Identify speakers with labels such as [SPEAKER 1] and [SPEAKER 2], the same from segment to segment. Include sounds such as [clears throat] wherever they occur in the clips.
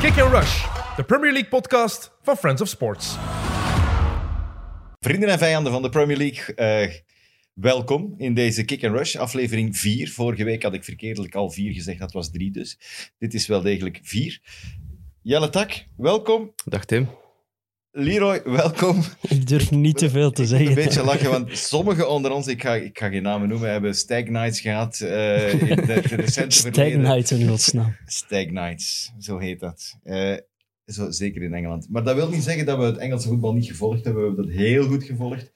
[SPEAKER 1] Kick and Rush, de Premier League podcast van Friends of Sports.
[SPEAKER 2] Vrienden en vijanden van de Premier League, eh, welkom in deze Kick and Rush, aflevering 4. Vorige week had ik verkeerdelijk al 4 gezegd, dat was 3 dus. Dit is wel degelijk 4. Jelle Tak, welkom.
[SPEAKER 3] Dag Tim.
[SPEAKER 2] Leroy, welkom.
[SPEAKER 4] Ik durf niet te veel te zeggen.
[SPEAKER 2] Een beetje lachen, want sommigen onder ons, ik ga, ik ga geen namen noemen, hebben Stag Nights gehad eh, in de, de recente
[SPEAKER 4] Stag
[SPEAKER 2] verleden.
[SPEAKER 4] Nights in godsnaam.
[SPEAKER 2] Stag Nights, zo heet dat. Eh, zo, zeker in Engeland. Maar dat wil niet zeggen dat we het Engelse voetbal niet gevolgd hebben. We hebben dat heel goed gevolgd.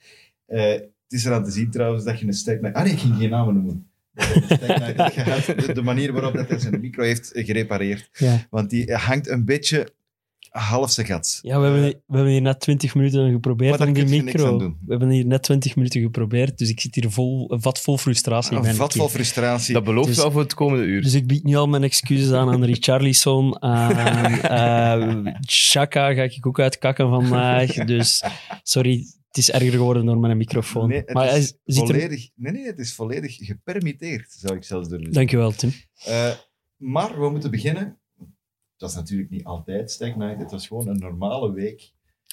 [SPEAKER 2] Eh, het is eraan te zien trouwens dat je een Stag Night... Ah nee, ik ging geen namen noemen. Dat we een Stag Night
[SPEAKER 4] [laughs]
[SPEAKER 2] hebben gehad. De, de manier waarop dat hij zijn micro heeft gerepareerd.
[SPEAKER 4] Ja.
[SPEAKER 2] Want die hangt een beetje half zijn gat.
[SPEAKER 4] Ja, we hebben, we hebben hier net 20 minuten
[SPEAKER 2] Maar
[SPEAKER 4] geprobeerd
[SPEAKER 2] daar
[SPEAKER 4] om die
[SPEAKER 2] kun je niks aan
[SPEAKER 4] micro.
[SPEAKER 2] doen.
[SPEAKER 4] We hebben hier net 20 minuten geprobeerd, dus ik zit hier vol, een vat vol frustratie. in
[SPEAKER 2] Een
[SPEAKER 4] mijn
[SPEAKER 2] vat
[SPEAKER 4] keel.
[SPEAKER 2] vol frustratie.
[SPEAKER 3] Dat belooft
[SPEAKER 4] Dus-
[SPEAKER 3] wel voor het komende uur.
[SPEAKER 4] Dus ik bied nu al mijn excuses aan aan Richarlison, aan eh, Chaka ga ik ook uitkakken vandaag. Dus sorry, het is erger geworden door mijn microfoon.
[SPEAKER 2] Nee, het
[SPEAKER 4] maar hij
[SPEAKER 2] is
[SPEAKER 4] ziet er...
[SPEAKER 2] volledig, nee, nee, het is volledig gepermitteerd, zou ik zelfs durven zeggen.
[SPEAKER 4] Dankjewel, Tim.
[SPEAKER 2] Eh, maar we moeten beginnen. Het was natuurlijk niet altijd Stag Night. Het was gewoon een normale week.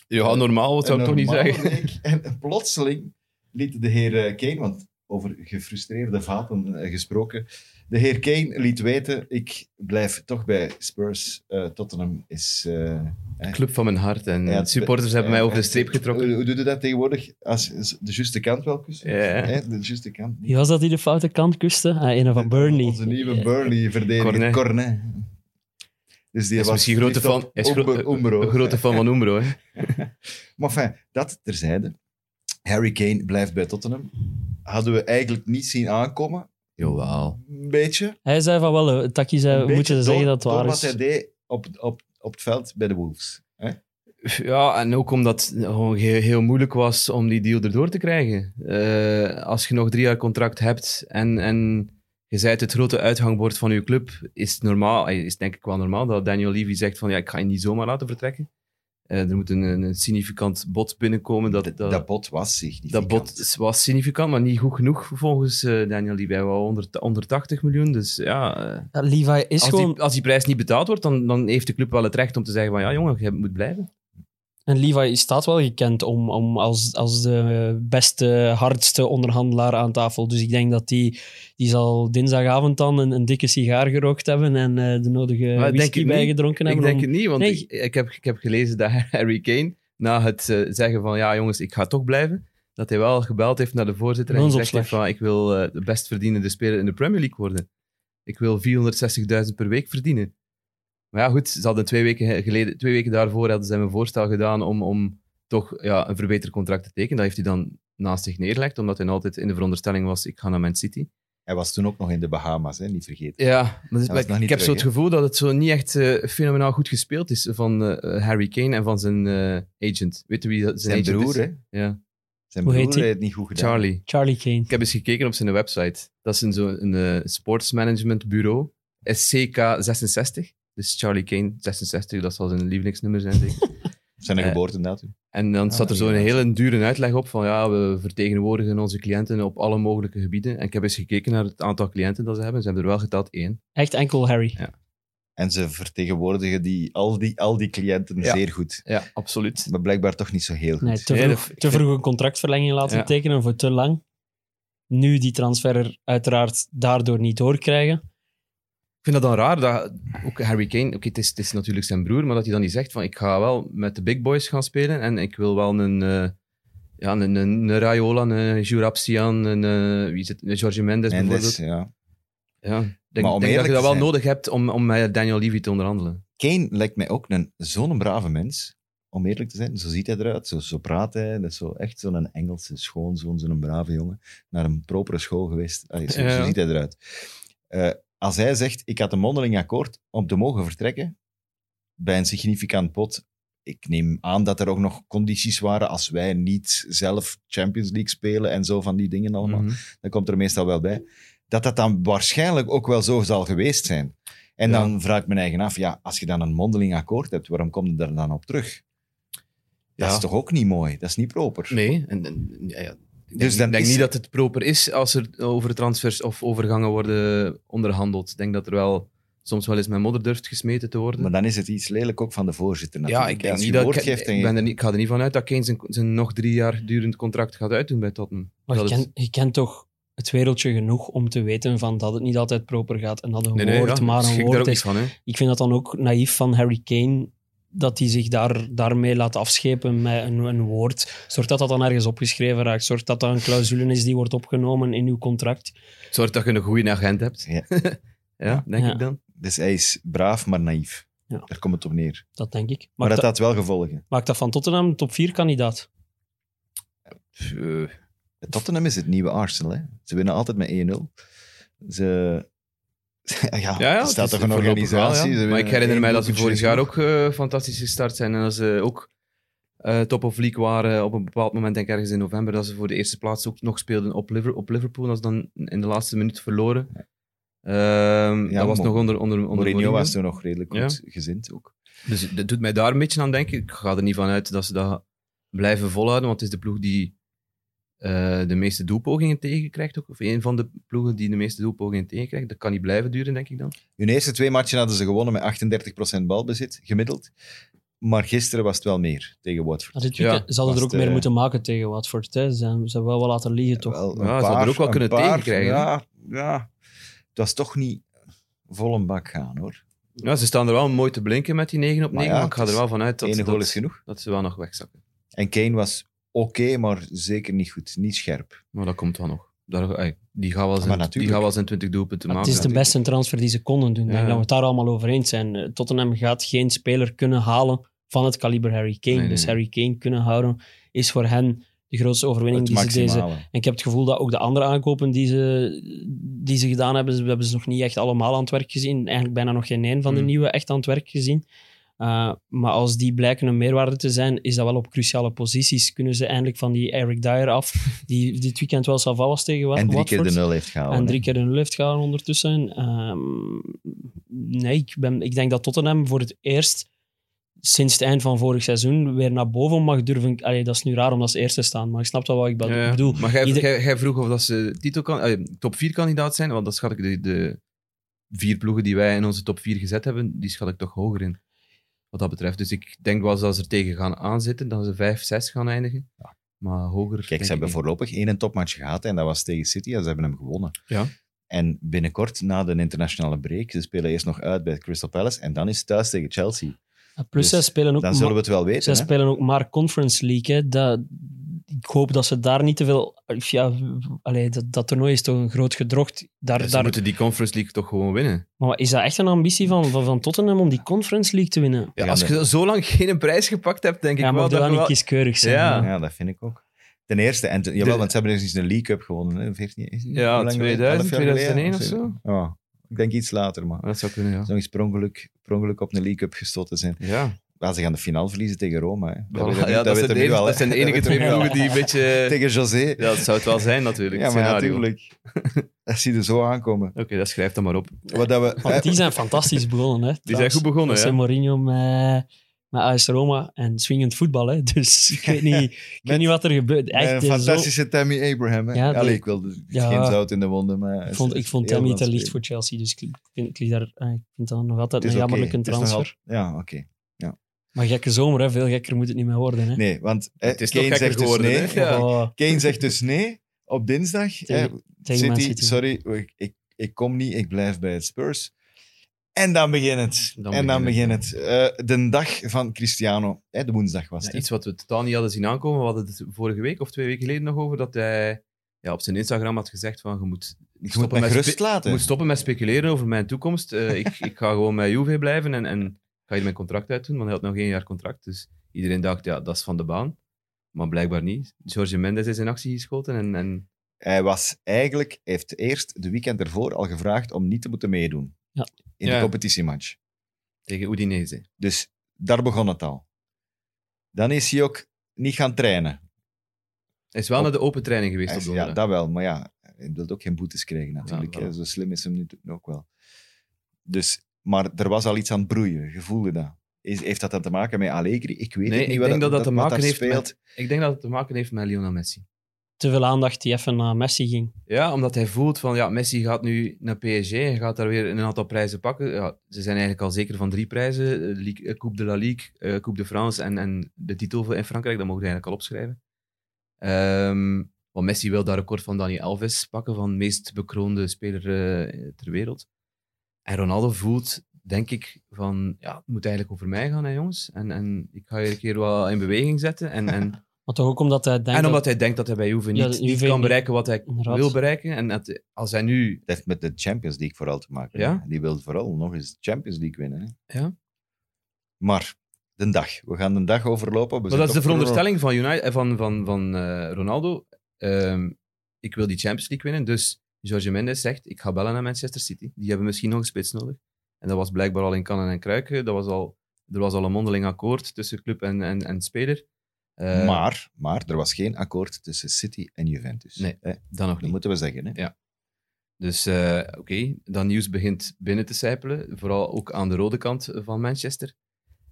[SPEAKER 3] Ja, normaal, wat zou
[SPEAKER 2] Een
[SPEAKER 3] ik toch niet
[SPEAKER 2] normale
[SPEAKER 3] zeggen.
[SPEAKER 2] week. En, en plotseling liet de heer eh, Kane, want over gefrustreerde vaten eh, gesproken, de heer Kane liet weten, ik blijf toch bij Spurs. Eh, Tottenham is... eh,
[SPEAKER 3] Club van mijn hart. En
[SPEAKER 2] Ja,
[SPEAKER 3] de supporters hebben mij over de streep getrokken.
[SPEAKER 2] eh, Hoe, hoe doe je dat tegenwoordig? Als, als de juiste kant wel kussen?
[SPEAKER 3] Ja.
[SPEAKER 2] Hè, de juiste kant.
[SPEAKER 4] Wie was dat die de foute kant kuste? Ah, een van Burnley.
[SPEAKER 2] Onze nieuwe Burnley-verdediger, Cornet.
[SPEAKER 3] Cornet.
[SPEAKER 2] Dus die
[SPEAKER 3] Hij is
[SPEAKER 2] was
[SPEAKER 3] misschien een grote
[SPEAKER 2] verliefd
[SPEAKER 3] fan,
[SPEAKER 2] op
[SPEAKER 3] hij is gro-
[SPEAKER 2] Umber- Umbro.
[SPEAKER 3] een grote fan van Umbro. Hè.
[SPEAKER 2] Maar enfin, dat terzijde. Harry Kane blijft bij Tottenham. Hadden we eigenlijk niet zien aankomen.
[SPEAKER 3] Jawel.
[SPEAKER 2] Een beetje.
[SPEAKER 4] Hij zei van wel, eh, Taki zei, we
[SPEAKER 2] Een beetje
[SPEAKER 4] moeten zeggen
[SPEAKER 2] door-
[SPEAKER 4] dat het waar
[SPEAKER 2] door
[SPEAKER 4] is.
[SPEAKER 2] wat hij deed op, op, op het veld bij de Wolves. Hè?
[SPEAKER 3] Ja, en ook omdat het gewoon heel, heel moeilijk was om die deal erdoor te krijgen. Eh, als je nog drie jaar contract hebt en, en je bent het grote uithangbord van je club, is het normaal, eh, is denk ik wel normaal dat Daniel Levy zegt van ja, ik ga je niet zomaar laten vertrekken. Eh, er moet een, een significant bod binnenkomen. Dat,
[SPEAKER 2] Dat, dat bot was significant.
[SPEAKER 3] Dat bod was significant, maar niet goed genoeg volgens eh, Daniel Levy. Hij wou 100 180 miljoen, dus ja... eh,
[SPEAKER 4] Ja, Levi is
[SPEAKER 3] als,
[SPEAKER 4] gewoon...
[SPEAKER 3] die, als die prijs niet betaald wordt, dan, dan heeft de club wel het recht om te zeggen van ja jongen, je moet blijven.
[SPEAKER 4] En Levi staat wel gekend om, om als, als de beste, hardste onderhandelaar aan tafel. Dus ik denk dat die, die zal dinsdagavond dan een, een dikke sigaar gerookt hebben en eh, de nodige
[SPEAKER 3] Maar denk
[SPEAKER 4] whisky
[SPEAKER 3] ik niet.
[SPEAKER 4] bijgedronken
[SPEAKER 3] ik
[SPEAKER 4] hebben.
[SPEAKER 3] denk
[SPEAKER 4] om-
[SPEAKER 3] het niet, want
[SPEAKER 4] Nee.
[SPEAKER 3] ik, ik, heb, ik heb gelezen dat [laughs] Harry Kane na het eh, zeggen van ja jongens, ik ga toch blijven, dat hij wel gebeld heeft naar de voorzitter en gezegd
[SPEAKER 4] Loonsopslag.
[SPEAKER 3] heeft van ik wil eh, de best verdienende speler in de Premier League worden. Ik wil 460.000 per week verdienen. Maar ja, goed, ze hadden twee weken, geleden, twee weken daarvoor hadden ze hem een voorstel gedaan om, om toch ja, een verbeterd contract te tekenen. Dat heeft hij dan naast zich neergelegd, omdat hij altijd in de veronderstelling was, ik ga naar Man City.
[SPEAKER 2] Hij was toen ook nog in de Bahama's, hè? niet vergeten.
[SPEAKER 3] Ja, maar dus-
[SPEAKER 2] was
[SPEAKER 3] maar
[SPEAKER 2] nog
[SPEAKER 3] ik,
[SPEAKER 2] niet
[SPEAKER 3] heb zo
[SPEAKER 2] terug,
[SPEAKER 3] het gevoel dat het zo niet echt eh, fenomenaal goed gespeeld is van eh, Harry Kane en van zijn eh, agent. Weet je wie dat- zijn,
[SPEAKER 2] Zijn
[SPEAKER 3] agent
[SPEAKER 2] broer,
[SPEAKER 3] is?
[SPEAKER 2] hè?
[SPEAKER 3] Ja,
[SPEAKER 2] Zijn
[SPEAKER 4] Hoe heet
[SPEAKER 2] broer
[SPEAKER 4] hij?
[SPEAKER 2] heeft het niet goed gedaan.
[SPEAKER 3] Charlie.
[SPEAKER 4] Charlie Kane.
[SPEAKER 3] Ik heb eens gekeken op zijn website. Dat is een, zo een eh, sportsmanagementbureau, SCK66. Dus Charlie Kane 66, dat zal zijn lievelingsnummer
[SPEAKER 2] [laughs]
[SPEAKER 3] zijn, denk ik.
[SPEAKER 2] Zijn
[SPEAKER 3] Eh,
[SPEAKER 2] geboortedatum.
[SPEAKER 3] En dan
[SPEAKER 2] Ah,
[SPEAKER 3] zat er zo'n
[SPEAKER 2] inderdaad.
[SPEAKER 3] hele dure uitleg op van ja, we vertegenwoordigen onze cliënten op alle mogelijke gebieden. En ik heb eens gekeken naar het aantal cliënten dat ze hebben. Ze hebben er wel geteld één.
[SPEAKER 4] Echt enkel Harry.
[SPEAKER 3] Ja.
[SPEAKER 2] En ze vertegenwoordigen die, al, die, al die cliënten
[SPEAKER 3] Ja.
[SPEAKER 2] zeer goed.
[SPEAKER 3] Ja, absoluut.
[SPEAKER 2] Maar blijkbaar toch niet zo heel goed.
[SPEAKER 4] Nee, te
[SPEAKER 3] Nee,
[SPEAKER 4] vroeg,
[SPEAKER 3] dat- ik
[SPEAKER 4] te
[SPEAKER 3] vind-
[SPEAKER 4] vroeg een contractverlenging laten
[SPEAKER 3] Ja.
[SPEAKER 4] tekenen voor te lang. Nu die transfer er uiteraard daardoor niet doorkrijgen.
[SPEAKER 3] Ik vind dat dan raar dat ook Harry Kane, oké, het, is, het is natuurlijk zijn broer, maar dat hij dan niet zegt van ik ga wel met de big boys gaan spelen en ik wil wel een, eh, ja, een, een, een Raiola, een Jurapsian, een, eh, wie zit, een Jorge Mendes
[SPEAKER 2] En dus,
[SPEAKER 3] bijvoorbeeld.
[SPEAKER 2] ja.
[SPEAKER 3] Ja, ik denk,
[SPEAKER 2] Maar om
[SPEAKER 3] denk dat
[SPEAKER 2] eerlijk
[SPEAKER 3] je dat
[SPEAKER 2] te
[SPEAKER 3] wel
[SPEAKER 2] zijn-
[SPEAKER 3] nodig hebt om, om met Daniel Levy te onderhandelen.
[SPEAKER 2] Kane lijkt mij ook een, zo'n brave mens, om eerlijk te zijn. Zo ziet hij eruit, zo, zo praat hij. Dat is zo, echt zo'n Engelse schoonzoon, zo'n brave jongen. Naar een propere school geweest. Allee, zo,
[SPEAKER 3] Ja.
[SPEAKER 2] zo ziet hij eruit. Eh, als hij zegt, ik had een mondeling akkoord om te mogen vertrekken bij een significant pot. Ik neem aan dat er ook nog condities waren als wij niet zelf Champions League spelen en zo van die dingen allemaal
[SPEAKER 3] Mhm.
[SPEAKER 2] dan komt er meestal wel bij, dat dat dan waarschijnlijk ook wel zo zal geweest zijn. En
[SPEAKER 3] Ja.
[SPEAKER 2] dan vraag ik mijn eigen af, ja, als je dan een mondeling akkoord hebt, waarom kom je daar dan op terug? Dat
[SPEAKER 3] Ja.
[SPEAKER 2] is toch ook niet mooi? Dat is niet proper?
[SPEAKER 3] Nee, en, en- ja, ja. Ik
[SPEAKER 2] Dus
[SPEAKER 3] denk,
[SPEAKER 2] dan
[SPEAKER 3] ik denk
[SPEAKER 2] is-
[SPEAKER 3] niet dat het proper is als er over transfers of overgangen worden onderhandeld. Ik denk dat er wel soms wel eens mijn modder durft gesmeten te worden.
[SPEAKER 2] Maar dan is het iets lelijk ook van de voorzitter.
[SPEAKER 3] ja,
[SPEAKER 2] natuurlijk.
[SPEAKER 3] ik, denk
[SPEAKER 2] Als
[SPEAKER 3] niet
[SPEAKER 2] je
[SPEAKER 3] dat,
[SPEAKER 2] woord
[SPEAKER 3] ik,
[SPEAKER 2] geeft en
[SPEAKER 3] ik
[SPEAKER 2] je-
[SPEAKER 3] ben er niet, ik ga er niet van uit dat Kane zijn, zijn nog drie jaar durend contract gaat uitdoen bij Tottenham.
[SPEAKER 4] Maar je,
[SPEAKER 3] Dat het-
[SPEAKER 4] kent, je kent toch het wereldje genoeg om te weten van dat het niet altijd proper gaat en dat een
[SPEAKER 3] nee, nee,
[SPEAKER 4] woord
[SPEAKER 3] ja,
[SPEAKER 4] maar
[SPEAKER 3] schrik
[SPEAKER 4] een
[SPEAKER 3] daar ook
[SPEAKER 4] woord
[SPEAKER 3] niet
[SPEAKER 4] is.
[SPEAKER 3] van. Hè.
[SPEAKER 4] Ik vind dat dan ook naïef van Harry Kane dat hij zich daar, daarmee laat afschepen met een, een woord. Zorg dat dat dan ergens opgeschreven raakt. Zorg dat dat een clausule is die wordt opgenomen in uw contract.
[SPEAKER 3] Zorg dat je een goede agent hebt.
[SPEAKER 2] Ja.
[SPEAKER 3] [laughs] ja, denk
[SPEAKER 4] Ja.
[SPEAKER 3] ik dan.
[SPEAKER 2] Dus hij is braaf, maar naïef.
[SPEAKER 4] Ja.
[SPEAKER 2] Daar komt het op neer.
[SPEAKER 4] Dat denk ik.
[SPEAKER 2] Maar
[SPEAKER 4] Maakt,
[SPEAKER 2] dat
[SPEAKER 4] dat,
[SPEAKER 2] had wel gevolgen.
[SPEAKER 4] maakt dat van Tottenham een top 4 kandidaat?
[SPEAKER 3] Pff, eh,
[SPEAKER 2] Tottenham is het nieuwe Arsenal. Hè? Ze winnen altijd met 1-0. Ze... [laughs] Ja,
[SPEAKER 3] Ja, ja,
[SPEAKER 2] er staat
[SPEAKER 3] het is
[SPEAKER 2] toch een
[SPEAKER 3] voorlopig
[SPEAKER 2] organisatie.
[SPEAKER 3] wel, ja.
[SPEAKER 2] ze
[SPEAKER 3] Maar
[SPEAKER 2] winnen
[SPEAKER 3] ik herinner
[SPEAKER 2] één
[SPEAKER 3] mij dat ze
[SPEAKER 2] doelpuntje
[SPEAKER 3] vorig jaar
[SPEAKER 2] verschil.
[SPEAKER 3] ook eh, fantastisch gestart zijn. En dat ze ook eh, top of league waren op een bepaald moment, denk ik ergens in november, dat ze voor de eerste plaats ook nog speelden op, Liver- op Liverpool. Dat ze dan in de laatste minuut verloren. Ehm,
[SPEAKER 2] Ja,
[SPEAKER 3] dat was
[SPEAKER 2] Mo-
[SPEAKER 3] nog onder, onder, onder
[SPEAKER 2] Mourinho
[SPEAKER 3] Mourinho.
[SPEAKER 2] was toen nog redelijk goed gezind ook.
[SPEAKER 3] Dus dat doet mij daar een beetje aan denken. Ik ga er niet van uit dat ze dat blijven volhouden, want het is de ploeg die eh, de meeste doelpogingen tegenkrijgt. Ook. Of een van de ploegen die de meeste doelpogingen tegenkrijgt. Dat kan niet blijven duren, denk ik dan.
[SPEAKER 2] Hun eerste twee matchen hadden ze gewonnen met 38% balbezit, gemiddeld. Maar gisteren was het wel meer tegen Watford.
[SPEAKER 4] Ah, dit
[SPEAKER 3] Ja,
[SPEAKER 4] weekend, ze hadden er
[SPEAKER 2] was
[SPEAKER 4] ook
[SPEAKER 2] de-
[SPEAKER 4] meer moeten maken tegen Watford. Hè. Ze, zijn- ze hebben wel wat laten liggen, toch?
[SPEAKER 2] Wel,
[SPEAKER 3] Ja, ze hadden er ook wel
[SPEAKER 2] een
[SPEAKER 3] kunnen tegenkrijgen, hè?
[SPEAKER 2] Ja, ja, het was toch niet vol een bak gaan, hoor.
[SPEAKER 3] Ja, ze staan er wel mooi te blinken met die 9 op 9,
[SPEAKER 2] Maar
[SPEAKER 3] maar,
[SPEAKER 2] ja,
[SPEAKER 3] ik ga
[SPEAKER 2] het
[SPEAKER 3] er
[SPEAKER 2] is-
[SPEAKER 3] wel van uit dat,
[SPEAKER 2] Eén
[SPEAKER 3] dat,
[SPEAKER 2] goal is genoeg.
[SPEAKER 3] dat ze wel nog wegzakken.
[SPEAKER 2] En Kane was oké, maar zeker niet goed. Niet scherp.
[SPEAKER 3] Maar dat komt wel nog. Daar, ey, die gaan wel
[SPEAKER 2] Maar
[SPEAKER 3] zijn, die
[SPEAKER 2] natuurlijk.
[SPEAKER 3] gaan wel zijn 20 doelpunten
[SPEAKER 4] Maar
[SPEAKER 3] maken.
[SPEAKER 4] het is de
[SPEAKER 3] natuurlijk.
[SPEAKER 4] beste transfer die ze konden doen. Ik denk
[SPEAKER 3] Ja.
[SPEAKER 4] dat we het daar allemaal over eens zijn. Eh, Tottenham gaat geen speler kunnen halen van het kaliber Harry Kane.
[SPEAKER 3] Nee, nee,
[SPEAKER 4] Dus
[SPEAKER 3] nee.
[SPEAKER 4] Harry Kane kunnen houden is voor hen de grootste overwinning
[SPEAKER 2] Het
[SPEAKER 4] die ze deze...
[SPEAKER 2] maximale.
[SPEAKER 4] En ik heb het gevoel dat ook de andere aankopen die ze, die ze gedaan hebben, ze hebben ze nog niet echt allemaal aan het werk gezien. Eigenlijk bijna nog geen één van de
[SPEAKER 2] Hmm.
[SPEAKER 3] Mm.
[SPEAKER 4] nieuwe echt aan het werk gezien. Eh, maar als die blijken een meerwaarde te zijn, is dat wel op cruciale posities. Kunnen ze eindelijk van die Eric Dyer af, die dit weekend wel Sava was tegen Wat-
[SPEAKER 2] En drie keer de
[SPEAKER 4] Watford.
[SPEAKER 2] nul heeft gehouden.
[SPEAKER 4] En
[SPEAKER 2] hè.
[SPEAKER 4] drie keer een lift gaan ondertussen. Ehm, nee, ik, ben, ik denk dat Tottenham voor het eerst sinds het eind van vorig seizoen weer naar boven mag durven. Allee, dat is nu raar om als eerste te staan, maar ik snap dat wat ik be-
[SPEAKER 3] Ja, ja.
[SPEAKER 4] bedoel.
[SPEAKER 3] Maar jij,
[SPEAKER 4] ieder-
[SPEAKER 3] jij- jij vroeg of dat ze titel kan, eh, top 4 kandidaat zijn, want dat schat ik de, de vier ploegen die wij in onze top 4 gezet hebben, die schat ik toch hoger in. Wat dat betreft. Dus ik denk wel dat ze er tegen gaan aanzitten, dat ze 5, 6 gaan eindigen. Maar hoger. denk
[SPEAKER 2] Kijk,
[SPEAKER 3] ik
[SPEAKER 2] ze hebben
[SPEAKER 3] niet.
[SPEAKER 2] voorlopig één topmatch gehad en dat was tegen City en ze hebben hem gewonnen.
[SPEAKER 3] Ja.
[SPEAKER 2] En binnenkort, na de internationale break, ze spelen eerst nog uit bij Crystal Palace en dan is het thuis tegen Chelsea.
[SPEAKER 4] Plus, zij
[SPEAKER 2] Dus
[SPEAKER 4] spelen ook,
[SPEAKER 2] Dan zullen we
[SPEAKER 4] ma-
[SPEAKER 2] het wel weten.
[SPEAKER 4] zij
[SPEAKER 2] hè?
[SPEAKER 4] spelen ook maar Conference League. Hè. Dat, ik hoop dat ze daar niet te veel. Ja, allee, dat, dat toernooi is toch een groot gedrocht. Daar,
[SPEAKER 3] Ze
[SPEAKER 4] daar,
[SPEAKER 3] moeten die Conference League toch gewoon winnen.
[SPEAKER 4] Maar is dat echt een ambitie van, van, van Tottenham om die Conference League te winnen?
[SPEAKER 3] Ja,
[SPEAKER 2] Ja,
[SPEAKER 3] als
[SPEAKER 2] nee.
[SPEAKER 3] je zo lang geen prijs gepakt hebt, denk
[SPEAKER 4] ja,
[SPEAKER 3] ik wel
[SPEAKER 4] maar
[SPEAKER 3] dat
[SPEAKER 4] doe dat
[SPEAKER 3] je
[SPEAKER 4] niet
[SPEAKER 3] wel...
[SPEAKER 4] kieskeurig zijn.
[SPEAKER 3] Ja.
[SPEAKER 4] hè.
[SPEAKER 2] Ja, dat vind ik ook. Ten eerste, en ten- jawel,
[SPEAKER 3] De-
[SPEAKER 2] want ze hebben dus eens een League Cup gewonnen. Hè? 14, is het niet?
[SPEAKER 3] Ja,
[SPEAKER 2] Hoe lang geleden?
[SPEAKER 3] 2000,
[SPEAKER 2] Elf jaar geleden
[SPEAKER 3] 2001 of zo?
[SPEAKER 2] Ja, ik denk iets later, maar.
[SPEAKER 3] Dat zou kunnen, ja.
[SPEAKER 2] Nog eens per ongeluk, per ongeluk op een League Cup gestoten zijn.
[SPEAKER 3] Ja,
[SPEAKER 2] Ja, ze gaan de finale verliezen tegen Rome. Hè.
[SPEAKER 3] Voilà,
[SPEAKER 2] weten we-
[SPEAKER 3] ja, dat,
[SPEAKER 2] weten
[SPEAKER 3] zijn
[SPEAKER 2] we
[SPEAKER 3] de
[SPEAKER 2] nu
[SPEAKER 3] enige-
[SPEAKER 2] al, hè.
[SPEAKER 3] dat zijn de enige
[SPEAKER 2] weten we [laughs]
[SPEAKER 3] twee
[SPEAKER 2] nu
[SPEAKER 3] [laughs]
[SPEAKER 2] al.
[SPEAKER 3] ploegen die een beetje...
[SPEAKER 2] Tegen José.
[SPEAKER 3] Ja, dat zou het wel zijn natuurlijk,
[SPEAKER 2] Ja,
[SPEAKER 3] het
[SPEAKER 2] maar
[SPEAKER 3] scenario. Oké,
[SPEAKER 2] natuurlijk. [laughs] Dat zie je zo aankomen.
[SPEAKER 3] dat schrijft dan maar op.
[SPEAKER 2] Wat dat we,
[SPEAKER 4] Want die zijn fantastisch begonnen. Hè,
[SPEAKER 3] Die zijn goed begonnen,
[SPEAKER 4] José
[SPEAKER 3] hè?
[SPEAKER 4] Mourinho met, met AS Roma en swingend voetbal. Hè? Dus [laughs] ik weet niet, ik weet
[SPEAKER 2] Met-
[SPEAKER 4] niet wat er gebeurt.
[SPEAKER 2] eh,
[SPEAKER 4] Echt,
[SPEAKER 2] een
[SPEAKER 4] eh, zo-
[SPEAKER 2] fantastische Tammy Abraham. Hè?
[SPEAKER 4] Ja, die-
[SPEAKER 2] Allee, ik wilde
[SPEAKER 4] Ja.
[SPEAKER 2] geen zout in de wonden. Maar
[SPEAKER 4] ik vond, ik vond Tammy te licht voor Chelsea, dus ik ik vind, ik liet daar, eh, ik vind dat nog altijd een jammerlijke transfer.
[SPEAKER 2] Ja, oké.
[SPEAKER 4] Maar gekke zomer, hè? veel gekker moet het niet meer worden. Hè?
[SPEAKER 2] Nee, want eh,
[SPEAKER 3] Het is toch
[SPEAKER 2] Kane
[SPEAKER 3] gekker
[SPEAKER 2] zegt dus
[SPEAKER 3] geworden,
[SPEAKER 2] nee.
[SPEAKER 3] hè? Ja.
[SPEAKER 4] Oh,
[SPEAKER 2] Kane zegt dus nee op dinsdag.
[SPEAKER 4] Tegen-
[SPEAKER 2] eh,
[SPEAKER 4] tegen Man
[SPEAKER 2] City,
[SPEAKER 4] City.
[SPEAKER 2] sorry, ik, ik, ik kom niet, ik blijf bij het Spurs. En dan begint het.
[SPEAKER 3] Dan
[SPEAKER 2] en dan
[SPEAKER 3] begint
[SPEAKER 2] begint het. Eh, de dag van Cristiano. Eh, de woensdag was
[SPEAKER 3] Ja,
[SPEAKER 2] het. hè?
[SPEAKER 3] iets wat we totaal niet hadden zien aankomen. We hadden het vorige week of twee weken geleden nog over dat hij ja, op zijn Instagram had gezegd van je moet, niet
[SPEAKER 2] je moet me
[SPEAKER 3] met
[SPEAKER 2] gerust
[SPEAKER 3] spe- je
[SPEAKER 2] laten.
[SPEAKER 3] moet stoppen met speculeren over mijn toekomst. Eh, ik, ik ga gewoon met Juve blijven en, en ik ga hier mijn contract uitdoen, want hij had nog één jaar contract. Dus iedereen dacht, ja, dat is van de baan. Maar blijkbaar niet. Jorge Mendes is in actie geschoten en, en
[SPEAKER 2] Hij was eigenlijk, heeft eerst de weekend ervoor al gevraagd om niet te moeten meedoen.
[SPEAKER 4] Ja.
[SPEAKER 2] In
[SPEAKER 3] Ja.
[SPEAKER 2] de competitiematch.
[SPEAKER 3] tegen Udinese.
[SPEAKER 2] Dus daar begon het al. Dan is hij ook niet gaan trainen.
[SPEAKER 3] Hij is wel
[SPEAKER 2] Op-
[SPEAKER 3] naar de open training geweest
[SPEAKER 2] Hij
[SPEAKER 3] op
[SPEAKER 2] is- ja,
[SPEAKER 3] donderdag.
[SPEAKER 2] dat wel. Maar ja, hij wil ook geen boetes krijgen natuurlijk.
[SPEAKER 3] Ja,
[SPEAKER 2] hè.
[SPEAKER 3] voilà.
[SPEAKER 2] Zo slim is hem nu ook wel. Dus, maar er was al iets aan het broeien. Je voelde dat. Is, heeft dat dan te maken met Allegri? Ik weet
[SPEAKER 3] Nee,
[SPEAKER 2] het niet.
[SPEAKER 3] ik
[SPEAKER 2] wat
[SPEAKER 3] denk dat dat te
[SPEAKER 2] wat
[SPEAKER 3] maken
[SPEAKER 2] daar
[SPEAKER 3] heeft
[SPEAKER 2] speelt.
[SPEAKER 3] Ik denk dat het te maken heeft met Lionel Messi.
[SPEAKER 4] te veel aandacht die even naar Messi ging.
[SPEAKER 3] Ja, omdat hij voelt van ja, Messi gaat nu naar PSG en gaat daar weer een aantal prijzen pakken. Ja, ze zijn eigenlijk al zeker van drie prijzen: eh, Ligue- eh, Coupe de la Ligue, eh, Coupe de France en, en de titel in Frankrijk. Dat mogen we eigenlijk al opschrijven. Ehm, want Messi wil dat record van Dani Alves pakken, van de meest bekroonde speler eh, ter wereld. En Ronaldo voelt, denk ik, van ja, het moet eigenlijk over mij gaan, hè, jongens. En, en ik ga je een keer wel in beweging zetten. En, en
[SPEAKER 4] Maar toch ook omdat hij denkt
[SPEAKER 3] en omdat
[SPEAKER 4] dat-
[SPEAKER 3] hij denkt dat hij bij Juve niet,
[SPEAKER 4] Ja,
[SPEAKER 3] niet
[SPEAKER 4] Juve
[SPEAKER 3] kan
[SPEAKER 4] niet-
[SPEAKER 3] bereiken wat hij
[SPEAKER 4] inderdaad.
[SPEAKER 3] wil bereiken. En dat, als hij nu...
[SPEAKER 2] Dat heeft met de Champions League vooral te maken.
[SPEAKER 3] Ja?
[SPEAKER 2] Die wil vooral nog eens de Champions League winnen. Hè?
[SPEAKER 3] Ja.
[SPEAKER 2] Maar, de dag. We gaan de dag overlopen. We
[SPEAKER 3] Maar
[SPEAKER 2] zijn
[SPEAKER 3] dat is de
[SPEAKER 2] toch
[SPEAKER 3] veronderstelling van, United, eh, van, van, van eh, Ronaldo. Ehm, ik wil die Champions League winnen. Dus Jorge Mendes zegt, ik ga bellen naar Manchester City. Die hebben misschien nog een spits nodig. En dat was blijkbaar al in kannen en kruiken. Dat was al, er was al een mondeling akkoord tussen club en, en, en speler. Eh,
[SPEAKER 2] Maar, maar, er was geen akkoord tussen City en Juventus.
[SPEAKER 3] Nee.
[SPEAKER 2] Hè?
[SPEAKER 3] Dan nog
[SPEAKER 2] Dat
[SPEAKER 3] niet.
[SPEAKER 2] moeten we zeggen. Hè?
[SPEAKER 3] Dus eh, oké, dat nieuws begint binnen te sijpelen. Vooral ook aan de rode kant van Manchester.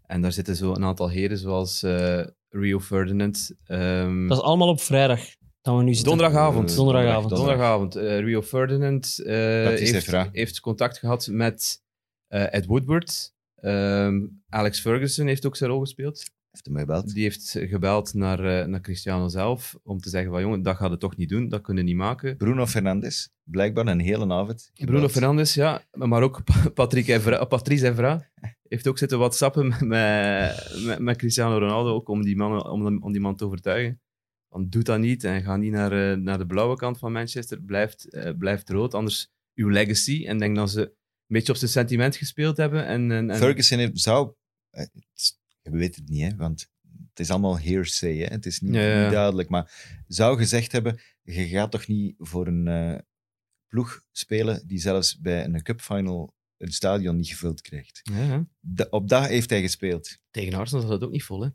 [SPEAKER 3] En daar zitten zo een aantal heren zoals eh, Rio Ferdinand. ehm,
[SPEAKER 4] Dat is allemaal op vrijdag. Dat we nu zitten.
[SPEAKER 3] Donderdagavond.
[SPEAKER 2] Eh,
[SPEAKER 4] Donderdagavond.
[SPEAKER 3] Donderdagavond. eh, Rio Ferdinand eh,
[SPEAKER 2] is
[SPEAKER 3] heeft,
[SPEAKER 2] Evra.
[SPEAKER 3] heeft contact gehad met eh, Ed Woodward. Ehm, Alex Ferguson heeft ook zijn rol gespeeld.
[SPEAKER 2] Heeft hem gebeld.
[SPEAKER 3] Die heeft gebeld naar, eh, naar Cristiano zelf om te zeggen van jongen, dat gaat het toch niet doen, dat kunnen we niet maken.
[SPEAKER 2] Bruno Fernandes, blijkbaar een hele avond.
[SPEAKER 3] Bruno Fernandes, ja, maar ook Pa- Patrick Evra, Patrice Evra heeft ook zitten whatsappen met, met, met Cristiano Ronaldo, ook om die, man, om, om die man te overtuigen. Van, doe dat niet en ga niet naar, eh, naar de blauwe kant van Manchester, blijft, eh, blijft rood, anders uw legacy. En ik denk dat ze een beetje op zijn sentiment gespeeld hebben. En, en, en-
[SPEAKER 2] Ferguson heeft- zou... eh, het is- We weten het niet, hè, want het is allemaal hearsay. Hè? Het is niet,
[SPEAKER 3] Ja, ja.
[SPEAKER 2] niet duidelijk. Maar zou gezegd hebben, je gaat toch niet voor een eh, ploeg spelen die zelfs bij een cupfinal een stadion niet gevuld krijgt.
[SPEAKER 3] Ja, ja.
[SPEAKER 2] Da- op dat heeft hij gespeeld.
[SPEAKER 3] Tegen Arsenal zat dat ook niet vol, hè?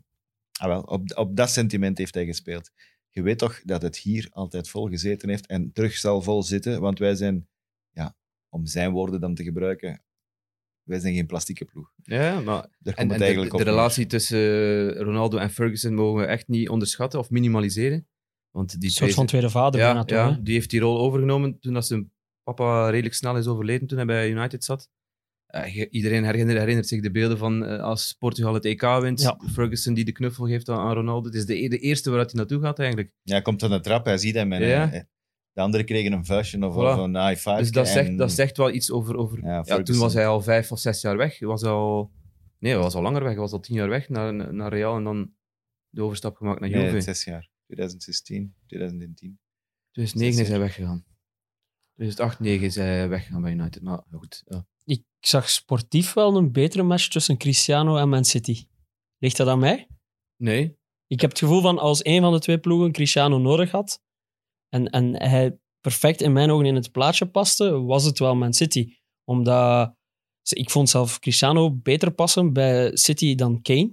[SPEAKER 2] Ah, wel, op, op dat sentiment heeft hij gespeeld. Je weet toch dat het hier altijd vol gezeten heeft en terug zal vol zitten, want wij zijn, ja, om zijn woorden dan te gebruiken, wij zijn geen plastieke ploeg.
[SPEAKER 3] Ja, maar
[SPEAKER 2] Daar komt
[SPEAKER 3] En, en
[SPEAKER 2] het
[SPEAKER 3] de,
[SPEAKER 2] eigenlijk
[SPEAKER 3] de
[SPEAKER 2] op. neer.
[SPEAKER 3] relatie tussen Ronaldo en Ferguson mogen we echt niet onderschatten of minimaliseren. Want die
[SPEAKER 4] Een soort
[SPEAKER 3] twee-
[SPEAKER 4] van tweede vader bijna
[SPEAKER 3] ja,
[SPEAKER 4] toch,
[SPEAKER 3] ja,
[SPEAKER 4] hè?
[SPEAKER 3] die heeft die rol overgenomen toen dat zijn papa redelijk snel is overleden toen hij bij United zat. Eh, je- iedereen herinnert, herinnert zich de beelden van eh, als Portugal het EK wint,
[SPEAKER 4] Ja.
[SPEAKER 3] Ferguson die de knuffel geeft aan, aan Ronaldo. Het is de, e- de eerste waaruit hij naartoe gaat eigenlijk.
[SPEAKER 2] Ja, hij komt aan de trap, hij ziet hem. En,
[SPEAKER 3] Ja.
[SPEAKER 2] eh, de anderen kregen een vuistje of,
[SPEAKER 3] Voilà.
[SPEAKER 2] of een high five.
[SPEAKER 3] dus dat,
[SPEAKER 2] en-
[SPEAKER 3] zegt, dat zegt wel iets over... over
[SPEAKER 2] Ja,
[SPEAKER 3] ja, toen
[SPEAKER 2] Ferguson.
[SPEAKER 3] was hij al vijf of zes jaar weg. Hij was al, nee, hij was al langer weg. Hij was al tien jaar weg naar, naar Real en dan de overstap gemaakt naar Juve.
[SPEAKER 2] Nee, zes jaar. 2016, 2010.
[SPEAKER 3] 2009 is
[SPEAKER 2] Zes
[SPEAKER 3] hij weggegaan. 2008, 9 is hij weggegaan bij United. Maar goed, ja.
[SPEAKER 4] Ik zag sportief wel een betere match tussen Cristiano en Man City. Ligt dat aan mij?
[SPEAKER 3] Nee.
[SPEAKER 4] Ik heb het gevoel van als een van de twee ploegen Cristiano nodig had en, en hij perfect in mijn ogen in het plaatje paste, was het wel Man City. Omdat ze- ik vond zelf Cristiano beter passen bij City dan Kane.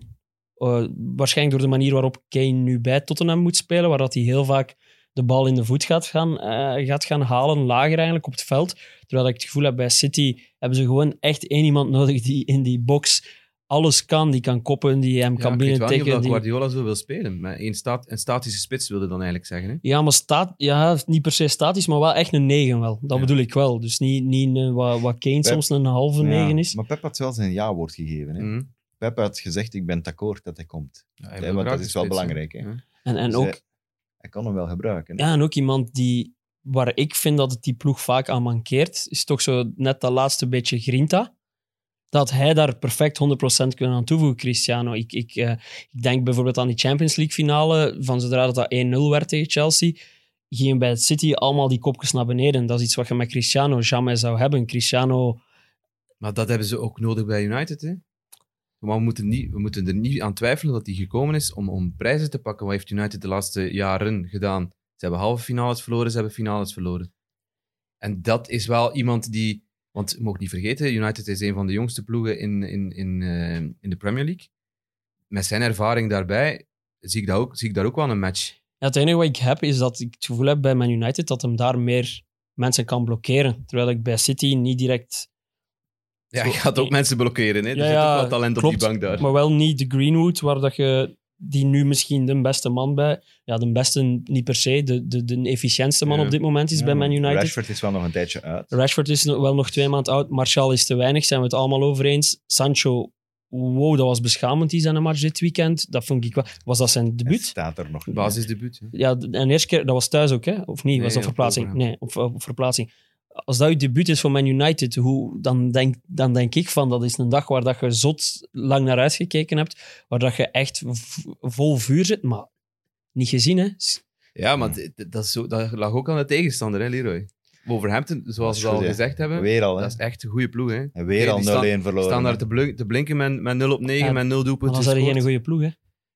[SPEAKER 4] Eh, waarschijnlijk door de manier waarop Kane nu bij Tottenham moet spelen, waar dat hij heel vaak de bal in de voet gaat gaan, eh, gaat gaan halen, lager eigenlijk op het veld. Terwijl ik het gevoel heb bij City hebben ze gewoon echt één iemand [laughs] nodig die in die box alles kan. Die kan koppen, die hem kan
[SPEAKER 3] ik weet wel niet of
[SPEAKER 4] binnentikken.
[SPEAKER 3] dat
[SPEAKER 4] die-
[SPEAKER 3] Guardiola zo wil spelen. Maar een, staat, een statische spits wilde dan eigenlijk zeggen. Hè?
[SPEAKER 4] Ja, maar staat, ja, niet per se statisch, maar wel echt een 9 wel. Dat
[SPEAKER 3] Ja.
[SPEAKER 4] bedoel ik wel. Dus niet, niet een, wat, wat Kane soms een halve 9 is.
[SPEAKER 2] Maar Pep had wel zijn ja-woord gegeven. Hè?
[SPEAKER 3] Mhm.
[SPEAKER 2] Pep had gezegd, ik ben het akkoord dat hij komt.
[SPEAKER 3] Ja,
[SPEAKER 2] Ja,
[SPEAKER 3] hij wil
[SPEAKER 2] want
[SPEAKER 3] graag
[SPEAKER 2] dat
[SPEAKER 3] de
[SPEAKER 2] is wel
[SPEAKER 3] spits, hè.
[SPEAKER 2] belangrijk, hè.
[SPEAKER 3] Ja.
[SPEAKER 4] En, en,
[SPEAKER 2] Dus
[SPEAKER 4] ook,
[SPEAKER 2] hij, hij kon hem wel gebruiken. hè.
[SPEAKER 4] ja, en ook iemand die, waar ik vind dat het die ploeg vaak aan mankeert, is toch zo net dat laatste beetje grinta. Dat hij daar perfect 100% kunnen aan toevoegen, Cristiano. Ik, ik, eh, ik denk bijvoorbeeld aan die Champions League finale, van zodra dat, dat 1-0 werd tegen Chelsea, gingen bij het City allemaal die kopjes naar beneden. Dat is iets wat je met Cristiano jamais zou hebben. Cristiano...
[SPEAKER 3] Maar dat hebben ze ook nodig bij United. Hè? Maar we moeten, niet, we moeten er niet aan twijfelen dat hij gekomen is om, om prijzen te pakken. Wat heeft United de laatste jaren gedaan? Ze hebben halve finales verloren, ze hebben finales verloren. En dat is wel iemand die... Want je mag niet vergeten, United is een van de jongste ploegen in, in, in, eh, in de Premier League. Met zijn ervaring daarbij zie ik, dat ook, zie ik daar ook wel een match.
[SPEAKER 4] Ja, het enige wat ik heb is dat ik het gevoel heb bij Man United dat hem daar meer mensen kan blokkeren. Terwijl ik bij City niet direct,
[SPEAKER 3] Ja,
[SPEAKER 4] Zo-
[SPEAKER 3] je gaat ook mensen blokkeren. Hè? Er
[SPEAKER 4] Ja,
[SPEAKER 3] zit
[SPEAKER 4] ja,
[SPEAKER 3] ook wel talent op
[SPEAKER 4] klopt,
[SPEAKER 3] die bank daar.
[SPEAKER 4] maar wel niet de Greenwood, waar dat je die nu misschien de beste man bij... Ja, de beste niet per se, de, de, de efficiëntste man
[SPEAKER 3] Ja.
[SPEAKER 4] op dit moment is bij Man United.
[SPEAKER 2] Rashford
[SPEAKER 4] Rashford.
[SPEAKER 2] is wel nog een tijdje uit.
[SPEAKER 4] is nog- wel nog twee maanden oud. Martial is te weinig, zijn we het allemaal over eens. Sancho, wow, dat was beschamend, die zijn match dit weekend. Dat vond ik wel... Was dat zijn
[SPEAKER 2] Hij
[SPEAKER 4] debuut?
[SPEAKER 2] staat er nog niet.
[SPEAKER 3] Basisdebuut. hè.
[SPEAKER 4] Ja, d- en de eerste keer, dat was thuis ook, hè? Of niet? was
[SPEAKER 3] Nee,
[SPEAKER 4] dat
[SPEAKER 3] op
[SPEAKER 4] verplaatsing?
[SPEAKER 3] Overhaam.
[SPEAKER 4] Nee, op, op verplaatsing. Als dat je debuut is voor Man United, hoe, dan, denk, dan denk ik van dat is een dag waar dat je zot lang naar uitgekeken hebt, waar dat je echt v- vol vuur zit, maar niet gezien, hè? S-
[SPEAKER 3] Ja, maar d- d- dat, is zo, dat lag ook aan de tegenstander, hè, Leroy. Wolverhampton, zoals
[SPEAKER 2] is
[SPEAKER 3] we al
[SPEAKER 2] goed, ja.
[SPEAKER 3] gezegd hebben,
[SPEAKER 2] Weer al, hè.
[SPEAKER 3] dat is echt een goede ploeg. Hè.
[SPEAKER 2] En weer
[SPEAKER 3] Nee,
[SPEAKER 2] al 0-1
[SPEAKER 3] die staan-
[SPEAKER 2] verloren.
[SPEAKER 3] Staan daar te, blun- te blinken met, met 0 op 9,
[SPEAKER 4] Ja,
[SPEAKER 3] met 0
[SPEAKER 4] Maar
[SPEAKER 3] doelpunten.
[SPEAKER 4] dan zijn er geen
[SPEAKER 3] gescoord.
[SPEAKER 4] goede ploeg, hè?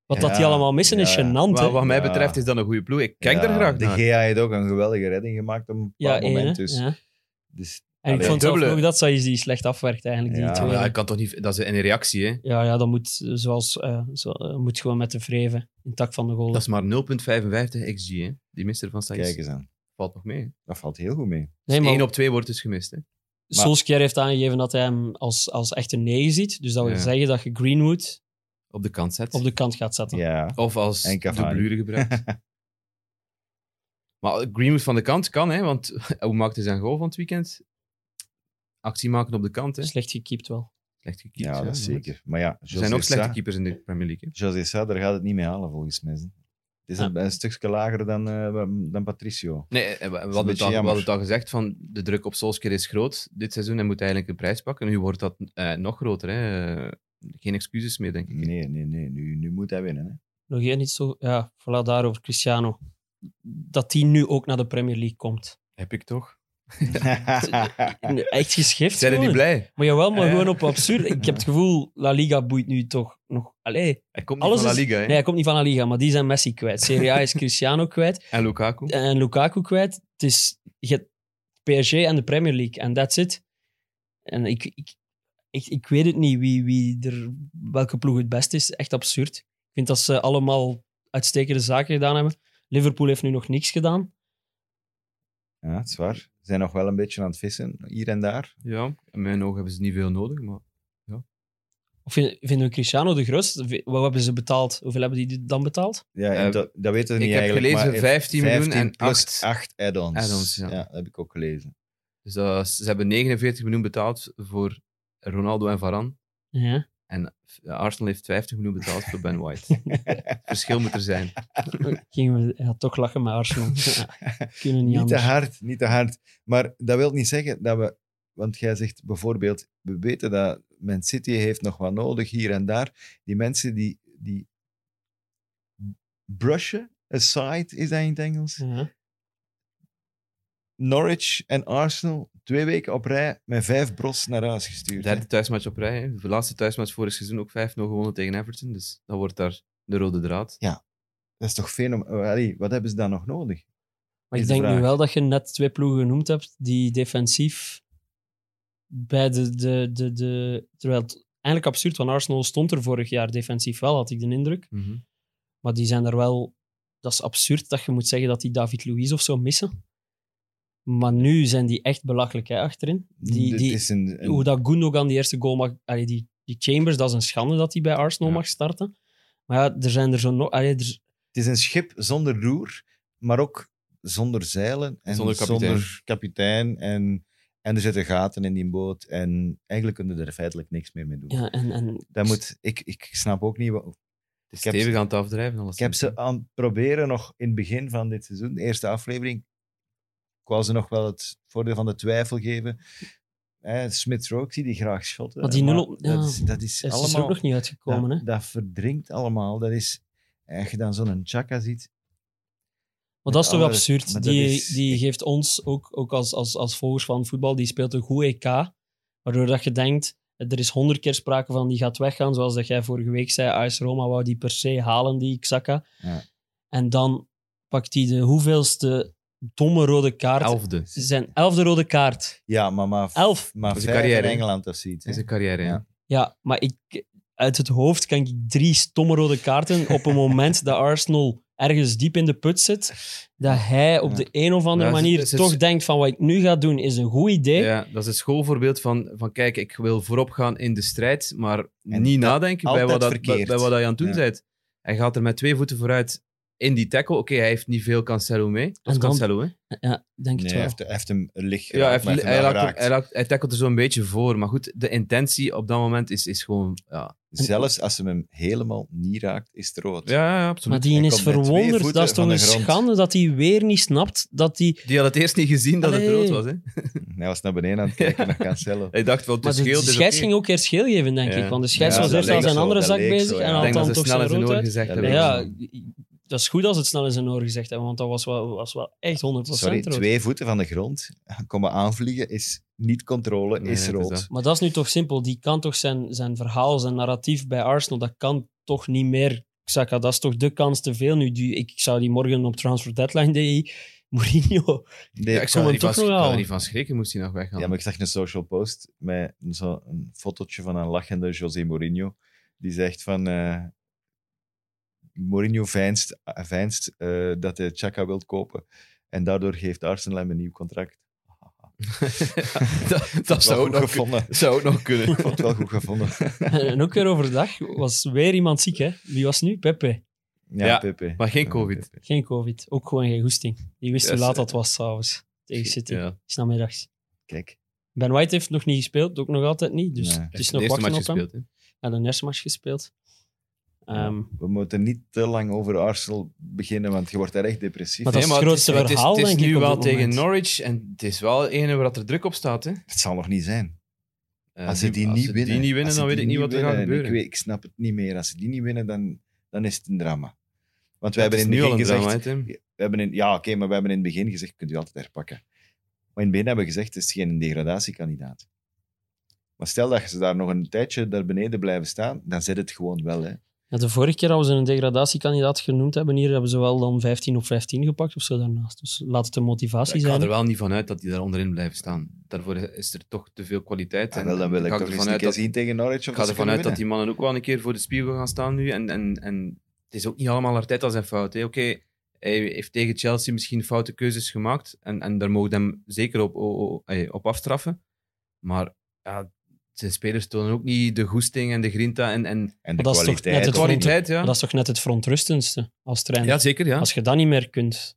[SPEAKER 4] Wat dat
[SPEAKER 2] Ja,
[SPEAKER 4] die allemaal missen is
[SPEAKER 2] ja.
[SPEAKER 4] gênant, hè?
[SPEAKER 3] Wat, wat mij
[SPEAKER 2] Ja.
[SPEAKER 3] betreft is dat een goede ploeg. Ik kijk
[SPEAKER 2] Ja,
[SPEAKER 3] daar graag
[SPEAKER 2] De
[SPEAKER 3] naar.
[SPEAKER 2] GA heeft ook een geweldige redding gemaakt op een
[SPEAKER 4] ja,
[SPEAKER 2] bepaald
[SPEAKER 4] één, hè?
[SPEAKER 2] moment. Dus,
[SPEAKER 4] Ja.
[SPEAKER 2] dus
[SPEAKER 4] En ik
[SPEAKER 2] Allee,
[SPEAKER 4] vond zelf
[SPEAKER 3] dubbele.
[SPEAKER 4] ook dat zij die slecht afwerkt, eigenlijk, die
[SPEAKER 2] Ja.
[SPEAKER 4] twee.
[SPEAKER 3] Ja, ik kan toch niet... Dat is een reactie, hè.
[SPEAKER 4] Ja, ja, dat moet, eh, zoals, eh, zo, eh, moet gewoon met de vreven, intact van de goal.
[SPEAKER 3] Dat is maar 0,55 xg, hè. Die mister van Saïs.
[SPEAKER 2] kijk eens aan.
[SPEAKER 3] Valt nog mee,
[SPEAKER 2] Dat valt heel goed mee.
[SPEAKER 4] nee, maar-
[SPEAKER 3] 1 op 2 wordt dus gemist, hè.
[SPEAKER 2] Maar-
[SPEAKER 4] Solskjaer heeft aangegeven dat hij hem als, als echte negen ziet. Dus dat wil
[SPEAKER 3] Ja.
[SPEAKER 4] zeggen dat je Greenwood
[SPEAKER 3] Op de kant zet.
[SPEAKER 4] op de kant gaat zetten.
[SPEAKER 2] Ja,
[SPEAKER 3] Of als
[SPEAKER 2] En Cavani.
[SPEAKER 3] dubbelure gebruikt.
[SPEAKER 2] [laughs]
[SPEAKER 3] maar Greenwood van de kant kan, hè. Want [laughs] hoe maakte zijn goal van het weekend? Actie maken op de kant, hè.
[SPEAKER 4] Slecht gekiept wel.
[SPEAKER 3] Slecht gekiept.
[SPEAKER 2] ja,
[SPEAKER 3] hè,
[SPEAKER 2] dat is
[SPEAKER 3] maar-
[SPEAKER 2] zeker. Maar ja,
[SPEAKER 3] Er zijn ook slechte
[SPEAKER 2] slechte
[SPEAKER 3] keepers in de Premier League, hè.
[SPEAKER 2] José Sá, daar gaat het niet mee halen volgens mij. hè. Het is een, een stukje lager dan, eh, dan Patricio.
[SPEAKER 3] Nee, eh, we we
[SPEAKER 2] een
[SPEAKER 3] hadden, het
[SPEAKER 2] beetje
[SPEAKER 3] al, we
[SPEAKER 2] jammer.
[SPEAKER 3] hadden het al gezegd, van de druk op Solskjaer is groot dit seizoen. Hij moet eigenlijk een prijs pakken. Nu wordt dat eh, nog groter. Hè. Eh, Geen excuses meer, denk ik.
[SPEAKER 2] Nee, nee, nee. Nu, nu moet hij winnen. Hè. [laughs]
[SPEAKER 4] Nog één niet zo. Ja, voilà, daarover Cristiano. Dat die nu ook naar de Premier League komt.
[SPEAKER 3] Heb ik toch?
[SPEAKER 4] Echt geschift.
[SPEAKER 3] Zijn er niet
[SPEAKER 4] gewoon.
[SPEAKER 3] blij?
[SPEAKER 4] Maar jawel, maar
[SPEAKER 2] Ja.
[SPEAKER 4] gewoon op absurd. Ik
[SPEAKER 3] [laughs]
[SPEAKER 4] heb het gevoel, La Liga boeit nu toch nog. Allee.
[SPEAKER 3] Hij komt niet
[SPEAKER 4] Alles
[SPEAKER 3] van La
[SPEAKER 4] is-
[SPEAKER 3] Liga, hè?
[SPEAKER 4] Nee, hij komt niet van La Liga, maar die zijn Messi kwijt. Serie A is Cristiano kwijt
[SPEAKER 3] En Lukaku.
[SPEAKER 4] en eh, Lukaku kwijt. Het is je hebt PSG en de Premier League en that's it. En ik, ik, ik, ik weet het niet wie, wie er, welke ploeg het best is. Echt absurd. Ik vind dat ze allemaal uitstekende zaken gedaan hebben. Liverpool heeft nu nog niks gedaan.
[SPEAKER 2] Ja, het is waar. Ze zijn nog wel een beetje aan het vissen, hier en daar.
[SPEAKER 3] Ja, in mijn ogen hebben ze niet veel nodig, maar...
[SPEAKER 4] Of vind- vinden we Cristiano de grootste? Wat hebben ze betaald? Hoeveel hebben die dan betaald?
[SPEAKER 2] Ja,
[SPEAKER 3] Eh,
[SPEAKER 2] en dat, dat weten we
[SPEAKER 3] ik
[SPEAKER 2] niet
[SPEAKER 3] heb
[SPEAKER 2] eigenlijk.
[SPEAKER 3] gelezen
[SPEAKER 2] maar
[SPEAKER 3] 15 miljoen en
[SPEAKER 2] plus
[SPEAKER 3] acht
[SPEAKER 2] 8 add-ons.
[SPEAKER 3] add-ons, ja.
[SPEAKER 2] ja. dat heb ik ook
[SPEAKER 3] [laughs]
[SPEAKER 2] gelezen. [laughs]
[SPEAKER 3] Dus dat is- ze hebben 49 miljoen betaald voor Ronaldo en Varane.
[SPEAKER 4] Ja.
[SPEAKER 3] En eh, Arsenal heeft 50 miljoen betaald voor Ben
[SPEAKER 2] [laughs]
[SPEAKER 3] White. Verschil moet er zijn.
[SPEAKER 4] [laughs] Gingen we ja, toch lachen met
[SPEAKER 2] [laughs]
[SPEAKER 4] Arsenal. Ja, kunnen
[SPEAKER 2] Niet
[SPEAKER 4] niet,
[SPEAKER 2] te
[SPEAKER 4] anders.
[SPEAKER 2] hard, niet te hard. Maar dat wil niet zeggen dat we... Want jij zegt bijvoorbeeld, we weten dat Man City heeft nog wat nodig hier en daar. Die mensen die, die brushen, aside is dat in het Engels.
[SPEAKER 4] Ja.
[SPEAKER 2] Norwich en Arsenal twee weken op rij met vijf bros naar huis gestuurd.
[SPEAKER 3] Derde thuismatch op rij. hè. De laatste thuismatch vorig seizoen ook 5-0 gewonnen tegen Everton. Dus dat wordt daar de rode draad.
[SPEAKER 2] Dat is toch fenomenaal. Wat hebben ze dan nog nodig?
[SPEAKER 4] Maar ik
[SPEAKER 2] Is de
[SPEAKER 4] denk nu
[SPEAKER 2] vraag.
[SPEAKER 4] wel dat je net twee ploegen genoemd hebt die defensief bij de... de, de, de terwijl het eigenlijk absurd, want Arsenal stond er vorig jaar defensief wel, had ik de indruk.
[SPEAKER 3] Mhm.
[SPEAKER 4] Maar die zijn er wel... Dat is absurd dat je moet zeggen dat die David Luiz of zo missen. Maar nu zijn die echt belachelijk hè, achterin. Die,
[SPEAKER 2] Dit
[SPEAKER 4] die,
[SPEAKER 2] is een, een-
[SPEAKER 4] Hoe dat Gundogan die eerste goal mag... Allee, die, die Chambers, dat is een schande dat hij bij Arsenal
[SPEAKER 3] Ja.
[SPEAKER 4] mag starten. Maar ja, er zijn er zo nog... allee, er,
[SPEAKER 2] Het is een schip zonder roer, maar ook zonder zeilen en
[SPEAKER 3] Zonder
[SPEAKER 2] zonder
[SPEAKER 3] kapitein.
[SPEAKER 2] kapitein. en, en er zitten gaten in die boot en eigenlijk kunnen er feitelijk niks meer mee doen.
[SPEAKER 4] ja, en, en
[SPEAKER 2] Dat moet, ik, ik snap ook niet. Wat,
[SPEAKER 3] Het is
[SPEAKER 2] Ik heb
[SPEAKER 3] stevig aan het afdrijven.
[SPEAKER 2] ik heb ze aan het proberen nog in het begin van dit seizoen, de eerste aflevering. Ik wou ze nog wel het voordeel van de twijfel geven. Eh, Smith Rowe, ik zie die graag schotten.
[SPEAKER 4] Maar die nul op- ja,
[SPEAKER 2] dat is, dat is
[SPEAKER 4] ze is er
[SPEAKER 2] allemaal...
[SPEAKER 4] ook nog niet uitgekomen.
[SPEAKER 2] dat,
[SPEAKER 4] hè?
[SPEAKER 2] dat verdrinkt allemaal. Dat is, als je dan zo'n Chaka ziet,
[SPEAKER 4] Maar
[SPEAKER 2] Met
[SPEAKER 4] dat is toch
[SPEAKER 2] alle- maar
[SPEAKER 4] absurd.
[SPEAKER 2] dat
[SPEAKER 4] Die,
[SPEAKER 2] is- [laughs]
[SPEAKER 4] die geeft ons, ook, ook als, als, als volgers van voetbal, die speelt een goed EK. Waardoor dat je denkt, er is honderd keer sprake van die gaat weggaan. Zoals dat jij vorige week zei, AS Roma wou die per se halen, die Xhaka.
[SPEAKER 2] Ja.
[SPEAKER 4] En dan pakt hij de hoeveelste domme rode kaart.
[SPEAKER 3] Elfde.
[SPEAKER 4] Zijn elfde rode kaart.
[SPEAKER 2] Ja, maar, maar,
[SPEAKER 4] Elf.
[SPEAKER 2] maar
[SPEAKER 3] Dat is een
[SPEAKER 2] vijf
[SPEAKER 3] carrière,
[SPEAKER 2] in
[SPEAKER 3] hè?
[SPEAKER 2] Engeland of zoiets. hè?
[SPEAKER 3] In zijn carrière, ja.
[SPEAKER 2] Ja.
[SPEAKER 4] Ja, maar ik, uit het hoofd kan ik drie stomme rode kaarten op een moment dat Arsenal ergens diep in de put zit, dat hij op
[SPEAKER 2] Ja.
[SPEAKER 4] de een of andere
[SPEAKER 3] Ja, het is-
[SPEAKER 4] manier
[SPEAKER 3] het is-
[SPEAKER 4] toch denkt van wat ik nu ga doen is een goed idee.
[SPEAKER 3] Ja, dat is een schoolvoorbeeld van, van kijk, ik wil voorop gaan in de strijd, maar niet nadenken bij
[SPEAKER 2] altijd
[SPEAKER 3] wat, dat, bij,
[SPEAKER 2] verkeerd.
[SPEAKER 3] bij wat dat je aan het doen
[SPEAKER 2] Ja.
[SPEAKER 3] bent. Hij gaat er met twee voeten vooruit in die tackle. Oké, hij heeft niet veel Cancelo mee. Dat
[SPEAKER 4] En
[SPEAKER 3] is
[SPEAKER 4] dan-
[SPEAKER 3] Cancelo, hè?
[SPEAKER 4] Ja,
[SPEAKER 2] Nee,
[SPEAKER 4] denk het
[SPEAKER 2] hij
[SPEAKER 4] wel.
[SPEAKER 2] heeft, hij heeft hem licht
[SPEAKER 3] Ja, hij,
[SPEAKER 2] geraakt,
[SPEAKER 3] heeft,
[SPEAKER 2] maar
[SPEAKER 3] hij,
[SPEAKER 2] hij heeft hem wel
[SPEAKER 3] raakt hem-
[SPEAKER 2] geraakt.
[SPEAKER 3] hij, raakt- hij tackelt er zo'n beetje voor. Maar goed, de intentie op dat moment is, is gewoon... Ja,
[SPEAKER 2] Zelfs als ze hem helemaal niet raakt, is het rood.
[SPEAKER 3] ja, ja, absoluut.
[SPEAKER 4] Maar die
[SPEAKER 2] Hij
[SPEAKER 4] is
[SPEAKER 2] komt met twee
[SPEAKER 4] verwonderd.
[SPEAKER 2] voeten
[SPEAKER 4] Dat is toch
[SPEAKER 2] van
[SPEAKER 4] een
[SPEAKER 2] de grond.
[SPEAKER 4] schande dat hij weer niet snapt dat hij...
[SPEAKER 3] Die had het eerst niet gezien dat het
[SPEAKER 4] Allee.
[SPEAKER 3] rood was. Hè?
[SPEAKER 2] Hij was naar beneden aan het kijken naar
[SPEAKER 3] [laughs]
[SPEAKER 2] Cancelo.
[SPEAKER 3] Hij dacht wel, het
[SPEAKER 4] Maar
[SPEAKER 3] is
[SPEAKER 4] de, de
[SPEAKER 3] geel, het is
[SPEAKER 4] scheids
[SPEAKER 3] oké.
[SPEAKER 4] ging ook eerst geel geven, denk
[SPEAKER 3] Ja.
[SPEAKER 4] ik. Want de scheids
[SPEAKER 2] Ja,
[SPEAKER 4] was
[SPEAKER 2] dat
[SPEAKER 4] eerst aan
[SPEAKER 2] leek
[SPEAKER 4] zijn
[SPEAKER 2] zo,
[SPEAKER 4] andere
[SPEAKER 2] dat
[SPEAKER 4] zak
[SPEAKER 2] leek
[SPEAKER 4] bezig
[SPEAKER 2] zo, ja. Ik
[SPEAKER 4] en
[SPEAKER 3] Ik
[SPEAKER 4] had
[SPEAKER 3] denk dat
[SPEAKER 4] dan
[SPEAKER 3] ze
[SPEAKER 4] toch
[SPEAKER 3] snel in
[SPEAKER 4] zijn
[SPEAKER 3] zijn
[SPEAKER 4] rood
[SPEAKER 3] oor
[SPEAKER 4] uit.
[SPEAKER 3] gezegd
[SPEAKER 2] Ja,
[SPEAKER 3] hebben.
[SPEAKER 2] dat
[SPEAKER 4] Ja, dat is goed als het snel in zijn oren gezegd hebben, want dat was wel, was wel echt 100%
[SPEAKER 2] Sorry,
[SPEAKER 4] rood.
[SPEAKER 2] twee voeten van de grond komen aanvliegen is niet controle,
[SPEAKER 3] Nee,
[SPEAKER 2] is
[SPEAKER 3] het is
[SPEAKER 2] rood.
[SPEAKER 3] dat.
[SPEAKER 4] Maar dat is nu toch simpel. Die kan toch zijn, zijn verhaal, zijn narratief bij Arsenal, dat kan toch niet meer. Xhaka, dat is toch de kans te veel nu. Die, ik zou die morgen op Transfer Deadline Day... [laughs] Mourinho. [laughs]
[SPEAKER 2] Nee,
[SPEAKER 3] Ja, ik zou er
[SPEAKER 4] hem
[SPEAKER 3] niet van schri-
[SPEAKER 4] toch nog
[SPEAKER 3] ik zou er
[SPEAKER 4] halen.
[SPEAKER 3] niet van schrikken, moest hij nog weggaan.
[SPEAKER 2] Ja, maar ik zag een social post met zo'n fotootje van een lachende José Mourinho. Die zegt van... eh, Mourinho veinst, veinst eh, dat hij Chaka wil kopen. En daardoor geeft Arsenal hem een nieuw contract.
[SPEAKER 3] dat dat zou,
[SPEAKER 2] wel
[SPEAKER 3] ook
[SPEAKER 2] goed
[SPEAKER 3] nog,
[SPEAKER 2] gevonden.
[SPEAKER 3] zou ook nog kunnen.
[SPEAKER 2] Ik vond het wel goed
[SPEAKER 3] [laughs]
[SPEAKER 2] gevonden.
[SPEAKER 4] En ook weer overdag was weer iemand ziek, hè? Wie was het nu? Pepe.
[SPEAKER 2] Ja,
[SPEAKER 3] Ja,
[SPEAKER 2] Pepe.
[SPEAKER 3] Maar geen covid.
[SPEAKER 4] Geen COVID. Ook gewoon geen goesting. Je wist
[SPEAKER 3] Ja,
[SPEAKER 4] hoe laat
[SPEAKER 3] ze-
[SPEAKER 4] dat was s'avonds. Tegen City.
[SPEAKER 3] Ja.
[SPEAKER 4] Is namiddags.
[SPEAKER 2] Kijk.
[SPEAKER 4] Ben White heeft nog niet gespeeld. Ook nog altijd niet. Dus
[SPEAKER 2] Nee.
[SPEAKER 4] het is
[SPEAKER 3] de
[SPEAKER 4] nog
[SPEAKER 3] eerste match
[SPEAKER 4] wachten op hem.
[SPEAKER 3] gespeeld. hè.
[SPEAKER 4] En de eerste match gespeeld. Ehm,
[SPEAKER 2] We moeten niet te lang over Arsenal beginnen, want je wordt daar echt depressief.
[SPEAKER 4] Maar dat is
[SPEAKER 3] Nee,
[SPEAKER 4] het grootste
[SPEAKER 3] het is-
[SPEAKER 4] verhaal,
[SPEAKER 3] Het is,
[SPEAKER 4] denk ik,
[SPEAKER 3] nu
[SPEAKER 4] op
[SPEAKER 3] wel
[SPEAKER 4] dit
[SPEAKER 3] tegen
[SPEAKER 4] moment.
[SPEAKER 3] Norwich en het is wel ene waar dat er druk op staat. Hè.
[SPEAKER 2] Het zal nog niet zijn.
[SPEAKER 3] Eh,
[SPEAKER 2] Als ze die
[SPEAKER 3] als
[SPEAKER 2] niet
[SPEAKER 3] ze
[SPEAKER 2] winnen,
[SPEAKER 3] die niet winnen
[SPEAKER 2] als ze
[SPEAKER 3] dan weet
[SPEAKER 2] die
[SPEAKER 3] ik niet
[SPEAKER 2] niet
[SPEAKER 3] wat er gaat
[SPEAKER 2] winnen, en
[SPEAKER 3] gebeuren.
[SPEAKER 2] Ik, weet, ik snap het niet meer. Als ze die niet winnen, dan, dan is het een drama. Want we
[SPEAKER 3] Het
[SPEAKER 2] hebben
[SPEAKER 3] is
[SPEAKER 2] in het
[SPEAKER 3] nu al
[SPEAKER 2] begin
[SPEAKER 3] een
[SPEAKER 2] gezegd...
[SPEAKER 3] drama, hè, Tim.
[SPEAKER 2] we hebben in, ja, oké, maar we hebben in het begin gezegd, kunt u altijd herpakken. Maar in het begin hebben we gezegd, het is geen degradatiekandidaat. Maar stel dat ze daar nog een tijdje daar beneden blijven staan, dan zit het gewoon wel. Hè.
[SPEAKER 4] ja, de vorige keer dat we ze een degradatiekandidaat genoemd hebben, hier hebben ze wel dan 15 op 15 gepakt of zo daarnaast. Dus laat het de motivatie
[SPEAKER 3] Ik ga
[SPEAKER 4] zijn.
[SPEAKER 3] er wel niet van uit dat die daar onderin blijven staan. Daarvoor is er toch te veel kwaliteit.
[SPEAKER 2] Ah, wel, dan wil ik
[SPEAKER 3] ga
[SPEAKER 2] toch eens
[SPEAKER 3] ervan
[SPEAKER 2] een
[SPEAKER 3] uit
[SPEAKER 2] keer
[SPEAKER 3] dat-
[SPEAKER 2] zien tegen Norwich.
[SPEAKER 3] Ik ga ervan uit dat die mannen ook wel een keer voor de spiegel gaan staan nu. En, en, en het is ook niet allemaal Arteta zijn fout. hè. Oké, hij heeft tegen Chelsea misschien foute keuzes gemaakt. En, en daar mogen hem zeker op, o- o- eh, op afstraffen. Maar ja, zijn spelers tonen ook niet de goesting en de grinta en, en
[SPEAKER 2] En de
[SPEAKER 4] dat is toch-
[SPEAKER 2] kwaliteit.
[SPEAKER 4] ja,
[SPEAKER 3] de
[SPEAKER 4] dat
[SPEAKER 2] ook niet.
[SPEAKER 3] kwaliteit. Ja.
[SPEAKER 4] Maar dat is toch net het verontrustendste als trainer.
[SPEAKER 3] ja, zeker. Ja.
[SPEAKER 4] Als je dat niet meer kunt.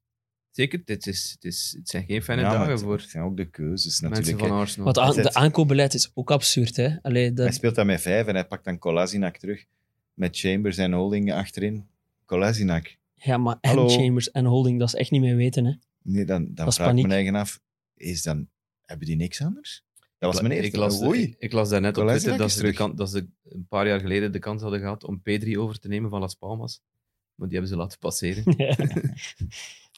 [SPEAKER 3] zeker. Dit is, het, is, het zijn geen
[SPEAKER 2] Ja,
[SPEAKER 3] fijne
[SPEAKER 2] maar
[SPEAKER 3] dagen
[SPEAKER 2] het-
[SPEAKER 3] voor
[SPEAKER 2] Het zijn ook de keuzes
[SPEAKER 3] mensen
[SPEAKER 2] natuurlijk.
[SPEAKER 3] van
[SPEAKER 2] hè.
[SPEAKER 3] Arsenal.
[SPEAKER 4] Want aan-
[SPEAKER 2] zet-
[SPEAKER 4] de aankoopbeleid is ook absurd, hè? Allee,
[SPEAKER 2] Hij
[SPEAKER 4] dat,
[SPEAKER 2] speelt dan met vijf en hij pakt dan Kolasinac terug. Met Chambers en Holding achterin. Kolasinac.
[SPEAKER 4] ja, maar en
[SPEAKER 2] Hallo.
[SPEAKER 4] Chambers en Holding, dat is echt niet meer weten, hè?
[SPEAKER 2] Nee, dan, dan
[SPEAKER 4] is
[SPEAKER 2] vraag ik
[SPEAKER 4] paniek.
[SPEAKER 2] mijn eigen af, is dan, hebben die niks anders? Dat was
[SPEAKER 3] Ik-
[SPEAKER 2] mijn eerste.
[SPEAKER 3] Ik las,
[SPEAKER 2] Oei.
[SPEAKER 3] ik, ik las daarnet op
[SPEAKER 2] Kolasinac
[SPEAKER 3] Twitter dat
[SPEAKER 2] is
[SPEAKER 3] ze, de
[SPEAKER 2] terug.
[SPEAKER 3] kan- dat ze een paar jaar geleden de kans hadden gehad om P3 over te nemen van Las Palmas. Maar die hebben ze laten passeren.
[SPEAKER 4] Ja.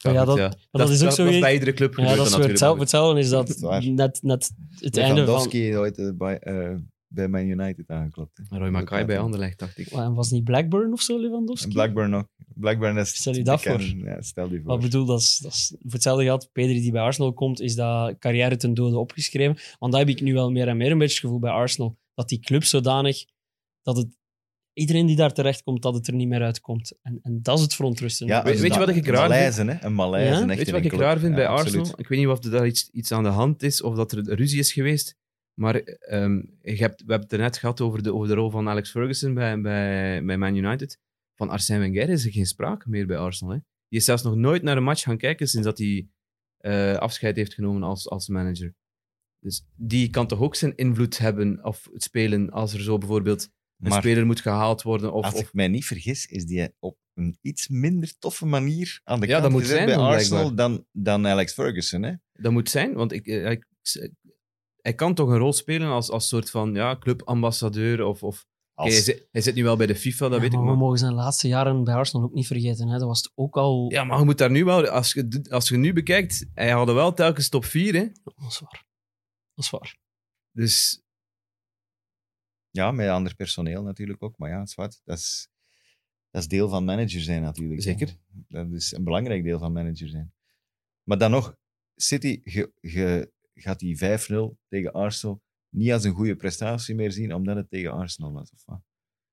[SPEAKER 4] Maar ja,
[SPEAKER 3] goed,
[SPEAKER 4] dat, dat is ook zo
[SPEAKER 3] Dat is
[SPEAKER 4] weer-
[SPEAKER 3] bij iedere club
[SPEAKER 4] Ja,
[SPEAKER 3] gebeurd
[SPEAKER 4] dat
[SPEAKER 3] dan
[SPEAKER 4] is weer
[SPEAKER 3] natuurlijk.
[SPEAKER 4] hetzelfde, hetzelfde is
[SPEAKER 2] Dat
[SPEAKER 4] dat
[SPEAKER 2] is waar.
[SPEAKER 4] net, net het einde van...
[SPEAKER 2] Lewandowski ooit eh, bij, eh, bij Man United aangeklopt. hè.
[SPEAKER 3] Roy Makai bij Anderlecht, dacht ik.
[SPEAKER 4] Wa- Was niet Blackburn of zo,
[SPEAKER 2] En
[SPEAKER 4] Lewandowski?
[SPEAKER 2] Blackburn ook. Blackburn is
[SPEAKER 4] Stel je dat
[SPEAKER 2] bekend. Ja, stel je voor.
[SPEAKER 4] Wat bedoel, dat is, dat is voor hetzelfde geld. Pedri die bij Arsenal komt, is dat carrière ten dode opgeschreven. Want dat heb ik nu wel meer en meer een beetje het gevoel bij Arsenal. Dat die club zodanig, dat het, iedereen die daar terechtkomt, dat het er niet meer uitkomt. En, en dat is het verontrustende.
[SPEAKER 2] Ja,
[SPEAKER 3] Weet-
[SPEAKER 2] een
[SPEAKER 3] weet je
[SPEAKER 2] Ma-
[SPEAKER 3] wat ik
[SPEAKER 2] een
[SPEAKER 3] raar vind?
[SPEAKER 2] Maleizen, hè? Een Maleizen,
[SPEAKER 4] Ja?
[SPEAKER 2] echt
[SPEAKER 3] Weet je
[SPEAKER 2] in
[SPEAKER 3] wat
[SPEAKER 2] een
[SPEAKER 3] ik raar
[SPEAKER 2] club.
[SPEAKER 3] vind bij
[SPEAKER 2] Ja, absoluut.
[SPEAKER 3] Arsenal? Ik weet niet of er daar iets, iets aan de hand is of dat er ruzie is geweest. Maar ehm, je hebt, we hebben het er net gehad over de, over de rol van Alex Ferguson bij, bij, bij Man United. Van Arsène Wenger is er geen sprake meer bij Arsenal. Hè? Die is zelfs nog nooit naar een match gaan kijken sinds dat hij eh, afscheid heeft genomen als, als manager. Dus die kan toch ook zijn invloed hebben of spelen als er zo bijvoorbeeld een
[SPEAKER 2] Maar
[SPEAKER 3] speler moet gehaald worden. Of,
[SPEAKER 2] als
[SPEAKER 3] of
[SPEAKER 2] ik mij niet vergis, is die op een iets minder toffe manier aan de
[SPEAKER 3] Ja,
[SPEAKER 2] kant
[SPEAKER 3] dat moet
[SPEAKER 2] gezet
[SPEAKER 3] zijn
[SPEAKER 2] bij
[SPEAKER 3] dan,
[SPEAKER 2] Arsenal dan, dan Alex Ferguson. Hè?
[SPEAKER 3] Dat moet zijn, want ik, eh, ik, hij kan toch een rol spelen als, als soort van ja, clubambassadeur. Of, of, Oké, hij,
[SPEAKER 2] Als,
[SPEAKER 3] zit, hij zit nu wel bij de FIFA, dat
[SPEAKER 4] Ja,
[SPEAKER 3] weet ik
[SPEAKER 4] maar
[SPEAKER 3] maar.
[SPEAKER 4] we mogen zijn laatste jaren bij Arsenal ook niet vergeten. Hè. Dat was het ook al...
[SPEAKER 3] Ja, maar je moet daar nu wel, als je, dit- als je nu bekijkt, hij hadden wel telkens top 4. Hè?
[SPEAKER 4] Dat is waar. Dat is waar.
[SPEAKER 3] Dus
[SPEAKER 2] ja, met ander personeel natuurlijk ook. Maar ja, het is wat. Dat is, dat is deel van manager zijn natuurlijk. hè.
[SPEAKER 3] Zeker.
[SPEAKER 2] Dat is een belangrijk deel van manager zijn. Maar dan nog, City ge, ge- gaat die 5-0 tegen Arsenal niet als een goede prestatie meer zien, omdat het tegen Arsenal was. Of wat?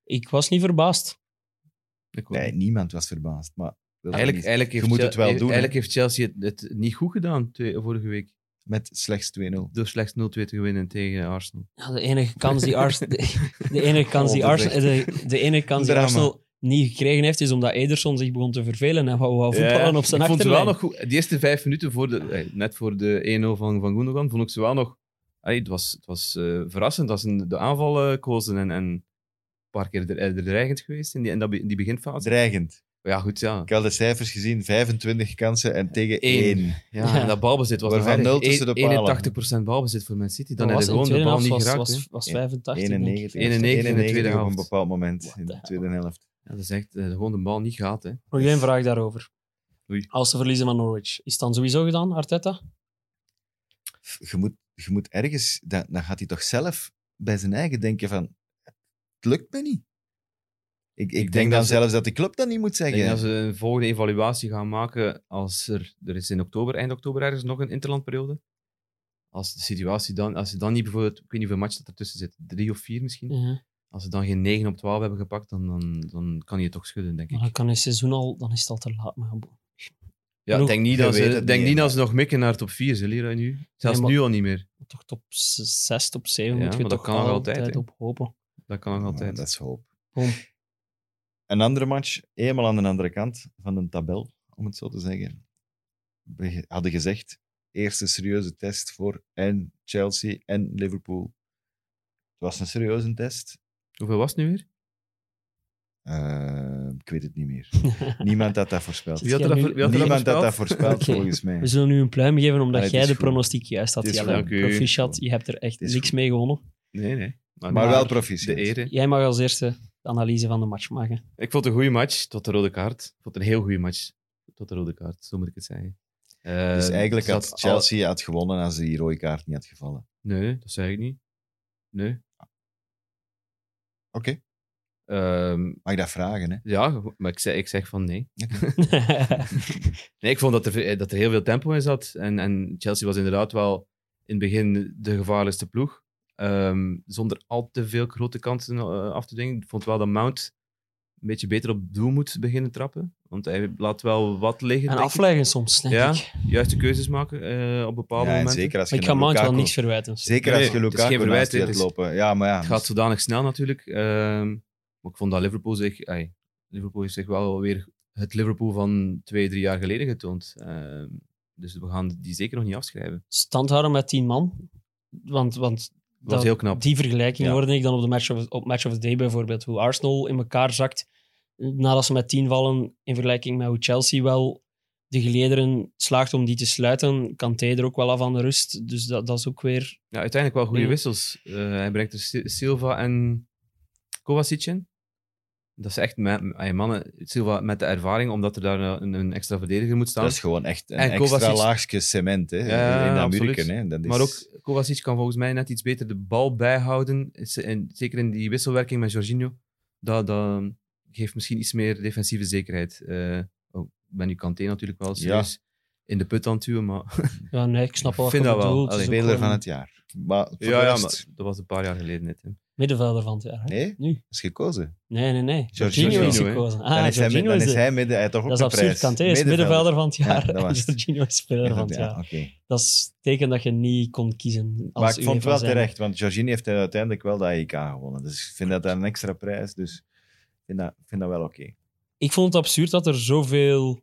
[SPEAKER 4] Ik was niet verbaasd.
[SPEAKER 3] ik hoop-
[SPEAKER 2] Nee, niemand was verbaasd. Maar wil dat
[SPEAKER 3] eigenlijk,
[SPEAKER 2] niet-
[SPEAKER 3] eigenlijk, heeft
[SPEAKER 2] je moet
[SPEAKER 3] Chel-
[SPEAKER 2] het wel doen. hè.
[SPEAKER 3] eigenlijk heeft Chelsea het, het niet goed gedaan twee- vorige week.
[SPEAKER 2] Met slechts 2-0.
[SPEAKER 3] Door slechts 0-2 te winnen tegen Arsenal.
[SPEAKER 4] Ja, de enige kans die Arsenal... De, de enige kans die
[SPEAKER 2] Oh, dat is
[SPEAKER 4] Arsenal... De, de enige kans die
[SPEAKER 2] Drama.
[SPEAKER 4] Arsenal niet gekregen heeft, is omdat Ederson zich begon te vervelen en wou, wou voetballen op zijn
[SPEAKER 3] ik vond ze wel
[SPEAKER 4] achterlijn.
[SPEAKER 3] nog goed. Die eerste vijf minuten, voor de, eh, net voor de 1-0 van, van Gundogan, vond ik ze wel nog... Allee, het was, het was eh, verrassend dat ze de aanval eh, kozen en, en een paar keer er, er dreigend geweest in die, in dat, be- in die beginfase.
[SPEAKER 2] Dreigend.
[SPEAKER 3] Ja, goed, ja.
[SPEAKER 2] Ik had de cijfers gezien, 25 kansen
[SPEAKER 3] Eh,
[SPEAKER 2] en tegen
[SPEAKER 3] Eén.
[SPEAKER 2] 1.
[SPEAKER 3] ja,
[SPEAKER 4] Ja.
[SPEAKER 3] En dat balbezit was
[SPEAKER 2] Waarvan
[SPEAKER 3] nog
[SPEAKER 2] nul
[SPEAKER 3] erg.
[SPEAKER 2] tussen de
[SPEAKER 3] E-
[SPEAKER 2] palen.
[SPEAKER 3] 81% balbezit voor Man City. Dan
[SPEAKER 4] Dat
[SPEAKER 3] heb
[SPEAKER 4] was
[SPEAKER 3] je gewoon
[SPEAKER 4] in de
[SPEAKER 3] de bal
[SPEAKER 4] tweede
[SPEAKER 3] niet
[SPEAKER 4] helft
[SPEAKER 3] geraakt.
[SPEAKER 4] was,
[SPEAKER 3] hè.
[SPEAKER 4] was, was 85. denk ik.
[SPEAKER 2] 91.
[SPEAKER 3] 91 in de
[SPEAKER 2] 91
[SPEAKER 3] tweede
[SPEAKER 2] op een
[SPEAKER 3] helft.
[SPEAKER 2] bepaald moment in
[SPEAKER 4] What
[SPEAKER 2] de
[SPEAKER 4] the
[SPEAKER 2] tweede helft.
[SPEAKER 3] Ja, dat is echt eh, gewoon de bal niet gehad. Hè.
[SPEAKER 4] Nog één vraag daarover.
[SPEAKER 3] Oei.
[SPEAKER 4] Als ze verliezen van Norwich, is het dan sowieso gedaan, Arteta?
[SPEAKER 2] Je moet, je moet ergens, dan, dan gaat hij toch zelf bij zijn eigen denken van, het lukt me niet. Ik, ik, denk,
[SPEAKER 3] denk
[SPEAKER 2] dan
[SPEAKER 3] dat ze-
[SPEAKER 2] zelfs dat de club dat niet moet
[SPEAKER 3] Ik denk
[SPEAKER 2] zeggen.
[SPEAKER 3] dat ze een volgende evaluatie gaan maken als er, er is in oktober, eind oktober ergens nog een interlandperiode. Als de situatie dan, als ze dan niet bijvoorbeeld, ik weet niet hoeveel matchen dat ertussen zit, drie of vier misschien. Als ze dan geen 9 op 12 hebben gepakt, dan, dan, dan kan hij het toch schudden, denk ik.
[SPEAKER 4] Maar dan kan het seizoen al, dan is het al te laat. Maar bo-
[SPEAKER 3] ja, ik denk niet, dat
[SPEAKER 2] Je weet
[SPEAKER 3] ze,
[SPEAKER 2] het
[SPEAKER 3] denk
[SPEAKER 2] niet,
[SPEAKER 3] niet
[SPEAKER 2] hè.
[SPEAKER 3] dat ze nog mikken naar top 4, ze leren nu. Zelfs
[SPEAKER 4] Nee, maar-
[SPEAKER 3] nu al niet meer.
[SPEAKER 4] toch top 6, top 7
[SPEAKER 3] Ja,
[SPEAKER 4] moet je
[SPEAKER 3] maar dat
[SPEAKER 4] toch
[SPEAKER 3] kan nog altijd, hè.
[SPEAKER 4] op hopen.
[SPEAKER 3] Dat kan nog
[SPEAKER 2] Maar
[SPEAKER 3] altijd.
[SPEAKER 2] dat is hoop.
[SPEAKER 4] Boom.
[SPEAKER 2] Een andere match, eenmaal aan de andere kant van de tabel, om het zo te zeggen. We hadden gezegd, eerste serieuze test voor en Chelsea en Liverpool. Het was een serieuze test.
[SPEAKER 3] Hoeveel was het nu weer?
[SPEAKER 2] Eh, ik weet het niet
[SPEAKER 4] [laughs]
[SPEAKER 2] meer. Niemand had dat voorspeld.
[SPEAKER 4] Wie
[SPEAKER 3] Wie had er dat,
[SPEAKER 4] nu-
[SPEAKER 3] voor- wie had er dat
[SPEAKER 2] Niemand had dat
[SPEAKER 3] voorspeld?
[SPEAKER 2] voorspeld,
[SPEAKER 4] Oké.
[SPEAKER 2] volgens mij.
[SPEAKER 4] We zullen nu een pluim geven omdat
[SPEAKER 2] Allee, het
[SPEAKER 4] jij
[SPEAKER 2] is
[SPEAKER 4] de
[SPEAKER 2] goed.
[SPEAKER 4] pronostiek juist had.
[SPEAKER 2] Het is
[SPEAKER 4] Jelle.
[SPEAKER 3] goed. Oké.
[SPEAKER 4] Proficiat, je hebt er echt
[SPEAKER 2] Het is
[SPEAKER 4] niks
[SPEAKER 2] goed.
[SPEAKER 4] mee gewonnen.
[SPEAKER 3] Nee, nee. Maar,
[SPEAKER 2] Maar wel
[SPEAKER 3] de
[SPEAKER 2] proficiat.
[SPEAKER 3] eer. hè.
[SPEAKER 4] Jij mag als eerste de analyse van de match maken. [laughs]
[SPEAKER 3] Ik vond het een goede match tot de rode kaart. Ik vond het een heel goede match tot de rode kaart, zo moet ik het zeggen. Eh,
[SPEAKER 2] Dus eigenlijk
[SPEAKER 3] er
[SPEAKER 2] had
[SPEAKER 3] zat al-
[SPEAKER 2] Chelsea had gewonnen als die rode kaart niet had gevallen.
[SPEAKER 3] Nee, dat zei ik niet. Nee.
[SPEAKER 2] Oké.
[SPEAKER 3] Ehm,
[SPEAKER 2] Mag ik dat vragen, hè?
[SPEAKER 3] ja, maar ik zeg, ik zeg van nee. Nee, ik vond dat er, ve- dat er heel veel tempo in zat. En, en Chelsea was inderdaad wel in het begin de gevaarlijkste ploeg. Ehm, zonder al te veel grote kansen eh, af te dwingen. Ik vond wel dat Mount een beetje beter op doel moet beginnen trappen. Want hij laat wel wat liggen.
[SPEAKER 4] en
[SPEAKER 3] denk ik.
[SPEAKER 4] afleggen soms, denk
[SPEAKER 3] Ja,
[SPEAKER 4] ik.
[SPEAKER 3] juiste keuzes maken eh, op bepaalde
[SPEAKER 2] Ja, en
[SPEAKER 3] momenten.
[SPEAKER 2] zeker als je
[SPEAKER 4] Maar ik ga
[SPEAKER 2] naar
[SPEAKER 4] Mount wel
[SPEAKER 2] Lukaku-
[SPEAKER 4] niks verwijten.
[SPEAKER 2] Zeker
[SPEAKER 3] Nee,
[SPEAKER 2] als je
[SPEAKER 3] het is
[SPEAKER 2] Lukaku
[SPEAKER 3] geen verwijt,
[SPEAKER 2] naast je
[SPEAKER 3] hè,
[SPEAKER 2] hebt
[SPEAKER 3] het is-
[SPEAKER 2] lopen. Ja, maar ja.
[SPEAKER 3] Het gaat zodanig snel natuurlijk. ehm, maar ik vond dat Liverpool zich... ai, Liverpool heeft zich wel weer het Liverpool van twee, drie jaar geleden getoond. Ehm, dus we gaan die zeker nog niet afschrijven.
[SPEAKER 4] Stand houden met 10 man. Want, want
[SPEAKER 3] Dat was heel knap.
[SPEAKER 4] Die vergelijking
[SPEAKER 2] Ja.
[SPEAKER 4] hoorde ik dan op de match of, op match of the day bijvoorbeeld. Hoe Arsenal in elkaar zakt nadat ze met 10 vallen. In vergelijking met hoe Chelsea wel de gelederen slaagt om die te sluiten. Kanté er ook wel af aan de rust. Dus dat, dat is ook weer.
[SPEAKER 3] Ja, uiteindelijk wel goede
[SPEAKER 4] Ja.
[SPEAKER 3] wissels. Eh, hij brengt er Si- Silva en Kovacic in. Dat is echt ma- ai, mannen, Silva met de ervaring, omdat er daar een, een extra verdediger moet staan.
[SPEAKER 2] Dat is gewoon echt een
[SPEAKER 3] En
[SPEAKER 2] extra
[SPEAKER 3] Kovacic-
[SPEAKER 2] laagje cement hè,
[SPEAKER 3] Ja,
[SPEAKER 2] in Amerika.
[SPEAKER 3] absoluut.
[SPEAKER 2] Hè. Dat is,
[SPEAKER 3] Maar ook Kovacic kan volgens mij net iets beter de bal bijhouden. Is- En zeker in die wisselwerking met Jorginho. Dat, dat geeft misschien iets meer defensieve zekerheid. Eh oh, ik ben nu Kanté natuurlijk wel serieus in de put aan het duwen, maar...
[SPEAKER 4] Ja, nee, ik snap wel
[SPEAKER 3] Ik
[SPEAKER 4] wat
[SPEAKER 3] vind
[SPEAKER 4] je
[SPEAKER 3] dat wel.
[SPEAKER 4] bedoelt. Het is
[SPEAKER 3] Allee,
[SPEAKER 4] ook
[SPEAKER 2] speler
[SPEAKER 4] gewoon
[SPEAKER 2] van het jaar. Maar voor
[SPEAKER 3] Ja,
[SPEAKER 2] de
[SPEAKER 3] [laughs] ja,
[SPEAKER 2] rest,
[SPEAKER 3] maar dat was een paar jaar geleden net. Hè.
[SPEAKER 4] Middenvelder van het jaar. hè?
[SPEAKER 2] nee,
[SPEAKER 4] Nu.
[SPEAKER 2] is gekozen.
[SPEAKER 4] Nee, nee, nee.
[SPEAKER 2] Jorginho,
[SPEAKER 4] Jorginho is
[SPEAKER 3] hè.
[SPEAKER 4] gekozen.
[SPEAKER 2] Dan
[SPEAKER 4] Ah,
[SPEAKER 2] is hij,
[SPEAKER 4] Jorginho
[SPEAKER 2] dan
[SPEAKER 4] is
[SPEAKER 2] is
[SPEAKER 4] de-
[SPEAKER 2] hij midden, hij heeft toch ook
[SPEAKER 4] Dat is
[SPEAKER 2] een
[SPEAKER 4] absurd.
[SPEAKER 2] prijs.
[SPEAKER 4] Kanté is middenvelder van het
[SPEAKER 2] Ja,
[SPEAKER 4] jaar.
[SPEAKER 2] dat
[SPEAKER 4] en [laughs]
[SPEAKER 2] was het.
[SPEAKER 4] Jorginho is speler van het jaar.
[SPEAKER 2] Oké.
[SPEAKER 4] Dat is teken dat je niet kon kiezen. Als
[SPEAKER 2] Maar ik vond het
[SPEAKER 4] UEFA
[SPEAKER 2] wel
[SPEAKER 4] zijn.
[SPEAKER 2] terecht, want Jorginho heeft uiteindelijk wel de AEK gewonnen. Dus ik vind dat een extra prijs, dus ik vind dat, ik vind dat wel oké.
[SPEAKER 4] ik vond het absurd dat er zoveel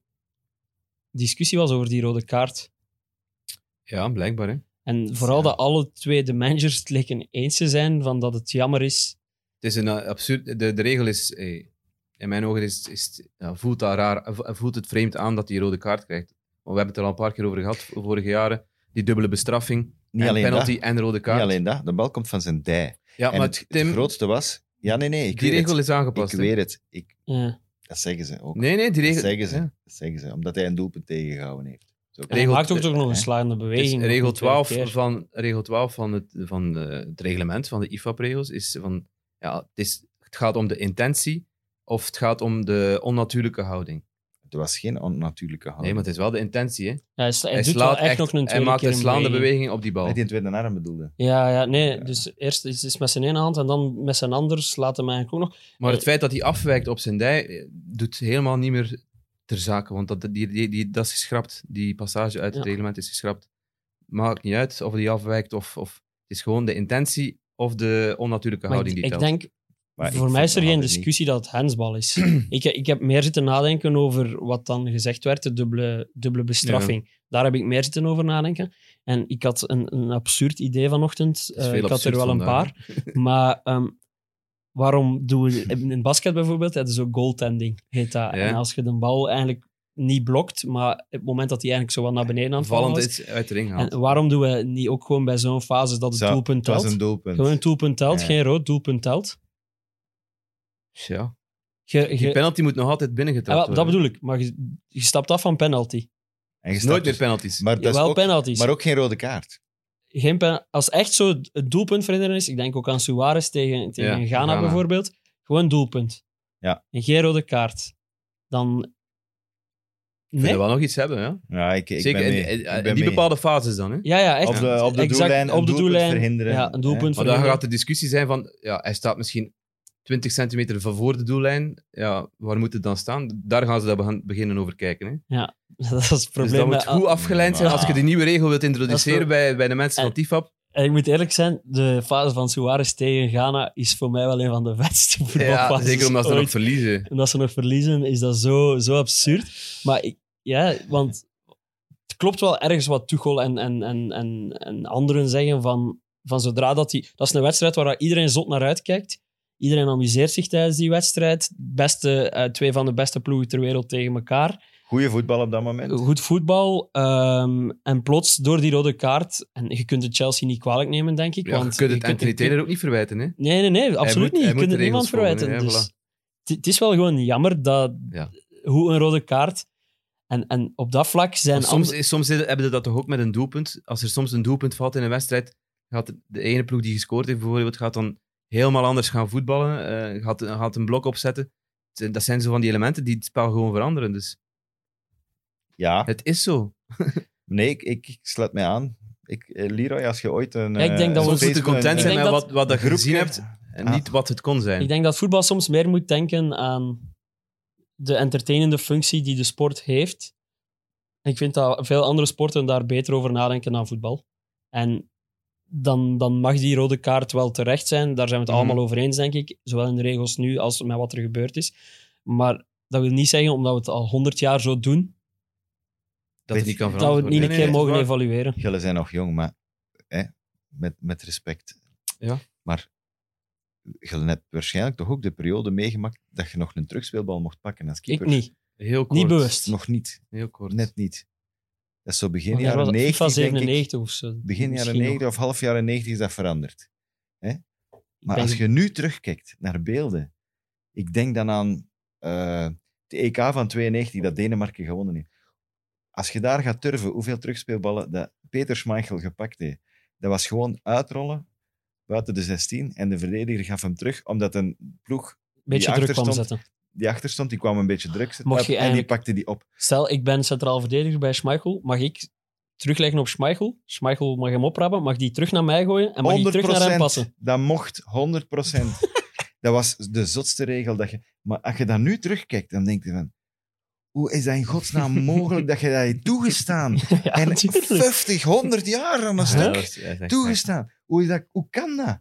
[SPEAKER 4] discussie was over die rode kaart.
[SPEAKER 3] Ja, blijkbaar. Hè. Het
[SPEAKER 4] En vooral dat alle twee de managers het leken eens te zijn van dat het jammer is.
[SPEAKER 3] is een eh, absurd... De, de regel is... eh, in mijn ogen is, is, ja, voelt, dat raar, eh, vo- voelt het vreemd aan dat hij rode kaart krijgt. Maar we hebben het er al een paar keer over gehad, vorige jaren. Die dubbele bestraffing.
[SPEAKER 2] Niet,
[SPEAKER 3] en
[SPEAKER 2] alleen dat,
[SPEAKER 3] penalty
[SPEAKER 2] niet
[SPEAKER 3] en rode kaart.
[SPEAKER 2] alleen dat, de bal komt van zijn dij.
[SPEAKER 3] Ja,
[SPEAKER 2] en
[SPEAKER 3] maar
[SPEAKER 2] het, het
[SPEAKER 3] Tim,
[SPEAKER 2] grootste was... Ja, nee, nee, ik
[SPEAKER 3] die
[SPEAKER 2] weet
[SPEAKER 3] regel
[SPEAKER 2] het.
[SPEAKER 3] is aangepast.
[SPEAKER 2] ik
[SPEAKER 3] hè.
[SPEAKER 2] weet het. Ik,
[SPEAKER 4] Ja.
[SPEAKER 2] dat zeggen ze ook.
[SPEAKER 3] Nee, nee, die regel.
[SPEAKER 2] Dat zeggen ze.
[SPEAKER 3] Ja.
[SPEAKER 2] Dat zeggen ze, omdat hij een doelpunt tegengehouden heeft. Zo kan
[SPEAKER 4] Hij
[SPEAKER 3] Regel-
[SPEAKER 4] maakt ook toch nog een
[SPEAKER 2] hè?
[SPEAKER 4] slagende
[SPEAKER 3] Dus
[SPEAKER 4] beweging.
[SPEAKER 3] regel,
[SPEAKER 4] nog een tweede
[SPEAKER 3] 12
[SPEAKER 4] keer.
[SPEAKER 3] van, regel 12 van het, van eh, het reglement, van de IFAB-regels, is van... Ja, het, is, het gaat om de intentie of het gaat om de onnatuurlijke houding.
[SPEAKER 2] Het was geen onnatuurlijke houding.
[SPEAKER 3] Nee, maar het is wel de intentie, hè.
[SPEAKER 4] Ja, hij sla- hij
[SPEAKER 3] Hij
[SPEAKER 4] doet
[SPEAKER 3] slaat
[SPEAKER 4] wel echt,
[SPEAKER 3] echt-
[SPEAKER 4] nog een
[SPEAKER 3] Hij
[SPEAKER 4] tweede
[SPEAKER 3] maakt
[SPEAKER 4] keer
[SPEAKER 3] een slaande
[SPEAKER 4] beweging.
[SPEAKER 3] beweging op die bal.
[SPEAKER 2] Hij die een tweede arm bedoelde.
[SPEAKER 4] Ja, ja, nee.
[SPEAKER 2] Ja.
[SPEAKER 4] Dus eerst is het met zijn ene hand en dan met zijn ander slaat hem eigenlijk ook nog.
[SPEAKER 3] Maar het feit dat hij afwijkt op zijn dij eh, doet helemaal niet meer ter zake. Want dat, die, die, die, dat is geschrapt. Die passage uit het
[SPEAKER 4] Ja.
[SPEAKER 3] reglement is geschrapt. Maakt niet uit of hij afwijkt of, of... Het is gewoon de intentie of de onnatuurlijke
[SPEAKER 4] Maar
[SPEAKER 3] houding
[SPEAKER 4] ik,
[SPEAKER 3] die
[SPEAKER 4] ik
[SPEAKER 3] telt.
[SPEAKER 4] denk,
[SPEAKER 2] Maar
[SPEAKER 4] Voor
[SPEAKER 2] ik
[SPEAKER 4] mij is er
[SPEAKER 2] verhaal
[SPEAKER 4] geen
[SPEAKER 2] het niet.
[SPEAKER 4] discussie dat het handsbal is. ik, ik heb meer zitten nadenken over wat dan gezegd werd, de dubbele, dubbele bestraffing. Daar heb ik meer zitten over nadenken. En ik had een, een absurd idee vanochtend.
[SPEAKER 3] is
[SPEAKER 4] Eh,
[SPEAKER 3] veel
[SPEAKER 4] ik had er
[SPEAKER 3] absurd
[SPEAKER 4] wel een
[SPEAKER 3] vandaag,
[SPEAKER 4] paar. maar ehm, waarom doen we... In basket bijvoorbeeld, dat is ook goaltending, heet dat.
[SPEAKER 3] Ja.
[SPEAKER 4] En als je de bal eigenlijk niet blokt, maar op het moment dat hij eigenlijk zo wat naar beneden aan het vallen
[SPEAKER 3] Vallend
[SPEAKER 4] was...
[SPEAKER 3] is uit de ring gehaald.
[SPEAKER 4] En waarom doen we niet ook gewoon bij zo'n fase dat het
[SPEAKER 2] Zo,
[SPEAKER 4] doelpunt
[SPEAKER 2] Het was
[SPEAKER 4] telt?
[SPEAKER 2] een doelpunt.
[SPEAKER 4] Gewoon een doelpunt telt,
[SPEAKER 2] Ja.
[SPEAKER 4] geen rood, doelpunt telt.
[SPEAKER 3] Ja.
[SPEAKER 4] Je,
[SPEAKER 3] Die
[SPEAKER 4] je,
[SPEAKER 3] penalty moet nog altijd
[SPEAKER 4] Ja, wel,
[SPEAKER 3] binnengetrapt
[SPEAKER 4] dat
[SPEAKER 3] worden.
[SPEAKER 4] bedoel ik. Maar je, je stapt af van penalty.
[SPEAKER 2] En je stapt
[SPEAKER 3] Nooit meer
[SPEAKER 2] dus-
[SPEAKER 3] penalties.
[SPEAKER 2] maar, dat is
[SPEAKER 4] Wel
[SPEAKER 2] ook-
[SPEAKER 4] penalties.
[SPEAKER 2] maar ook geen rode kaart.
[SPEAKER 4] Geen pen- als echt zo het doelpunt verhinderen is, ik denk ook aan Suarez tegen, tegen
[SPEAKER 3] Ja,
[SPEAKER 4] Ghana,
[SPEAKER 3] Ghana.
[SPEAKER 4] bijvoorbeeld, gewoon doelpunt.
[SPEAKER 2] Ja.
[SPEAKER 4] En geen rode kaart. Dan...
[SPEAKER 3] Wil
[SPEAKER 4] Nee?
[SPEAKER 3] wel nog iets hebben, ja.
[SPEAKER 2] Ja, ik, ik
[SPEAKER 3] Zeker
[SPEAKER 2] ben
[SPEAKER 3] in,
[SPEAKER 2] mee.
[SPEAKER 3] in-
[SPEAKER 2] Ik
[SPEAKER 3] in
[SPEAKER 2] ben
[SPEAKER 3] die
[SPEAKER 2] mee.
[SPEAKER 3] bepaalde fases dan, hè.
[SPEAKER 4] Ja, ja, echt.
[SPEAKER 2] Op de- op de
[SPEAKER 4] Exact,
[SPEAKER 2] doellijn een
[SPEAKER 4] op de
[SPEAKER 2] doelpunt
[SPEAKER 4] doelijn.
[SPEAKER 2] verhinderen.
[SPEAKER 4] Ja, een doelpunt
[SPEAKER 3] Maar dan
[SPEAKER 4] verhinderen.
[SPEAKER 3] gaat de discussie zijn van, ja, hij staat misschien 20 centimeter van voor de doellijn. Ja, waar moet het dan staan? Daar gaan ze dat began- beginnen over kijken. Hè?
[SPEAKER 4] [laughs] Dat is het
[SPEAKER 3] Dus
[SPEAKER 4] probleem.
[SPEAKER 3] dat moet
[SPEAKER 4] met al-
[SPEAKER 3] goed afgeleid zijn
[SPEAKER 4] Ja.
[SPEAKER 3] als je die nieuwe regel wilt
[SPEAKER 4] Dat is
[SPEAKER 3] introduceren
[SPEAKER 4] wel-
[SPEAKER 3] bij, bij de mensen van
[SPEAKER 4] En-
[SPEAKER 3] TIFAP.
[SPEAKER 4] En Ah, ik moet eerlijk zijn, de fase van Suarez tegen Ghana is voor mij wel een van de [laughs] vetste
[SPEAKER 3] Ja,
[SPEAKER 4] voetbalfases
[SPEAKER 3] zeker omdat ze
[SPEAKER 4] ooit.
[SPEAKER 3] nog verliezen.
[SPEAKER 4] En dat ze nog verliezen, is dat zo, zo absurd. Maar ik, ja, want het klopt wel ergens wat Tuchel en, en, en, en, en anderen zeggen van, van zodra dat die... Dat is een wedstrijd waar iedereen zot naar uitkijkt. Iedereen amuseert zich tijdens die wedstrijd. Beste, eh, twee van de beste ploegen ter wereld tegen elkaar.
[SPEAKER 2] Goeie voetbal op dat moment.
[SPEAKER 4] Goed voetbal. ehm, en plots door die rode kaart... En je kunt het Chelsea niet kwalijk nemen, denk ik.
[SPEAKER 3] Ja, je
[SPEAKER 4] want
[SPEAKER 3] kunt het Anthony
[SPEAKER 4] je kunt-
[SPEAKER 3] Taylor ook niet verwijten. Hè?
[SPEAKER 4] Nee, nee, nee,
[SPEAKER 3] moet-
[SPEAKER 4] absoluut niet.
[SPEAKER 3] hij
[SPEAKER 4] Je
[SPEAKER 3] moet
[SPEAKER 4] kunt het
[SPEAKER 3] de
[SPEAKER 4] niemand
[SPEAKER 3] regels volgen,
[SPEAKER 4] verwijten.
[SPEAKER 3] hè,
[SPEAKER 4] dus
[SPEAKER 3] voilà.
[SPEAKER 4] het- Het is wel gewoon jammer dat
[SPEAKER 3] Ja.
[SPEAKER 4] hoe een rode kaart. En, en op dat vlak zijn.
[SPEAKER 3] Want soms,
[SPEAKER 4] andere-
[SPEAKER 3] soms hebben ze dat toch ook met een doelpunt. Als er soms een doelpunt valt in een wedstrijd, gaat de ene ploeg die gescoord heeft bijvoorbeeld, gaat dan helemaal anders gaan voetballen. eh, gaat, gaat een blok opzetten. Dat zijn zo van die elementen die het spel gewoon veranderen. Dus
[SPEAKER 2] Ja,
[SPEAKER 3] het is zo.
[SPEAKER 2] nee, ik, ik, ik sluit mij aan. Ik, eh, Leroy, als je ooit een...
[SPEAKER 4] Ja, ik
[SPEAKER 2] eh,
[SPEAKER 4] denk dat we
[SPEAKER 2] een
[SPEAKER 3] Soms moet je
[SPEAKER 2] Facebook- een-
[SPEAKER 3] content zijn
[SPEAKER 4] Ik
[SPEAKER 3] met
[SPEAKER 4] denk
[SPEAKER 3] wat, wat je
[SPEAKER 2] groepje-
[SPEAKER 3] gezien hebt en
[SPEAKER 2] Ah.
[SPEAKER 3] niet wat het kon zijn.
[SPEAKER 4] ik denk dat voetbal soms meer moet denken aan de entertainende functie die de sport heeft. Ik vind dat veel andere sporten daar beter over nadenken dan voetbal. En dan, dan mag die rode kaart wel terecht zijn. Daar zijn we het
[SPEAKER 3] Mhm.
[SPEAKER 4] allemaal over eens, denk ik. Zowel in de regels nu als met wat er gebeurd is. Maar dat wil niet zeggen, omdat we het al honderd jaar zo doen,
[SPEAKER 3] dat het niet kan
[SPEAKER 4] dat we
[SPEAKER 3] veranderen.
[SPEAKER 4] het niet
[SPEAKER 2] Nee,
[SPEAKER 4] een
[SPEAKER 2] nee,
[SPEAKER 4] keer
[SPEAKER 2] nee,
[SPEAKER 4] mogen
[SPEAKER 2] het is
[SPEAKER 4] evalueren.
[SPEAKER 2] Jullie zijn nog jong, maar hè, met, met respect.
[SPEAKER 3] Ja.
[SPEAKER 2] Maar jullie hebt waarschijnlijk toch ook de periode meegemaakt dat je nog een terugspeelbal mocht pakken als keeper.
[SPEAKER 4] Ik niet.
[SPEAKER 3] Heel kort.
[SPEAKER 4] Niet bewust.
[SPEAKER 2] Nog niet.
[SPEAKER 3] Heel kort.
[SPEAKER 2] Net niet. Dat is zo begin
[SPEAKER 4] Wanneer was
[SPEAKER 2] jaren
[SPEAKER 4] het?
[SPEAKER 2] 90,
[SPEAKER 4] FIFA
[SPEAKER 2] denk ik.
[SPEAKER 4] 97 of zo.
[SPEAKER 2] Begin jaren
[SPEAKER 4] Misschien nog.
[SPEAKER 2] 90 of half jaren 90 is dat veranderd. Hè? Maar
[SPEAKER 4] ben
[SPEAKER 2] als
[SPEAKER 4] ge-
[SPEAKER 2] je nu terugkijkt naar beelden, ik denk dan aan eh de EK van 92 dat Denemarken gewonnen heeft. Als je daar gaat turven, hoeveel terugspeelballen dat Peter Schmeichel gepakt heeft, dat was gewoon uitrollen buiten de 16 en de verdediger gaf hem terug, omdat een ploeg
[SPEAKER 4] beetje
[SPEAKER 2] die
[SPEAKER 4] druk
[SPEAKER 2] achterstand-
[SPEAKER 4] kwam zetten.
[SPEAKER 2] die achter stond, die kwam een beetje druk zetten
[SPEAKER 4] Mocht
[SPEAKER 2] uit
[SPEAKER 4] je
[SPEAKER 2] en die
[SPEAKER 4] eigenlijk-
[SPEAKER 2] pakte die op.
[SPEAKER 4] Stel, ik ben centraal verdediger bij Schmeichel. Mag ik terugleggen op Schmeichel? Schmeichel mag hem oprappen. Mag die terug naar mij gooien? En mag die terug naar hem passen?
[SPEAKER 2] Dat mocht, 100
[SPEAKER 4] [laughs]
[SPEAKER 2] dat was de zotste regel. Dat je, maar als je dat nu terugkijkt, dan denk je van... Hoe is dat in godsnaam mogelijk dat je dat hebt toegestaan?
[SPEAKER 4] [laughs] Ja,
[SPEAKER 2] en
[SPEAKER 4] natuurlijk.
[SPEAKER 2] [laughs] 50, 100 jaar aan een
[SPEAKER 3] Ja,
[SPEAKER 2] stuk
[SPEAKER 3] dat is- dat is echt-
[SPEAKER 2] toegestaan. Hoe, is dat, hoe kan dat?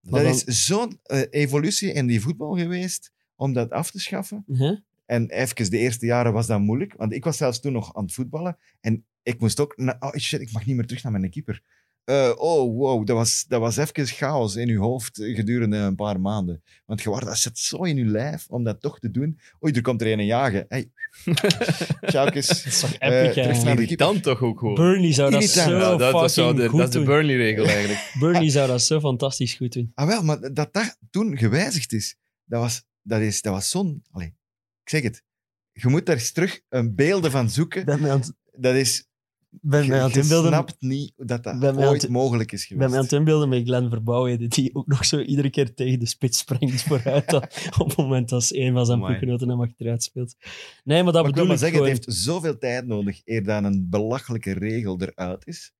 [SPEAKER 4] Maar
[SPEAKER 2] dat is zo'n eh, evolutie in die voetbal geweest om dat af te schaffen.
[SPEAKER 4] Hè?
[SPEAKER 2] En even de eerste jaren was dat moeilijk, want ik was zelfs toen nog aan het voetballen. En ik moest ook... na- oh shit, ik mag niet meer terug naar mijn keeper. Eh, oh, wow, dat was, dat was even chaos in je hoofd eh, gedurende een paar maanden. Want je waart, dat zit zo in je lijf om dat toch te doen. Oei, er komt er een jagen.
[SPEAKER 4] [laughs]
[SPEAKER 2] Hey.
[SPEAKER 4] Dat
[SPEAKER 2] Tjaukes.
[SPEAKER 4] is toch
[SPEAKER 2] Eh,
[SPEAKER 4] epic, hè?
[SPEAKER 2] terug naar de keeper.
[SPEAKER 3] Irritant toch ook gewoon.
[SPEAKER 4] Burnley zou dat
[SPEAKER 2] Irritant.
[SPEAKER 4] zo
[SPEAKER 3] Ja, dat, dat, zou
[SPEAKER 4] fucking
[SPEAKER 3] de,
[SPEAKER 4] goed
[SPEAKER 3] dat is de
[SPEAKER 4] doen.
[SPEAKER 3] Burnley-regel
[SPEAKER 2] [laughs]
[SPEAKER 3] eigenlijk.
[SPEAKER 4] Burnley zou dat zo fantastisch goed doen.
[SPEAKER 2] Ah wel, maar dat dat toen gewijzigd is, dat was, dat is, dat was zo'n... Allee, ik zeg het. Je moet daar eens terug een beelden van zoeken.
[SPEAKER 4] ben mij aan het-
[SPEAKER 2] Dat is...
[SPEAKER 4] ben mij aan het
[SPEAKER 2] je
[SPEAKER 4] inbeelden
[SPEAKER 2] snapt niet dat dat
[SPEAKER 4] ben mij aan
[SPEAKER 2] ooit
[SPEAKER 4] het-
[SPEAKER 2] mogelijk is
[SPEAKER 4] Ik ben
[SPEAKER 2] geweest.
[SPEAKER 4] me aan het inbeelden met Glenn Verbouwen, die ook nog zo iedere keer tegen de spits springt vooruit. dan- op het moment dat een van zijn
[SPEAKER 3] Amai.
[SPEAKER 4] ploeggenoten hem achteruit speelt. Nee, maar dat
[SPEAKER 2] Maar ik wil
[SPEAKER 4] bedoel
[SPEAKER 2] maar
[SPEAKER 4] ik
[SPEAKER 2] zeggen,
[SPEAKER 4] gewoon.
[SPEAKER 2] het heeft zoveel tijd nodig eer dan een belachelijke regel eruit is.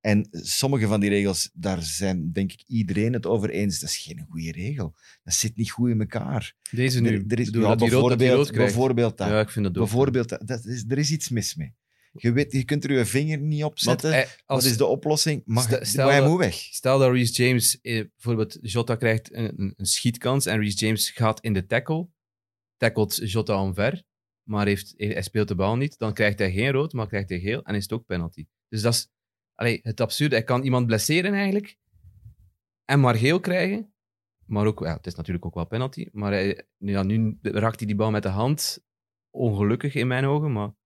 [SPEAKER 2] En sommige van die regels, daar zijn denk ik iedereen het over eens. Dat is geen goede regel. Dat zit niet goed in elkaar.
[SPEAKER 3] Deze Dus nu.
[SPEAKER 2] er, er is,
[SPEAKER 3] Bedoel,
[SPEAKER 2] ja,
[SPEAKER 3] dat die rood, dat die
[SPEAKER 2] bijvoorbeeld,
[SPEAKER 3] rood krijgt.
[SPEAKER 2] bijvoorbeeld dat.
[SPEAKER 3] Ja, ik vind dat ook.
[SPEAKER 2] bijvoorbeeld dat, dat is, er is iets mis mee. Je, weet, je kunt er je vinger niet op zetten.
[SPEAKER 3] Want, eh, als,
[SPEAKER 2] Wat is de oplossing?
[SPEAKER 3] Stel-
[SPEAKER 2] Maar
[SPEAKER 3] stel
[SPEAKER 2] hij
[SPEAKER 3] dat-
[SPEAKER 2] moet weg.
[SPEAKER 3] Stel dat Reece James, eh, bijvoorbeeld Jota krijgt een, een- een schietkans en Reece James gaat in de tackle, tackelt Jota omver, maar heeft, eh, hij speelt de bal niet, dan krijgt hij geen rood, maar krijgt hij geel en is het ook penalty. Dus dat is allee, het absurde. Hij kan iemand blesseren eigenlijk en maar geel krijgen, maar ook, ja, het is natuurlijk ook wel penalty, maar hij, nu, ja, nu raakt hij die bal met de hand, ongelukkig in mijn ogen, maar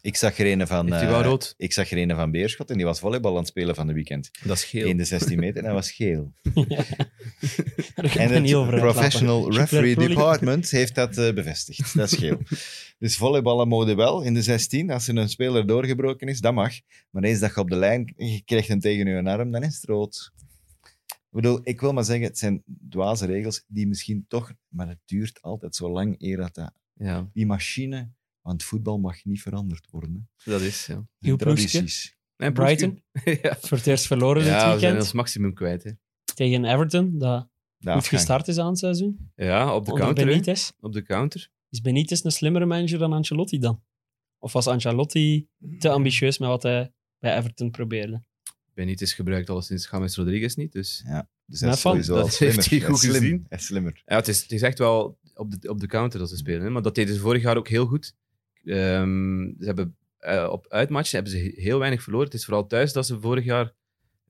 [SPEAKER 2] Ik zag er een van,
[SPEAKER 3] heeft hij wel
[SPEAKER 2] eh,
[SPEAKER 3] rood?
[SPEAKER 2] ik zag er een van Beerschot en die was volleybal aan het spelen van de weekend.
[SPEAKER 3] Dat is geel.
[SPEAKER 2] In de 16 meter en hij was geel.
[SPEAKER 4] Daar
[SPEAKER 2] En
[SPEAKER 4] kan [laughs] ik me
[SPEAKER 2] het
[SPEAKER 4] niet over uitlaten.
[SPEAKER 2] Professional
[SPEAKER 4] Super
[SPEAKER 2] Referee
[SPEAKER 4] cool.
[SPEAKER 2] Department heeft dat eh, bevestigd. Dat is
[SPEAKER 4] [laughs]
[SPEAKER 2] geel. Dus volleyballen mogen wel in de 16. Als er een speler doorgebroken is, dat mag. Maar eens dat je op de lijn je krijgt hem tegen je arm, dan is het rood. Ik bedoel, ik wil maar zeggen, het zijn dwaze regels die misschien toch... Maar het duurt altijd zo lang eer dat, dat
[SPEAKER 3] Ja,
[SPEAKER 2] die machine... Want voetbal mag niet veranderd worden. hè.
[SPEAKER 3] dat is, ja.
[SPEAKER 4] Uw ploegje?
[SPEAKER 2] Tradities.
[SPEAKER 3] En
[SPEAKER 4] Brighton,
[SPEAKER 3] [laughs] ja.
[SPEAKER 4] voor het eerst verloren
[SPEAKER 3] Ja, we
[SPEAKER 4] dit
[SPEAKER 3] zijn
[SPEAKER 4] weekend.
[SPEAKER 3] ons maximum kwijt. Hè.
[SPEAKER 4] Tegen Everton, dat
[SPEAKER 2] De
[SPEAKER 4] goed
[SPEAKER 2] afgang.
[SPEAKER 4] gestart is aan het seizoen.
[SPEAKER 3] Ja, op de
[SPEAKER 4] Onder
[SPEAKER 3] counter. hè.
[SPEAKER 4] Benitez.
[SPEAKER 3] Op de counter.
[SPEAKER 4] Is Benitez een slimmere manager dan Ancelotti dan? Of was Ancelotti te ambitieus met wat hij bij Everton probeerde?
[SPEAKER 3] Benitez gebruikt alleszins James Rodriguez niet. Dus.
[SPEAKER 2] Dus hij
[SPEAKER 4] Maar
[SPEAKER 2] is
[SPEAKER 4] van-
[SPEAKER 2] sowieso
[SPEAKER 3] dat
[SPEAKER 2] al
[SPEAKER 3] heeft
[SPEAKER 2] slimmer.
[SPEAKER 3] hij goed
[SPEAKER 2] is slim.
[SPEAKER 3] gezien.
[SPEAKER 2] Hij is slimmer.
[SPEAKER 3] Ja, het, is, het is echt wel op de, op de counter dat ze spelen. Hè. Maar dat deden ze vorig jaar ook heel goed. Ehm, ze hebben, eh, op uitmatchen hebben ze he- heel weinig verloren. Het is vooral thuis dat ze vorig jaar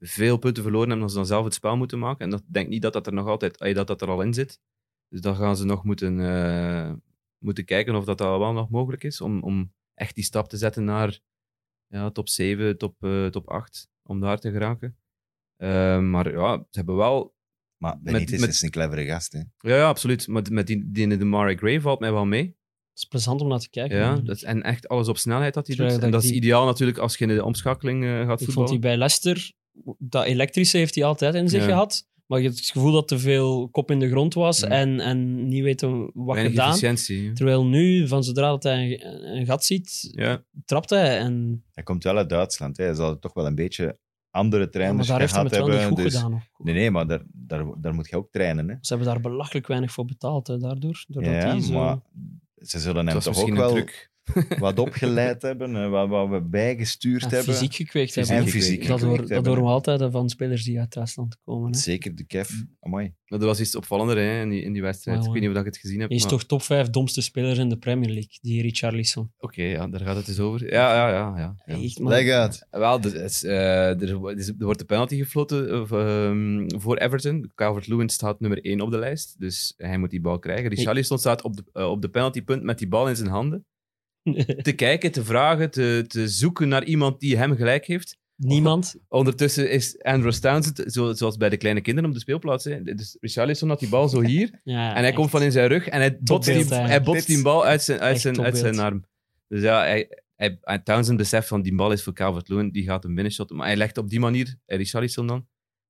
[SPEAKER 3] veel punten verloren hebben. Omdat ze dan zelf het spel moeten maken. En dat ik denk niet dat dat er nog altijd eh, dat dat er al in zit. Dus dan gaan ze nog moeten, eh, moeten kijken of dat, dat wel nog mogelijk is. Om, om echt die stap te zetten naar ja, top 7, top, eh, top 8. Om daar te geraken. Ehm, maar ja, ze hebben wel
[SPEAKER 2] Maar
[SPEAKER 3] Met-
[SPEAKER 2] Benitez
[SPEAKER 3] met-
[SPEAKER 2] is een clevere gast. Hè.
[SPEAKER 3] ja, ja, absoluut. Maar met die, die de Mare Gray valt mij wel mee.
[SPEAKER 4] Het is plezant om naar te kijken.
[SPEAKER 3] Ja, dat, en echt alles op snelheid dat hij
[SPEAKER 4] Terwijl
[SPEAKER 3] doet. En
[SPEAKER 4] dat
[SPEAKER 3] dat is
[SPEAKER 4] die-
[SPEAKER 3] ideaal natuurlijk als je in de omschakeling eh, gaat
[SPEAKER 4] Ik vond
[SPEAKER 3] voetballen.
[SPEAKER 4] hij bij Leicester, dat elektrische heeft hij altijd in zich
[SPEAKER 3] Ja.
[SPEAKER 4] gehad. Maar je hebt het gevoel dat te veel kop in de grond was
[SPEAKER 3] Mm.
[SPEAKER 4] en, en niet weten wat
[SPEAKER 3] Weinig
[SPEAKER 4] gedaan.
[SPEAKER 3] efficiëntie.
[SPEAKER 4] Terwijl nu, van zodra dat hij een, een gat ziet,
[SPEAKER 3] Ja,
[SPEAKER 4] trapt hij. En,
[SPEAKER 2] Hij komt wel uit Duitsland. Hè. Hij zal toch wel een beetje andere
[SPEAKER 4] ja, maar
[SPEAKER 2] trainers
[SPEAKER 4] daar heeft hij
[SPEAKER 2] gehad
[SPEAKER 4] het wel
[SPEAKER 2] hebben.
[SPEAKER 4] niet goed
[SPEAKER 2] dus-
[SPEAKER 4] gedaan. nog.
[SPEAKER 2] Nee, nee, maar daar, daar, daar moet je ook trainen. Hè.
[SPEAKER 4] Ze hebben daar belachelijk weinig voor betaald, hè, daardoor. Doordat
[SPEAKER 2] Ja,
[SPEAKER 4] hij zo...
[SPEAKER 2] maar ze zullen hem
[SPEAKER 3] dat was
[SPEAKER 2] toch ook
[SPEAKER 3] misschien een
[SPEAKER 2] wel
[SPEAKER 3] truc.
[SPEAKER 2] [laughs] wat opgeleid hebben, eh, wat, wat we bijgestuurd
[SPEAKER 4] en
[SPEAKER 2] hebben.
[SPEAKER 4] fysiek gekweekt
[SPEAKER 2] Fysiek
[SPEAKER 4] hebben.
[SPEAKER 2] en fysiek.
[SPEAKER 4] Dat, hoor,
[SPEAKER 2] gekweekt
[SPEAKER 4] dat
[SPEAKER 2] hebben.
[SPEAKER 4] horen we altijd hè, van spelers die uit Duitsland komen. Hè.
[SPEAKER 2] Zeker de kef. Amai.
[SPEAKER 3] Maar dat was iets opvallender hè, in, die, in die wedstrijd.
[SPEAKER 4] Ja,
[SPEAKER 3] ik
[SPEAKER 4] hoor.
[SPEAKER 3] weet niet of dat ik het gezien heb.
[SPEAKER 4] Hij is
[SPEAKER 3] maar-
[SPEAKER 4] toch top 5 domste spelers in de Premier League, die Richarlison.
[SPEAKER 3] Oké, ja, daar gaat het dus over. Ja, ja, ja. ja.
[SPEAKER 4] Echt, man.
[SPEAKER 2] Leg uit.
[SPEAKER 3] Wel, er, is, eh, er, is- er wordt de penalty gefloten eh, v- ehm, voor Everton. Calvert-Lewin staat nummer 1 op de lijst, dus hij moet die bal krijgen. Richarlison staat op de, eh, op de penaltypunt met die bal in zijn handen. te kijken, te vragen, te, te zoeken naar iemand die hem gelijk heeft.
[SPEAKER 4] [laughs] Niemand.
[SPEAKER 3] Ondertussen is Andrew Townsend, zo, zoals bij de kleine kinderen op de speelplaats, hè. dus Richarlison had die bal zo hier,
[SPEAKER 4] Ja,
[SPEAKER 3] en hij komt van in zijn rug en hij botst die,
[SPEAKER 4] Topbeeld, hè.
[SPEAKER 3] hij botst die bal uit zijn, uit
[SPEAKER 4] Echt
[SPEAKER 3] zijn, uit
[SPEAKER 4] topbeeld.
[SPEAKER 3] zijn arm. Dus ja, hij, hij, en Townsend beseft van die bal is voor Calvert-Lewin, die gaat hem binnenshotten. Maar hij legt op die manier, eh, Richarlison dan,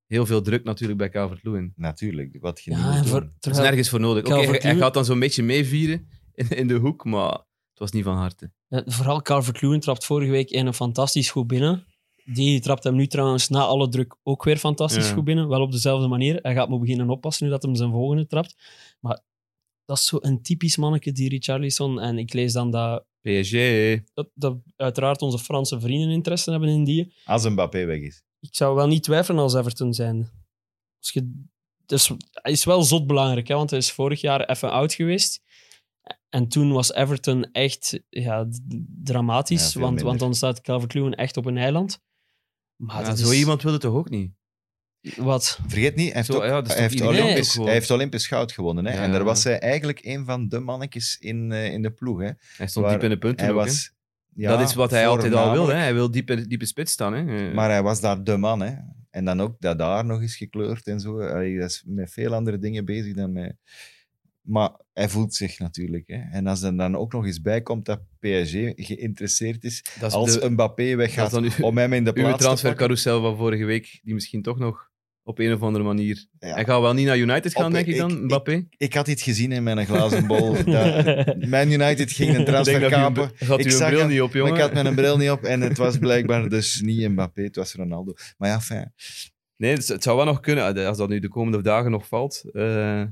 [SPEAKER 3] heel veel druk natuurlijk bij Calvert-Lewin.
[SPEAKER 2] Natuurlijk, wat je niet
[SPEAKER 4] Ja,
[SPEAKER 2] moet
[SPEAKER 4] en
[SPEAKER 2] doen.
[SPEAKER 4] voor,
[SPEAKER 3] Er is
[SPEAKER 4] terwijl,
[SPEAKER 3] nergens voor nodig. Oké, hij, hij
[SPEAKER 4] Calvert-Lewin-
[SPEAKER 3] gaat dan zo'n beetje meevieren in, in de hoek, maar het was niet van harte.
[SPEAKER 4] eh, vooral Calvert-Lewin trapt vorige week in een fantastisch goed binnen. Die trapt hem nu trouwens na alle druk ook weer fantastisch
[SPEAKER 3] Ja.
[SPEAKER 4] goed binnen. Wel op dezelfde manier. Hij gaat moet beginnen oppassen nu dat hem zijn volgende trapt. Maar dat is zo'n typisch manneke, die Richarlison. En ik lees dan dat,
[SPEAKER 3] PSG.
[SPEAKER 4] dat, dat uiteraard onze Franse vrienden interesse hebben in die.
[SPEAKER 2] Als een Mbappé weg is.
[SPEAKER 4] ik zou wel niet twijfelen als Everton zijn. Als je, dus, hij is wel zot belangrijk, hè, want hij is vorig jaar even oud geweest. En toen was Everton echt ja, d-
[SPEAKER 2] Ja,
[SPEAKER 4] dramatisch,
[SPEAKER 2] veel
[SPEAKER 4] want,
[SPEAKER 2] minder.
[SPEAKER 4] want dan staat Calvert-Lewin echt op een eiland. Maar
[SPEAKER 3] Ja,
[SPEAKER 4] Ah, dat
[SPEAKER 3] zo
[SPEAKER 4] is-
[SPEAKER 3] iemand wil het toch ook niet?
[SPEAKER 4] Wat?
[SPEAKER 2] Vergeet niet, hij heeft,
[SPEAKER 3] Zo,
[SPEAKER 2] ook-
[SPEAKER 3] ja, dat is
[SPEAKER 2] hij
[SPEAKER 3] toch
[SPEAKER 2] heeft,
[SPEAKER 3] iedereen
[SPEAKER 2] Olympisch,
[SPEAKER 3] ook gewoon.
[SPEAKER 2] hij heeft Olympisch goud gewonnen. Hè?
[SPEAKER 3] Ja,
[SPEAKER 2] en daar
[SPEAKER 3] ja.
[SPEAKER 2] was hij eigenlijk een van de mannetjes in, eh, in de ploeg. Hè?
[SPEAKER 3] Hij stond
[SPEAKER 2] Waar
[SPEAKER 3] diep in de punten
[SPEAKER 2] Hij
[SPEAKER 3] ook, hè.
[SPEAKER 2] was, ja,
[SPEAKER 3] dat is wat hij altijd al wil.
[SPEAKER 2] voornamelijk.
[SPEAKER 3] Hè. Hij wil diep in, diep in spits staan. Hè. Eh,
[SPEAKER 2] Maar hij was daar de man, hè. En dan ook dat daar nog eens gekleurd en zo. Hij is met veel andere dingen bezig dan mij. Maar hij voelt zich natuurlijk. Hè. En als er dan ook nog eens bij komt dat PSG geïnteresseerd is,
[SPEAKER 3] dat is
[SPEAKER 2] als
[SPEAKER 3] de,
[SPEAKER 2] Mbappé
[SPEAKER 3] dat is
[SPEAKER 2] weggaat
[SPEAKER 3] dan uw-
[SPEAKER 2] om hem in de
[SPEAKER 3] uw
[SPEAKER 2] plaats te pakken.
[SPEAKER 3] transfercarousel van vorige week, die misschien toch nog op een of andere manier
[SPEAKER 2] Ja.
[SPEAKER 3] Hij gaat wel niet naar United gaan,
[SPEAKER 2] Op-
[SPEAKER 3] denk ik dan,
[SPEAKER 2] ik-
[SPEAKER 3] Mbappé? [laughs] Ik
[SPEAKER 2] Ik had iets gezien in mijn glazen bol. dat Man United
[SPEAKER 3] [laughs]
[SPEAKER 2] ging een
[SPEAKER 3] denk
[SPEAKER 2] transfer
[SPEAKER 3] dat hij
[SPEAKER 2] kapen.
[SPEAKER 3] had
[SPEAKER 2] Ik
[SPEAKER 3] uw
[SPEAKER 2] zag
[SPEAKER 3] bril
[SPEAKER 2] hem,
[SPEAKER 3] niet op, jongen.
[SPEAKER 2] Maar ik had mijn bril niet op en het was blijkbaar dus niet Mbappé, het was Ronaldo. Maar ja, fijn.
[SPEAKER 3] [laughs] Nee, het, het zou wel nog kunnen. eh, Als dat nu de komende dagen nog valt. eh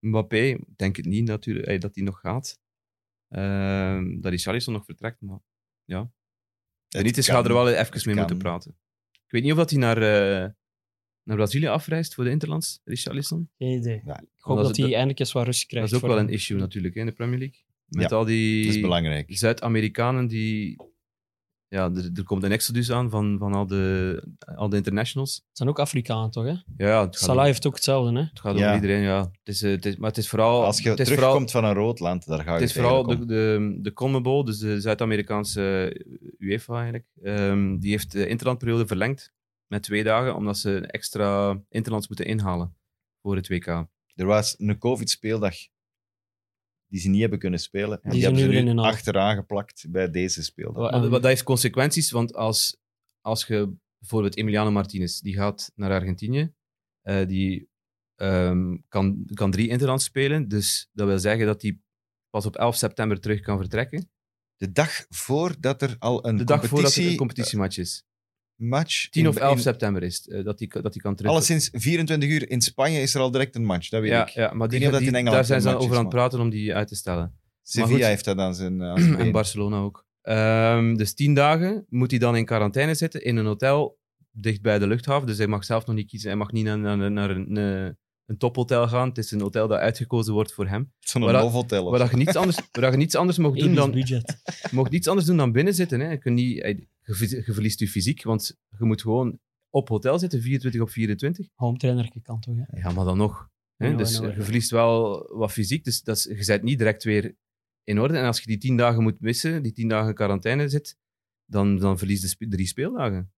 [SPEAKER 3] Mbappé, denk het niet natuurlijk, eh, dat hij nog gaat. Eh, dat Richarlison nog vertrekt, maar... Ja, Benitez
[SPEAKER 2] kan.
[SPEAKER 3] gaat er wel even mee
[SPEAKER 2] kan.
[SPEAKER 3] moeten praten. Ik weet niet of dat hij naar, eh, naar Brazilië afreist voor de Interlands, Richarlison.
[SPEAKER 4] [laughs] Geen idee.
[SPEAKER 2] Ja,
[SPEAKER 4] ik hoop
[SPEAKER 3] dat
[SPEAKER 4] dat,
[SPEAKER 3] is-
[SPEAKER 4] hij
[SPEAKER 3] dat-
[SPEAKER 4] eindelijk eens wat rust
[SPEAKER 3] Dat
[SPEAKER 4] krijgt.
[SPEAKER 3] is ook
[SPEAKER 4] voor
[SPEAKER 3] wel
[SPEAKER 4] hem.
[SPEAKER 3] een issue natuurlijk hè, in de Premier League. Met
[SPEAKER 2] Ja,
[SPEAKER 3] al
[SPEAKER 2] Dat is
[SPEAKER 3] die
[SPEAKER 2] belangrijk.
[SPEAKER 3] Zuid-Amerikanen die... Ja, er, er komt een exodus aan van, van al, de, al de internationals.
[SPEAKER 4] Het zijn ook Afrikanen, toch? Hè?
[SPEAKER 3] Ja, ja, het gaat
[SPEAKER 4] Salah
[SPEAKER 3] om-
[SPEAKER 4] heeft ook hetzelfde, hè?
[SPEAKER 3] Het gaat
[SPEAKER 2] Ja.
[SPEAKER 3] om iedereen, ja. Het is, eh, het is, maar het is vooral...
[SPEAKER 2] Als je
[SPEAKER 3] het is
[SPEAKER 2] terugkomt
[SPEAKER 3] vooral,
[SPEAKER 2] van een rood land, daar ga je
[SPEAKER 3] Het is vooral de, de, de CONMEBOL, dus de Zuid-Amerikaanse UEFA eigenlijk, ehm, die heeft de interlandperiode verlengd met twee dagen, omdat ze extra interlands moeten inhalen voor het WK.
[SPEAKER 2] Er was een COVID-speeldag die ze niet hebben kunnen spelen. En
[SPEAKER 4] Die
[SPEAKER 2] die,
[SPEAKER 4] ze
[SPEAKER 2] hebben
[SPEAKER 4] nu
[SPEAKER 2] ze
[SPEAKER 4] willen
[SPEAKER 2] nu
[SPEAKER 4] inhalen.
[SPEAKER 2] achteraan geplakt bij deze speeldag.
[SPEAKER 4] Wa-
[SPEAKER 3] Wat, wat dat heeft consequenties, want als, als je bijvoorbeeld Emiliano Martinez, die gaat naar Argentinië, eh, die ehm, kan, kan drie interlands spelen, dus dat wil zeggen dat hij pas op 11 september terug kan vertrekken.
[SPEAKER 2] De dag voordat er al een
[SPEAKER 3] De dag voordat er een competitiematch is.
[SPEAKER 2] competitiematch...
[SPEAKER 3] 10 of
[SPEAKER 2] eh, in-
[SPEAKER 3] 11
[SPEAKER 2] in-
[SPEAKER 3] september is het, eh, dat hij dat die kan terug.
[SPEAKER 2] Alleszins 24 uur in Spanje is er al direct een match, dat weet
[SPEAKER 3] ja,
[SPEAKER 2] ik.
[SPEAKER 3] ja, maar die,
[SPEAKER 2] niet of dat
[SPEAKER 3] die-
[SPEAKER 2] in Engeland
[SPEAKER 3] daar zijn
[SPEAKER 2] een
[SPEAKER 3] ze dan
[SPEAKER 2] match
[SPEAKER 3] over
[SPEAKER 2] is,
[SPEAKER 3] aan het praten om die uit te stellen.
[SPEAKER 2] Sevilla
[SPEAKER 3] goed.
[SPEAKER 2] heeft dat aan zijn, aan
[SPEAKER 3] [clears throat]
[SPEAKER 2] zijn
[SPEAKER 3] En
[SPEAKER 2] been.
[SPEAKER 3] Barcelona ook. Ehm, dus tien dagen moet hij dan in quarantaine zitten in een hotel dicht bij de luchthaven. Dus hij mag zelf nog niet kiezen. Hij mag niet naar, naar, naar een, eh, een tophotel gaan. Het is een hotel dat uitgekozen wordt voor hem.
[SPEAKER 2] Zo'n
[SPEAKER 3] Waar dat-
[SPEAKER 2] novotel of
[SPEAKER 3] Waar dat je niets
[SPEAKER 2] [laughs]
[SPEAKER 3] anders, waar dat je niets anders mocht doen
[SPEAKER 4] Indisch
[SPEAKER 3] dan,
[SPEAKER 4] budget.
[SPEAKER 3] je mocht niets anders doen dan binnen zitten. Hè. Je, kunt niet, je, ver- je verliest je fysiek, want je moet gewoon op hotel zitten, 24 op 24.
[SPEAKER 4] Home trainer kan toch, hè?
[SPEAKER 3] Ja, maar dan nog. Hè?
[SPEAKER 4] Ja,
[SPEAKER 3] dus
[SPEAKER 4] nou,
[SPEAKER 3] eh,
[SPEAKER 4] ja.
[SPEAKER 3] je verliest wel wat fysiek, dus dat is, je bent niet direct weer in orde. En als je die tien dagen moet missen, die tien dagen in quarantaine zit, dan, dan verlies je sp- drie speeldagen.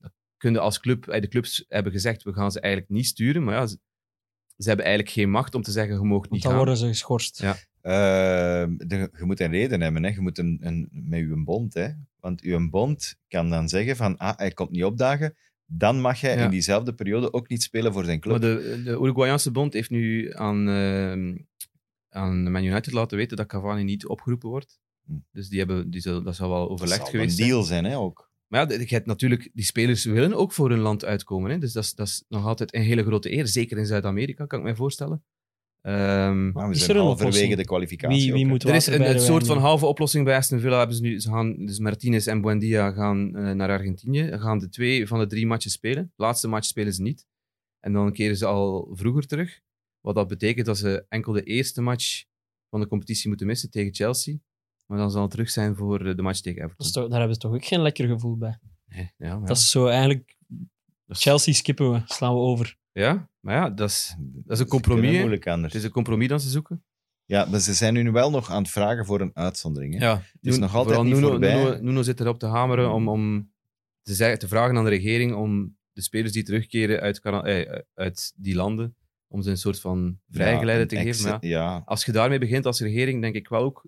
[SPEAKER 3] Dat kunnen als club, eh, de clubs hebben gezegd, we gaan ze eigenlijk niet sturen, maar ja, ze, ze hebben eigenlijk geen macht om te zeggen, je mag
[SPEAKER 4] Want
[SPEAKER 3] niet
[SPEAKER 4] dan
[SPEAKER 3] gaan.
[SPEAKER 4] worden ze geschorst.
[SPEAKER 3] Ja.
[SPEAKER 2] Ehm, de- je moet een reden hebben, hè. je moet een, een, met uw bond. Hè. Want uw bond kan dan zeggen van ah, hij komt niet opdagen, dan mag hij
[SPEAKER 3] Ja.
[SPEAKER 2] in diezelfde periode ook niet spelen voor zijn club.
[SPEAKER 3] Maar de, de Uruguayaanse bond heeft nu aan, ehm, aan Man United laten weten dat Cavani niet opgeroepen wordt.
[SPEAKER 2] Hm.
[SPEAKER 3] Dus die hebben, die zal, dat zal wel
[SPEAKER 2] dat
[SPEAKER 3] overlegd
[SPEAKER 2] zal
[SPEAKER 3] geweest
[SPEAKER 2] een
[SPEAKER 3] zijn.
[SPEAKER 2] deal zijn hè, ook.
[SPEAKER 3] Maar ja, je hebt natuurlijk, die spelers willen ook voor hun land uitkomen. Hè? Dus dat is, dat is nog altijd een hele grote eer. Zeker in Zuid-amerika, kan ik mij voorstellen. Ehm,
[SPEAKER 2] Maar we
[SPEAKER 4] Is
[SPEAKER 2] zijn
[SPEAKER 4] er een
[SPEAKER 2] halverwege
[SPEAKER 4] oplossing?
[SPEAKER 2] de kwalificatie.
[SPEAKER 4] Wie,
[SPEAKER 2] ook,
[SPEAKER 4] wie
[SPEAKER 2] hè.
[SPEAKER 4] moet
[SPEAKER 3] er is
[SPEAKER 4] water bij
[SPEAKER 3] een,
[SPEAKER 4] de
[SPEAKER 3] een
[SPEAKER 4] wijn
[SPEAKER 3] soort van
[SPEAKER 4] doen?
[SPEAKER 3] halve oplossing bij Aston Villa. Hebben ze, nu, ze gaan, dus Martinez en Buendia gaan eh, naar Argentinië. Ze gaan de twee van de drie matchen spelen. De laatste match spelen ze niet. En dan keren ze al vroeger terug. Wat dat betekent dat ze enkel de eerste match van de competitie moeten missen tegen Chelsea. Maar dan zal het terug zijn voor eh, de match tegen
[SPEAKER 4] Dat
[SPEAKER 3] Everton.
[SPEAKER 4] is toch- daar hebben ze toch ook geen lekker gevoel bij.
[SPEAKER 3] Nee, ja, maar ja.
[SPEAKER 4] Dat is zo eigenlijk.
[SPEAKER 3] Dat is-
[SPEAKER 4] Chelsea skippen we, slaan we over.
[SPEAKER 3] Ja, maar ja, dat is, dat is
[SPEAKER 2] Ze
[SPEAKER 3] een
[SPEAKER 2] kunnen
[SPEAKER 3] compromis. hè.
[SPEAKER 2] moeilijk anders.
[SPEAKER 3] Het is een compromis dat ze zoeken.
[SPEAKER 2] Ja, maar ze zijn nu wel nog aan het vragen voor een uitzondering. Hè. is nog altijd
[SPEAKER 3] vooral
[SPEAKER 2] niet
[SPEAKER 3] Nuno,
[SPEAKER 2] voorbij.
[SPEAKER 3] Nuno, Nuno zit erop te hameren om, om te, zeggen, te vragen aan de regering om de spelers die terugkeren uit, Cara- eh, uit die landen, om ze een soort van vrijgeleide
[SPEAKER 2] Ja,
[SPEAKER 3] te
[SPEAKER 2] een
[SPEAKER 3] geven. Maar
[SPEAKER 2] exit-
[SPEAKER 3] ja,
[SPEAKER 2] ja.
[SPEAKER 3] als je daarmee begint als regering, denk ik wel ook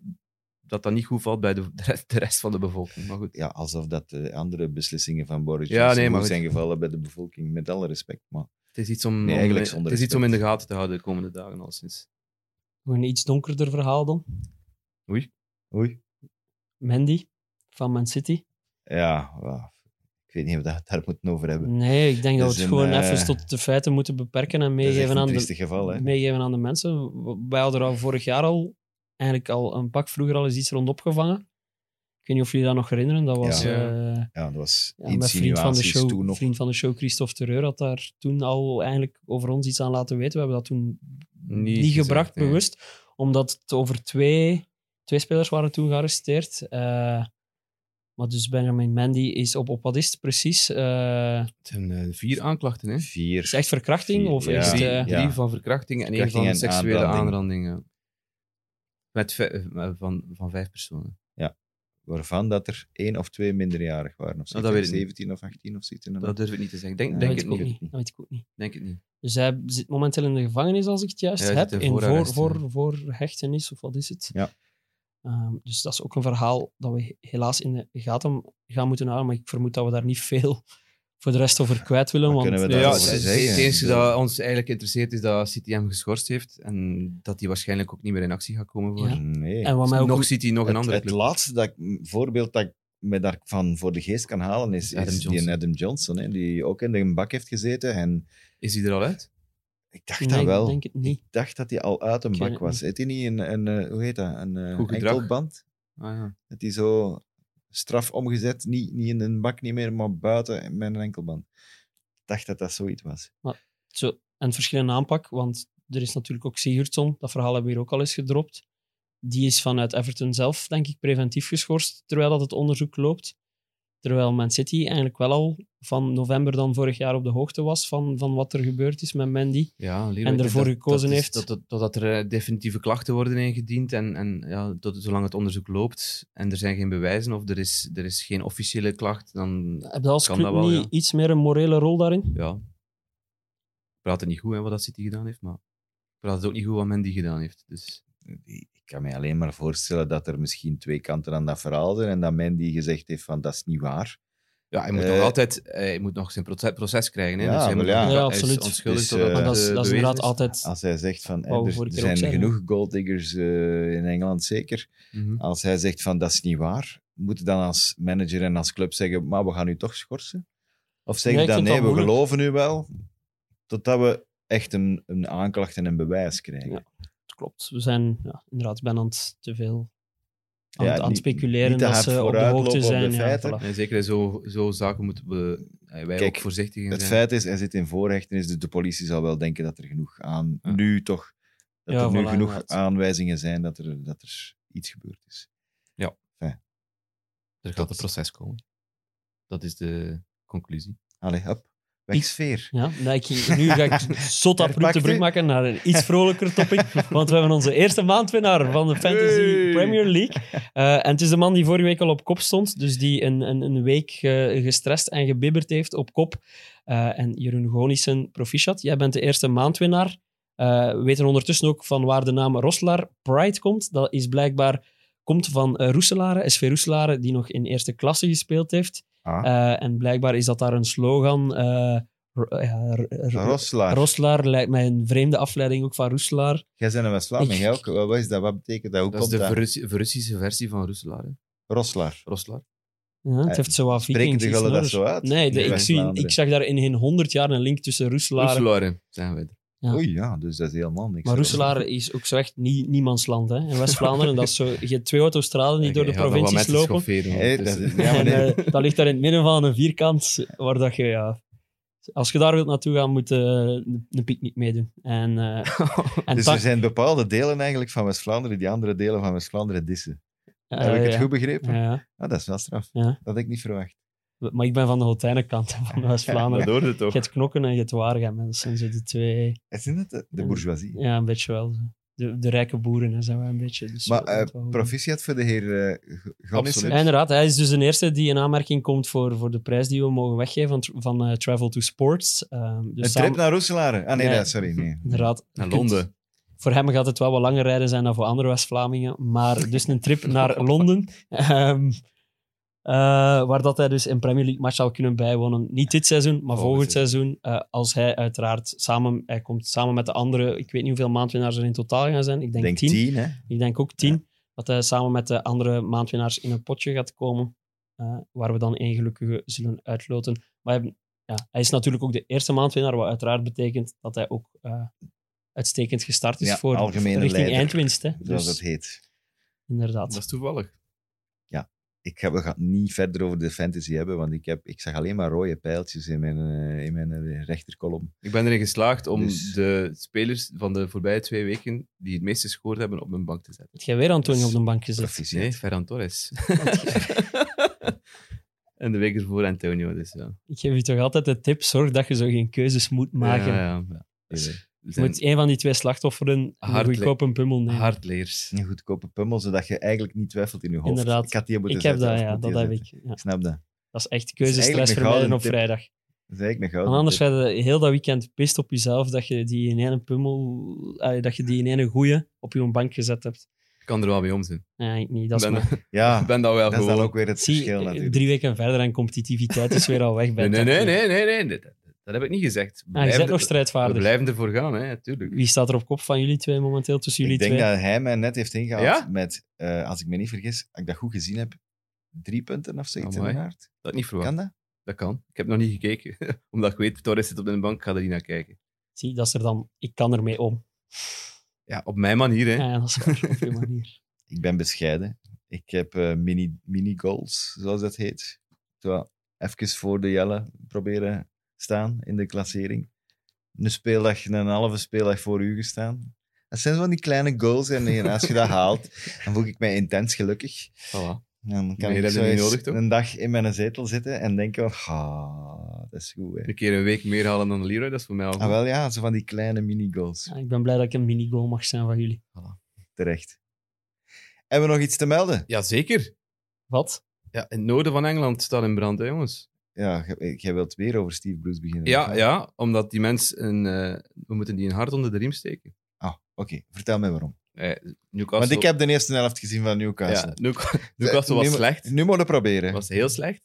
[SPEAKER 3] dat dat niet goed valt bij de, [laughs] de rest- de rest van de bevolking. Maar goed.
[SPEAKER 2] ja, alsof dat de andere beslissingen van Boris
[SPEAKER 3] Ja,
[SPEAKER 2] Johnson
[SPEAKER 3] nee, maar
[SPEAKER 2] goed
[SPEAKER 3] goed.
[SPEAKER 2] zijn gevallen bij de bevolking, met alle respect. Maar
[SPEAKER 3] Het is iets om,
[SPEAKER 2] Nee,
[SPEAKER 3] om-
[SPEAKER 2] eigenlijk zonder
[SPEAKER 3] het is iets om in de
[SPEAKER 2] respect.
[SPEAKER 3] gaten te houden de komende dagen. Al sinds.
[SPEAKER 4] Nog een iets donkerder verhaal dan.
[SPEAKER 2] Oei.
[SPEAKER 4] Mandy van Man City.
[SPEAKER 2] Ja, wauw. ik weet niet of we het daar moeten over hebben.
[SPEAKER 4] Nee, ik denk dat,
[SPEAKER 2] Dat
[SPEAKER 4] we
[SPEAKER 2] is
[SPEAKER 4] het gewoon
[SPEAKER 2] een,
[SPEAKER 4] even
[SPEAKER 2] eh,
[SPEAKER 4] tot de feiten moeten beperken en
[SPEAKER 2] dat is echt
[SPEAKER 4] meegeven
[SPEAKER 2] een
[SPEAKER 4] aan, de,
[SPEAKER 2] triestig geval, hè.
[SPEAKER 4] meegeven aan de mensen. W- Wij hadden er al vorig jaar al, eigenlijk al een pak vroeger al eens iets rond opgevangen. Ik weet niet of jullie dat nog herinneren. Dat was
[SPEAKER 3] Ja.
[SPEAKER 4] eh,
[SPEAKER 2] Ja, dat was
[SPEAKER 4] ja, mijn vriend van, de
[SPEAKER 2] insinuaties toen
[SPEAKER 4] show,
[SPEAKER 2] nog.
[SPEAKER 4] vriend van de show, Christophe Terreur, had daar toen al eigenlijk over ons iets aan laten weten. We hebben dat toen niet,
[SPEAKER 3] gezegd,
[SPEAKER 4] gebracht,
[SPEAKER 3] nee.
[SPEAKER 4] bewust. Omdat het over twee, twee spelers waren toen gearresteerd. Eh, maar dus Benjamin Mandy is op, op wat is het precies? Eh,
[SPEAKER 3] Het zijn eh, vier aanklachten, hè?
[SPEAKER 2] Vier.
[SPEAKER 4] is het echt verkrachting?
[SPEAKER 2] Vier,
[SPEAKER 4] Of
[SPEAKER 2] ja.
[SPEAKER 4] is het,
[SPEAKER 3] Drie,
[SPEAKER 4] eh,
[SPEAKER 3] drie
[SPEAKER 2] ja.
[SPEAKER 3] van verkrachting en één
[SPEAKER 2] Verkrachting
[SPEAKER 3] van
[SPEAKER 2] en
[SPEAKER 3] seksuele
[SPEAKER 2] aanranding.
[SPEAKER 3] aanrandingen. Met vij- eh, van, van vijf personen.
[SPEAKER 2] Waarvan dat er één of twee minderjarig waren. Of
[SPEAKER 3] Oh, dat weet ik niet.
[SPEAKER 2] 17 of 18 of zoiets.
[SPEAKER 3] Dat durf ik niet te zeggen. Denk,
[SPEAKER 2] Ja,
[SPEAKER 4] dat,
[SPEAKER 3] denk,
[SPEAKER 4] weet
[SPEAKER 3] het
[SPEAKER 4] ik ook
[SPEAKER 3] niet.
[SPEAKER 4] niet. dat weet ik ook niet.
[SPEAKER 3] denk het niet.
[SPEAKER 4] Dus hij zit momenteel in de gevangenis, als ik het juist
[SPEAKER 3] Ja, hij
[SPEAKER 4] heb.
[SPEAKER 3] zit in
[SPEAKER 4] In voor,
[SPEAKER 3] voorarrest,
[SPEAKER 4] voor,
[SPEAKER 3] ja.
[SPEAKER 4] voor hechtenis, of wat is het?
[SPEAKER 2] Ja.
[SPEAKER 4] Ehm, dus dat is ook een verhaal dat we he- helaas in de gaten gaan moeten houden. Maar ik vermoed dat we daar niet veel voor de rest over kwijt willen.
[SPEAKER 2] Maar
[SPEAKER 4] Want eh,
[SPEAKER 2] kunnen we
[SPEAKER 3] Ja,
[SPEAKER 2] dat
[SPEAKER 3] het,
[SPEAKER 2] is-
[SPEAKER 3] het-
[SPEAKER 2] zeggen.
[SPEAKER 3] het enige dat ons eigenlijk interesseert is dat City hem geschorst heeft en dat hij waarschijnlijk ook niet meer in actie gaat komen. Voor.
[SPEAKER 4] Ja.
[SPEAKER 2] Nee.
[SPEAKER 4] en wat mij ook
[SPEAKER 3] nog City, nog een
[SPEAKER 2] het,
[SPEAKER 3] andere
[SPEAKER 2] het
[SPEAKER 3] club.
[SPEAKER 2] laatste dat ik, voorbeeld dat ik me daarvan voor de geest kan halen is,
[SPEAKER 3] Adam
[SPEAKER 2] is die
[SPEAKER 3] Johnson.
[SPEAKER 2] Adam Johnson, hè, die ook in de bak heeft gezeten. En
[SPEAKER 3] Is hij er al uit?
[SPEAKER 2] ik dacht
[SPEAKER 4] Nee,
[SPEAKER 2] dat
[SPEAKER 4] ik
[SPEAKER 2] wel.
[SPEAKER 4] denk het niet.
[SPEAKER 2] Ik dacht dat hij al uit een
[SPEAKER 4] Ik weet
[SPEAKER 2] bak
[SPEAKER 4] het
[SPEAKER 2] was. Heeft hij niet een, een, eh, hoe heet dat, een eh,
[SPEAKER 3] Goed gedrag.
[SPEAKER 2] enkelband?
[SPEAKER 3] Ah, ja.
[SPEAKER 2] Dat hij zo straf omgezet. Niet, niet in een bak niet meer, maar buiten met een enkelband. Ik dacht dat dat zoiets was.
[SPEAKER 4] Zo, en verschillende aanpak, want er is natuurlijk ook Sigurdsson, dat verhaal hebben we hier ook al eens gedropt. Die is vanuit Everton zelf, denk ik, preventief geschorst, terwijl dat het onderzoek loopt. Terwijl Man City eigenlijk wel al van november dan vorig jaar op de hoogte was van, van wat er gebeurd is met Mandy.
[SPEAKER 3] Ja, Leroy,
[SPEAKER 4] En ervoor gekozen
[SPEAKER 3] is-
[SPEAKER 4] heeft.
[SPEAKER 3] Dat, dat, totdat er eh, definitieve klachten worden ingediend en, en ja, tot, zolang het onderzoek loopt en er zijn geen bewijzen of er is, er is geen officiële klacht, dan
[SPEAKER 4] Heb je als
[SPEAKER 3] Kan
[SPEAKER 4] club
[SPEAKER 3] dat wel,
[SPEAKER 4] niet
[SPEAKER 3] ja.
[SPEAKER 4] iets meer een morele rol daarin?
[SPEAKER 3] ja. Ik praat het niet goed hè, wat dat City gedaan heeft, maar ik praat het ook niet goed wat Mendy gedaan heeft. Dus
[SPEAKER 2] Ik kan me alleen maar voorstellen dat er misschien twee kanten aan dat verhaal zijn. En dat men die gezegd heeft van dat is niet waar.
[SPEAKER 3] ja, hij moet
[SPEAKER 2] Eh,
[SPEAKER 3] nog altijd hij moet nog zijn proces, proces krijgen. Hè,
[SPEAKER 2] Ja,
[SPEAKER 3] dus hij
[SPEAKER 2] wel
[SPEAKER 3] moet
[SPEAKER 2] ja.
[SPEAKER 3] nog-
[SPEAKER 4] Ja,
[SPEAKER 3] hij is
[SPEAKER 4] absoluut.
[SPEAKER 3] onschuldig
[SPEAKER 2] Dus,
[SPEAKER 3] totdat
[SPEAKER 2] eh,
[SPEAKER 3] het,
[SPEAKER 4] maar dat is,
[SPEAKER 3] eh,
[SPEAKER 4] dat is
[SPEAKER 3] bewezen
[SPEAKER 4] inderdaad
[SPEAKER 3] is.
[SPEAKER 4] altijd...
[SPEAKER 2] Als hij zegt van
[SPEAKER 4] Wou
[SPEAKER 2] eh, er
[SPEAKER 4] vorige keer
[SPEAKER 2] zijn
[SPEAKER 4] ook zeggen,
[SPEAKER 2] genoeg goaldiggers eh, in Engeland zeker.
[SPEAKER 3] Mhm.
[SPEAKER 2] Als hij zegt van dat is niet waar, moet je dan als manager en als club zeggen, maar we gaan u toch schorsen? Of zeg
[SPEAKER 4] Ja,
[SPEAKER 2] je
[SPEAKER 4] ik
[SPEAKER 2] dan
[SPEAKER 4] vind
[SPEAKER 2] nee,
[SPEAKER 4] het
[SPEAKER 2] we
[SPEAKER 4] wel moeilijk.
[SPEAKER 2] geloven u wel, totdat we echt een, een aanklacht en een bewijs krijgen.
[SPEAKER 4] klopt. We zijn ja, inderdaad, ik ben aan het te veel aan,
[SPEAKER 2] Ja,
[SPEAKER 4] het- aan het
[SPEAKER 2] niet-
[SPEAKER 4] speculeren
[SPEAKER 2] niet te
[SPEAKER 4] dat
[SPEAKER 2] hard
[SPEAKER 4] ze op de
[SPEAKER 2] vooruitlopen
[SPEAKER 4] hoogte
[SPEAKER 2] op de
[SPEAKER 4] zijn. ja,
[SPEAKER 2] feiten.
[SPEAKER 4] voilà.
[SPEAKER 3] En zeker in zo, zo zaken moeten we, eh, wij
[SPEAKER 2] Kijk,
[SPEAKER 3] ook voorzichtig in
[SPEAKER 2] Het
[SPEAKER 3] zijn.
[SPEAKER 2] feit is, hij zit in voorhechtenis, dus de politie zal wel denken dat er genoeg aan,
[SPEAKER 3] Ja.
[SPEAKER 2] nu toch, dat
[SPEAKER 4] Ja,
[SPEAKER 2] er nu
[SPEAKER 4] voilà,
[SPEAKER 2] genoeg
[SPEAKER 4] inderdaad.
[SPEAKER 2] aanwijzingen zijn dat er, dat er iets gebeurd is.
[SPEAKER 3] er gaat een proces komen. Dat is de conclusie.
[SPEAKER 2] Allee, hop, weg sfeer.
[SPEAKER 4] Ja, nou, ik ging- nu ga ik zot abrupt de
[SPEAKER 2] Herpakte.
[SPEAKER 4] brug maken naar een iets vrolijker topic. Want we hebben onze eerste maandwinnaar van de Fantasy
[SPEAKER 2] Hey.
[SPEAKER 4] Premier League. Eh, en het is de man die vorige week al op kop stond. Dus die een, een, een week eh, gestrest en gebibberd heeft op kop. Eh, en Jeroen Gonissen, proficiat. Jij bent de eerste maandwinnaar. Eh, we weten ondertussen ook van waar de naam Roslaar Pride komt. Dat is blijkbaar komt van eh, Roeselare, SV Roeselare, die nog in eerste klasse gespeeld heeft.
[SPEAKER 2] Ah.
[SPEAKER 4] Eh, en blijkbaar is dat daar een slogan. eh, ro- ja, r- r-
[SPEAKER 2] Roslaar,
[SPEAKER 4] Roslaar lijkt mij een vreemde afleiding ook van Roeselaar.
[SPEAKER 2] jij bent een West-Vlaming, jij ook. Wat wat is dat? Wat betekent dat? Hoe
[SPEAKER 3] Dat is
[SPEAKER 2] komt dat?
[SPEAKER 3] de Verrus- Russische versie van Roeselaar. hè.
[SPEAKER 2] Roslaar.
[SPEAKER 3] Roslaar.
[SPEAKER 4] Ja, het
[SPEAKER 2] Eh,
[SPEAKER 4] heeft zo wat
[SPEAKER 2] Spreken
[SPEAKER 4] Vikings,
[SPEAKER 2] de
[SPEAKER 4] iets
[SPEAKER 2] gullen dat
[SPEAKER 4] Noors.
[SPEAKER 2] zo uit?
[SPEAKER 4] Nee,
[SPEAKER 2] In
[SPEAKER 4] de- ik, zie,
[SPEAKER 2] West-Vlaanderen.
[SPEAKER 4] ik zag daar in geen honderd jaar een link tussen Roeselaar.
[SPEAKER 3] Roeselaren, zijn wij. er.
[SPEAKER 4] Ja.
[SPEAKER 2] Oei, ja, dus dat is helemaal niks. Dus
[SPEAKER 4] Maar Roeselaar is ook zo echt nie- niemandsland. Hè? In West-Vlaanderen, dat is zo, je hebt twee autostraden die
[SPEAKER 3] Oké,
[SPEAKER 4] door de
[SPEAKER 3] je gaat nog wel
[SPEAKER 4] provincies
[SPEAKER 3] mensen
[SPEAKER 4] lopen.
[SPEAKER 3] schofferen, want
[SPEAKER 2] Hey,
[SPEAKER 3] het
[SPEAKER 2] dat
[SPEAKER 3] is-
[SPEAKER 2] is, ja, maar
[SPEAKER 4] en
[SPEAKER 2] nee.
[SPEAKER 4] eh, dat ligt daar in het midden van een vierkant, waar dat je, ja... Als je daar wilt naartoe gaan, moet eh, een een picknick meedoen.
[SPEAKER 2] [laughs]
[SPEAKER 4] En, eh, en
[SPEAKER 2] dus
[SPEAKER 4] ta-
[SPEAKER 2] er zijn bepaalde delen eigenlijk van West-Vlaanderen die andere delen van West-Vlaanderen dissen.
[SPEAKER 4] eh,
[SPEAKER 2] Heb ik het
[SPEAKER 4] ja.
[SPEAKER 2] goed begrepen?
[SPEAKER 4] Ja, ja.
[SPEAKER 2] Ah, dat is wel straf.
[SPEAKER 4] Ja.
[SPEAKER 2] Dat had ik niet verwacht.
[SPEAKER 4] Maar ik ben van de Hotijnenkant, [laughs] van West-Vlaanderen.
[SPEAKER 3] Dat hoorde toch.
[SPEAKER 4] Je hebt knokken en je hebt waargaan mensen. Zo de twee,
[SPEAKER 2] Het Is het de, de
[SPEAKER 4] Ja.
[SPEAKER 2] bourgeoisie?
[SPEAKER 4] ja, een beetje wel. De, de rijke boeren hè, zijn wij een beetje. Dus
[SPEAKER 2] Maar
[SPEAKER 4] dat- dat
[SPEAKER 2] eh
[SPEAKER 4] wel goed.
[SPEAKER 2] proficiat voor de heer eh G- Gannissen.
[SPEAKER 4] Ja, inderdaad, hij is dus de eerste die in aanmerking komt voor, voor de prijs die we mogen weggeven van, tr- van eh, Travel to Sports. Ehm, dus
[SPEAKER 2] Een
[SPEAKER 4] samen-
[SPEAKER 2] trip naar Roeselare. Ah nee,
[SPEAKER 4] Nee.
[SPEAKER 2] nee, sorry. Nee.
[SPEAKER 3] [laughs]
[SPEAKER 4] Inderdaad.
[SPEAKER 3] Naar
[SPEAKER 4] je kunt-
[SPEAKER 3] Londen.
[SPEAKER 4] Voor hem gaat het wel wat langer rijden zijn dan voor andere West-Vlamingen. Maar dus een
[SPEAKER 2] [laughs]
[SPEAKER 4] trip naar Londen. Ehm, eh, waar dat hij dus een Premier League match zou kunnen bijwonen. Niet dit seizoen,
[SPEAKER 2] Oh,
[SPEAKER 4] maar
[SPEAKER 3] Volgend
[SPEAKER 4] volgend seizoen. eh, als hij uiteraard samen, hij komt samen met de andere, ik weet niet hoeveel maandwinnaars er in totaal gaan zijn. Ik
[SPEAKER 2] Ik
[SPEAKER 4] denk,
[SPEAKER 2] denk
[SPEAKER 4] tien.
[SPEAKER 2] tien, hè.
[SPEAKER 4] Ik denk ook tien. Dat hij samen met de andere maandwinnaars in een potje gaat komen. eh, waar we dan één gelukkige zullen uitloten. Maar hij, ja, hij is natuurlijk ook de eerste maandwinnaar. Wat uiteraard betekent dat hij ook eh, uitstekend gestart is
[SPEAKER 2] Ja,
[SPEAKER 4] voor
[SPEAKER 2] algemene
[SPEAKER 4] richting
[SPEAKER 2] leider.
[SPEAKER 4] eindwinst. Hè?
[SPEAKER 2] Zoals
[SPEAKER 4] Dus,
[SPEAKER 2] het heet.
[SPEAKER 4] inderdaad.
[SPEAKER 3] Dat is toevallig.
[SPEAKER 2] Ik ga, we gaan het niet verder over de fantasy hebben, want ik, heb, ik zag alleen maar rode pijltjes in mijn, eh, in mijn eh, rechterkolom.
[SPEAKER 3] Ik ben erin geslaagd om
[SPEAKER 2] Dus-
[SPEAKER 3] de spelers van de voorbije twee weken die het meest gescoord hebben op mijn bank te zetten.
[SPEAKER 4] Heb jij weer Antonio op de bank gezet?
[SPEAKER 2] Proficiat.
[SPEAKER 3] Nee, Ferran Torres. [laughs] en de week ervoor Antonio, dus ja.
[SPEAKER 4] Ik geef je toch altijd de tip, zorg dat je zo geen keuzes moet maken.
[SPEAKER 3] Ja, ja, ja.
[SPEAKER 2] Dus
[SPEAKER 3] We
[SPEAKER 4] Je
[SPEAKER 3] zijn
[SPEAKER 4] moet één van die twee slachtofferen een
[SPEAKER 3] Hard-
[SPEAKER 4] goedkoop een pummel nemen.
[SPEAKER 3] hardleers.
[SPEAKER 2] Een goedkope pummel, zodat je eigenlijk niet twijfelt in je hoofd.
[SPEAKER 4] Inderdaad.
[SPEAKER 2] Ik had die moeten
[SPEAKER 4] ik heb
[SPEAKER 2] zetten,
[SPEAKER 4] dat,
[SPEAKER 2] of
[SPEAKER 4] ja,
[SPEAKER 2] moet
[SPEAKER 4] dat
[SPEAKER 2] die
[SPEAKER 4] heb ik.
[SPEAKER 2] zetten?
[SPEAKER 4] Ja.
[SPEAKER 2] Ik snap dat.
[SPEAKER 4] Dat is echt
[SPEAKER 2] Dat
[SPEAKER 4] keuzestress
[SPEAKER 2] is eigenlijk een
[SPEAKER 4] vermijden
[SPEAKER 2] gouden
[SPEAKER 4] op
[SPEAKER 2] tip.
[SPEAKER 4] vrijdag.
[SPEAKER 2] Dat is eigenlijk een gouden
[SPEAKER 4] Want anders
[SPEAKER 2] tip.
[SPEAKER 4] ga je heel dat weekend pist op jezelf dat je die in ene pummel, allee, dat je die in ene goeie op je bank gezet hebt.
[SPEAKER 3] Ik kan er wel mee om zijn.
[SPEAKER 4] Nee, ik niet. Dat
[SPEAKER 3] Ik
[SPEAKER 4] is
[SPEAKER 3] ben, [laughs]
[SPEAKER 4] maar-
[SPEAKER 2] Ja,
[SPEAKER 3] ben dat wel
[SPEAKER 2] dat is
[SPEAKER 3] gewoon.
[SPEAKER 2] dan ook weer het
[SPEAKER 4] Zie, eh,
[SPEAKER 2] verschil natuurlijk.
[SPEAKER 4] drie weken verder en competitiviteit is weer al weg.
[SPEAKER 3] Nee,
[SPEAKER 4] bij
[SPEAKER 3] nee,
[SPEAKER 4] het
[SPEAKER 3] nee,
[SPEAKER 4] echte.
[SPEAKER 3] nee, nee, nee, Dat, dat heb ik niet gezegd. We
[SPEAKER 4] Ah, je
[SPEAKER 3] blijven
[SPEAKER 4] bent
[SPEAKER 3] er-
[SPEAKER 4] nog
[SPEAKER 3] we
[SPEAKER 4] strijdvaardig.
[SPEAKER 3] blijven ervoor gaan, hè, tuurlijk.
[SPEAKER 4] Wie staat er op kop van jullie twee momenteel tussen jullie
[SPEAKER 2] ik denk
[SPEAKER 4] twee?
[SPEAKER 2] dat hij mij net heeft ingehaald
[SPEAKER 3] Ja?
[SPEAKER 2] met, eh, als ik me niet vergis, als ik dat goed gezien heb, drie punten of zoiets in
[SPEAKER 3] Amai.
[SPEAKER 2] de aard.
[SPEAKER 3] Dat niet verwacht.
[SPEAKER 2] Kan dat?
[SPEAKER 3] Dat kan. Ik heb nog niet gekeken. [laughs] Omdat ik weet, Torres zit op de bank, ik ga er niet naar kijken.
[SPEAKER 4] Zie, dat is er dan, ik kan ermee om.
[SPEAKER 3] Ja, op mijn manier, hè.
[SPEAKER 4] Ja, ja, dat is waar, op je manier.
[SPEAKER 2] Ik ben bescheiden. Ik heb eh, mini, mini-goals, zoals dat heet. Zo, even voor de Jelle proberen staan in de klassering. Een speeldag, een halve speeldag voor u gestaan. Dat zijn zo van die kleine goals. En hier, als je dat
[SPEAKER 3] [laughs]
[SPEAKER 2] haalt, dan voel ik mij intens gelukkig.
[SPEAKER 3] Voilà.
[SPEAKER 2] Dan kan
[SPEAKER 3] Maar je
[SPEAKER 2] ik
[SPEAKER 3] hebt
[SPEAKER 2] zo
[SPEAKER 3] het niet
[SPEAKER 2] eens
[SPEAKER 3] nodig, toch?
[SPEAKER 2] een dag in mijn zetel zitten en denken van, ah, dat is goed. Hè.
[SPEAKER 3] Een keer een week meer halen dan de Leroy, dat is voor mij al goed.
[SPEAKER 2] Ah, wel ja, zo van die kleine mini-goals.
[SPEAKER 4] Ja, ik ben blij dat ik een mini-goal mag zijn van jullie.
[SPEAKER 2] Terecht. Hebben we nog iets te melden?
[SPEAKER 3] Jazeker.
[SPEAKER 4] Wat?
[SPEAKER 3] Ja, in het noorden van Engeland staat in brand, hè, jongens.
[SPEAKER 2] Ja, jij- jij wilt weer over Steve Bruce beginnen.
[SPEAKER 3] Ja,
[SPEAKER 2] of niet?
[SPEAKER 3] ja omdat die mens, een, eh, we moeten die een hart onder de riem steken. Eh,
[SPEAKER 2] Ah, oké. Vertel mij waarom.
[SPEAKER 3] Newcastle,
[SPEAKER 2] Want ik heb de eerste helft gezien van Newcastle. Eh,
[SPEAKER 3] ja,
[SPEAKER 2] [laughs]
[SPEAKER 3] Newca- Newcastle was
[SPEAKER 2] nu,
[SPEAKER 3] slecht.
[SPEAKER 2] Nu moet je proberen.
[SPEAKER 3] was heel slecht.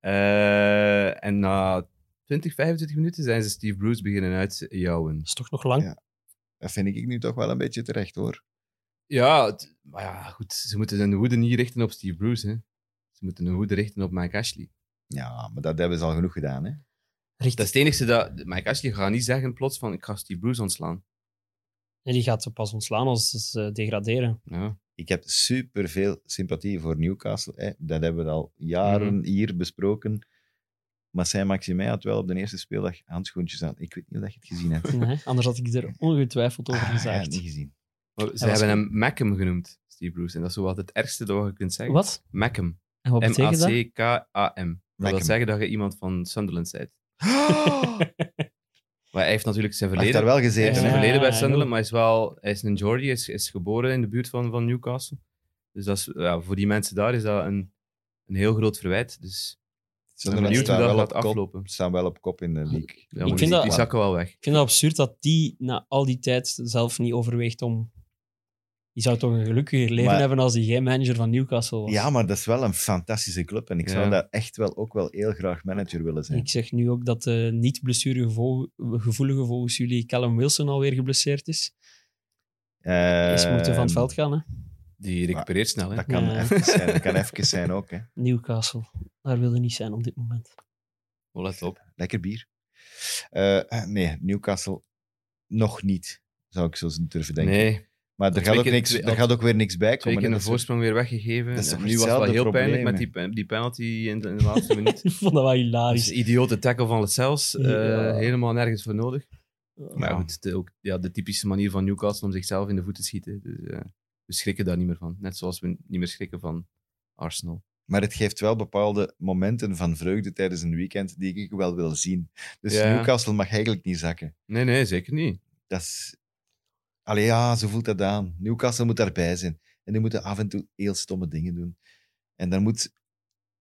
[SPEAKER 3] Eh, en na 20, 25 minuten zijn ze Steve Bruce beginnen uitjouwen.
[SPEAKER 4] Dat is toch nog lang?
[SPEAKER 2] Ja. Dat vind ik nu toch wel een beetje terecht, hoor.
[SPEAKER 3] Ja, het- maar ja, goed. Ze moeten hun woede niet richten op Steve Bruce. Hè. Ze moeten hun woede richten op Mike Ashley.
[SPEAKER 2] Ja, maar dat hebben ze al genoeg gedaan, hè.
[SPEAKER 4] Richt-
[SPEAKER 3] Dat is het enige dat... Mike Ashley gaat niet zeggen plots van ik ga Steve Bruce ontslaan.
[SPEAKER 4] Nee, die gaat ze pas ontslaan als ze eh, degraderen.
[SPEAKER 3] Ja.
[SPEAKER 2] Ik heb superveel sympathie voor Newcastle. Hè. Dat hebben we al jaren
[SPEAKER 3] Mhm.
[SPEAKER 2] hier besproken. Maar Saint-Maximin had wel op de eerste speeldag handschoentjes aan. Ik weet niet of dat je het gezien hebt.
[SPEAKER 4] [laughs] Nee, anders had ik er ongetwijfeld over
[SPEAKER 2] Ah, ja,
[SPEAKER 4] gezegd.
[SPEAKER 2] niet gezien.
[SPEAKER 3] Maar ze
[SPEAKER 4] was
[SPEAKER 3] hebben hem Mackem genoemd, Steve Bruce. En dat is zo wat het ergste dat je kunt zeggen.
[SPEAKER 4] Wat?
[SPEAKER 3] Mackem.
[SPEAKER 4] En wat betekent dat?
[SPEAKER 3] M-A-C-K-A-M. Dat wil
[SPEAKER 2] Mackem.
[SPEAKER 3] zeggen dat je iemand van Sunderland
[SPEAKER 4] [gasps]
[SPEAKER 3] bent. Maar hij heeft natuurlijk zijn
[SPEAKER 2] Hij heeft
[SPEAKER 3] verleden.
[SPEAKER 2] daar wel
[SPEAKER 3] Hij
[SPEAKER 2] gezeten,
[SPEAKER 3] heeft
[SPEAKER 2] hè.
[SPEAKER 3] een
[SPEAKER 4] Ja,
[SPEAKER 3] verleden bij
[SPEAKER 4] ja,
[SPEAKER 3] Sunderland,
[SPEAKER 4] ja.
[SPEAKER 3] maar hij is wel hij is een Geordie, hij is, is geboren in de buurt van, van Newcastle. Dus dat is, ja, voor die mensen daar is dat een, een heel groot verwijt. Dus ik
[SPEAKER 2] Sunderland
[SPEAKER 3] ben benieuwd hoe
[SPEAKER 2] staan
[SPEAKER 3] dat
[SPEAKER 2] wel
[SPEAKER 3] gaat
[SPEAKER 2] op kop-
[SPEAKER 3] aflopen.
[SPEAKER 2] staan wel op kop in de league.
[SPEAKER 3] Ja,
[SPEAKER 4] vind
[SPEAKER 3] maar die,
[SPEAKER 4] dat-
[SPEAKER 3] die zakken wel weg.
[SPEAKER 4] Ik vind het absurd dat die na al die tijd zelf niet overweegt om... Die zou toch een gelukkiger leven
[SPEAKER 2] Maar-
[SPEAKER 4] hebben als die geen manager van Newcastle was.
[SPEAKER 2] Ja, maar dat is wel een fantastische club. En ik zou
[SPEAKER 3] Ja.
[SPEAKER 2] daar echt wel ook wel heel graag manager willen zijn.
[SPEAKER 4] Ik zeg nu ook dat de niet-blessuregevoelige volgens jullie Callum Wilson alweer geblesseerd is. Is
[SPEAKER 2] Ehm,
[SPEAKER 4] moeten van het veld gaan, hè?
[SPEAKER 3] Die recupereert snel, hè.
[SPEAKER 2] Dat kan
[SPEAKER 4] Ja.
[SPEAKER 2] even zijn. Dat
[SPEAKER 3] [laughs]
[SPEAKER 2] kan even zijn ook. Hè.
[SPEAKER 4] Newcastle. Daar wil je niet zijn op dit moment. [laughs]
[SPEAKER 3] Oh, let op.
[SPEAKER 2] Lekker bier. Eh, nee, Newcastle nog niet, zou ik zo durven denken.
[SPEAKER 3] Nee,
[SPEAKER 2] maar er
[SPEAKER 3] twee
[SPEAKER 2] gaat, ook
[SPEAKER 3] keer-
[SPEAKER 2] niks,
[SPEAKER 3] twee-
[SPEAKER 2] er gaat ook weer niks bij
[SPEAKER 3] twee
[SPEAKER 2] komen.
[SPEAKER 3] keer
[SPEAKER 2] hè. dus- Oh,
[SPEAKER 3] een
[SPEAKER 2] Dat is-
[SPEAKER 3] voorsprong weer weggegeven.
[SPEAKER 2] dat is
[SPEAKER 3] En
[SPEAKER 2] toch
[SPEAKER 3] nu was het wel heel
[SPEAKER 2] hetzelfde
[SPEAKER 3] pijnlijk met
[SPEAKER 2] probleem,
[SPEAKER 3] die, die penalty in de, in de laatste
[SPEAKER 2] [laughs]
[SPEAKER 3] minuut.
[SPEAKER 4] Ik vond dat wel
[SPEAKER 3] Dus
[SPEAKER 4] hilarisch.
[SPEAKER 3] een idiote tackle van Lecels, eh
[SPEAKER 4] Ja.
[SPEAKER 3] helemaal nergens voor nodig. Maar
[SPEAKER 2] Ja.
[SPEAKER 3] goed, de, ook, ja, de typische manier van Newcastle om zichzelf in de voet te schieten. Dus, eh, we schrikken daar niet meer van. Net zoals we niet meer schrikken van Arsenal.
[SPEAKER 2] Maar het geeft wel bepaalde momenten van vreugde tijdens een weekend die ik wel wil zien. Dus
[SPEAKER 3] Ja.
[SPEAKER 2] Newcastle mag eigenlijk niet zakken.
[SPEAKER 3] Nee, nee, zeker niet.
[SPEAKER 2] Dat is... Allee, ja, zo voelt dat aan. Newcastle moet daarbij zijn. En die moeten af en toe heel stomme dingen doen. En daar moet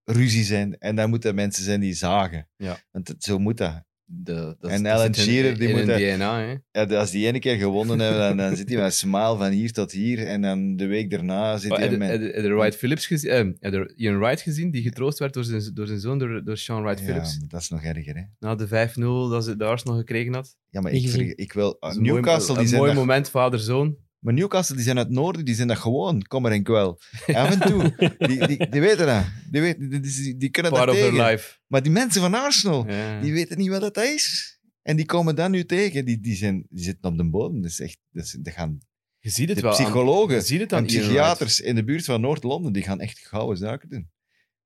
[SPEAKER 2] ruzie zijn. En daar moeten mensen zijn die zagen.
[SPEAKER 3] Ja.
[SPEAKER 2] Want het- zo moet dat.
[SPEAKER 3] De, dat
[SPEAKER 2] En
[SPEAKER 3] dat
[SPEAKER 2] Alan
[SPEAKER 3] zit
[SPEAKER 2] Shearer, die
[SPEAKER 3] in
[SPEAKER 2] moet
[SPEAKER 3] hun
[SPEAKER 2] hij-
[SPEAKER 3] DNA, hè.
[SPEAKER 2] Ja, de- als die ene keer gewonnen hebben, dan, dan zit hij met een smile van hier tot hier. En dan de week daarna zit
[SPEAKER 3] Maar
[SPEAKER 2] hij
[SPEAKER 3] Heb je-
[SPEAKER 2] met...
[SPEAKER 3] heb je- heb je Wright Phillips gezien? eh, heb je Ian Wright gezien, die getroost werd door zijn, door zijn zoon, door, door Sean Wright
[SPEAKER 2] ja,
[SPEAKER 3] Phillips.
[SPEAKER 2] maar dat is nog erger, hè.
[SPEAKER 3] Na de 5-0 dat ze de Arsenal gekregen had.
[SPEAKER 2] Ja, maar
[SPEAKER 4] Niet
[SPEAKER 2] ik,
[SPEAKER 4] gezien.
[SPEAKER 2] verge- ik wil...
[SPEAKER 3] Dat is een mooi-
[SPEAKER 2] Ah, Newcastle, die
[SPEAKER 3] Een
[SPEAKER 2] zijn
[SPEAKER 3] mooi
[SPEAKER 2] dat-
[SPEAKER 3] moment, vader-zoon.
[SPEAKER 2] Maar Newcastle, die zijn uit het noorden, die zijn dat gewoon. Kom er en
[SPEAKER 3] [laughs]
[SPEAKER 2] kwel. Af en toe. Die, die, die weten dat. Die, weten, die, die, die kunnen
[SPEAKER 3] Part
[SPEAKER 2] dat
[SPEAKER 3] of
[SPEAKER 2] tegen.
[SPEAKER 3] her life.
[SPEAKER 2] Maar die mensen van Arsenal,
[SPEAKER 3] Ja.
[SPEAKER 2] die weten niet wat dat is. En die komen dat nu tegen. Die, die, zijn, die zitten op de bodem. Dat is echt... Dat is- die gaan,
[SPEAKER 3] Je ziet het
[SPEAKER 2] de
[SPEAKER 3] wel. aan- je
[SPEAKER 2] psychologen
[SPEAKER 3] ziet het aan
[SPEAKER 2] en
[SPEAKER 3] Ian Wright.
[SPEAKER 2] psychiaters in de buurt van Noord-Londen, die gaan echt gouden zaken doen.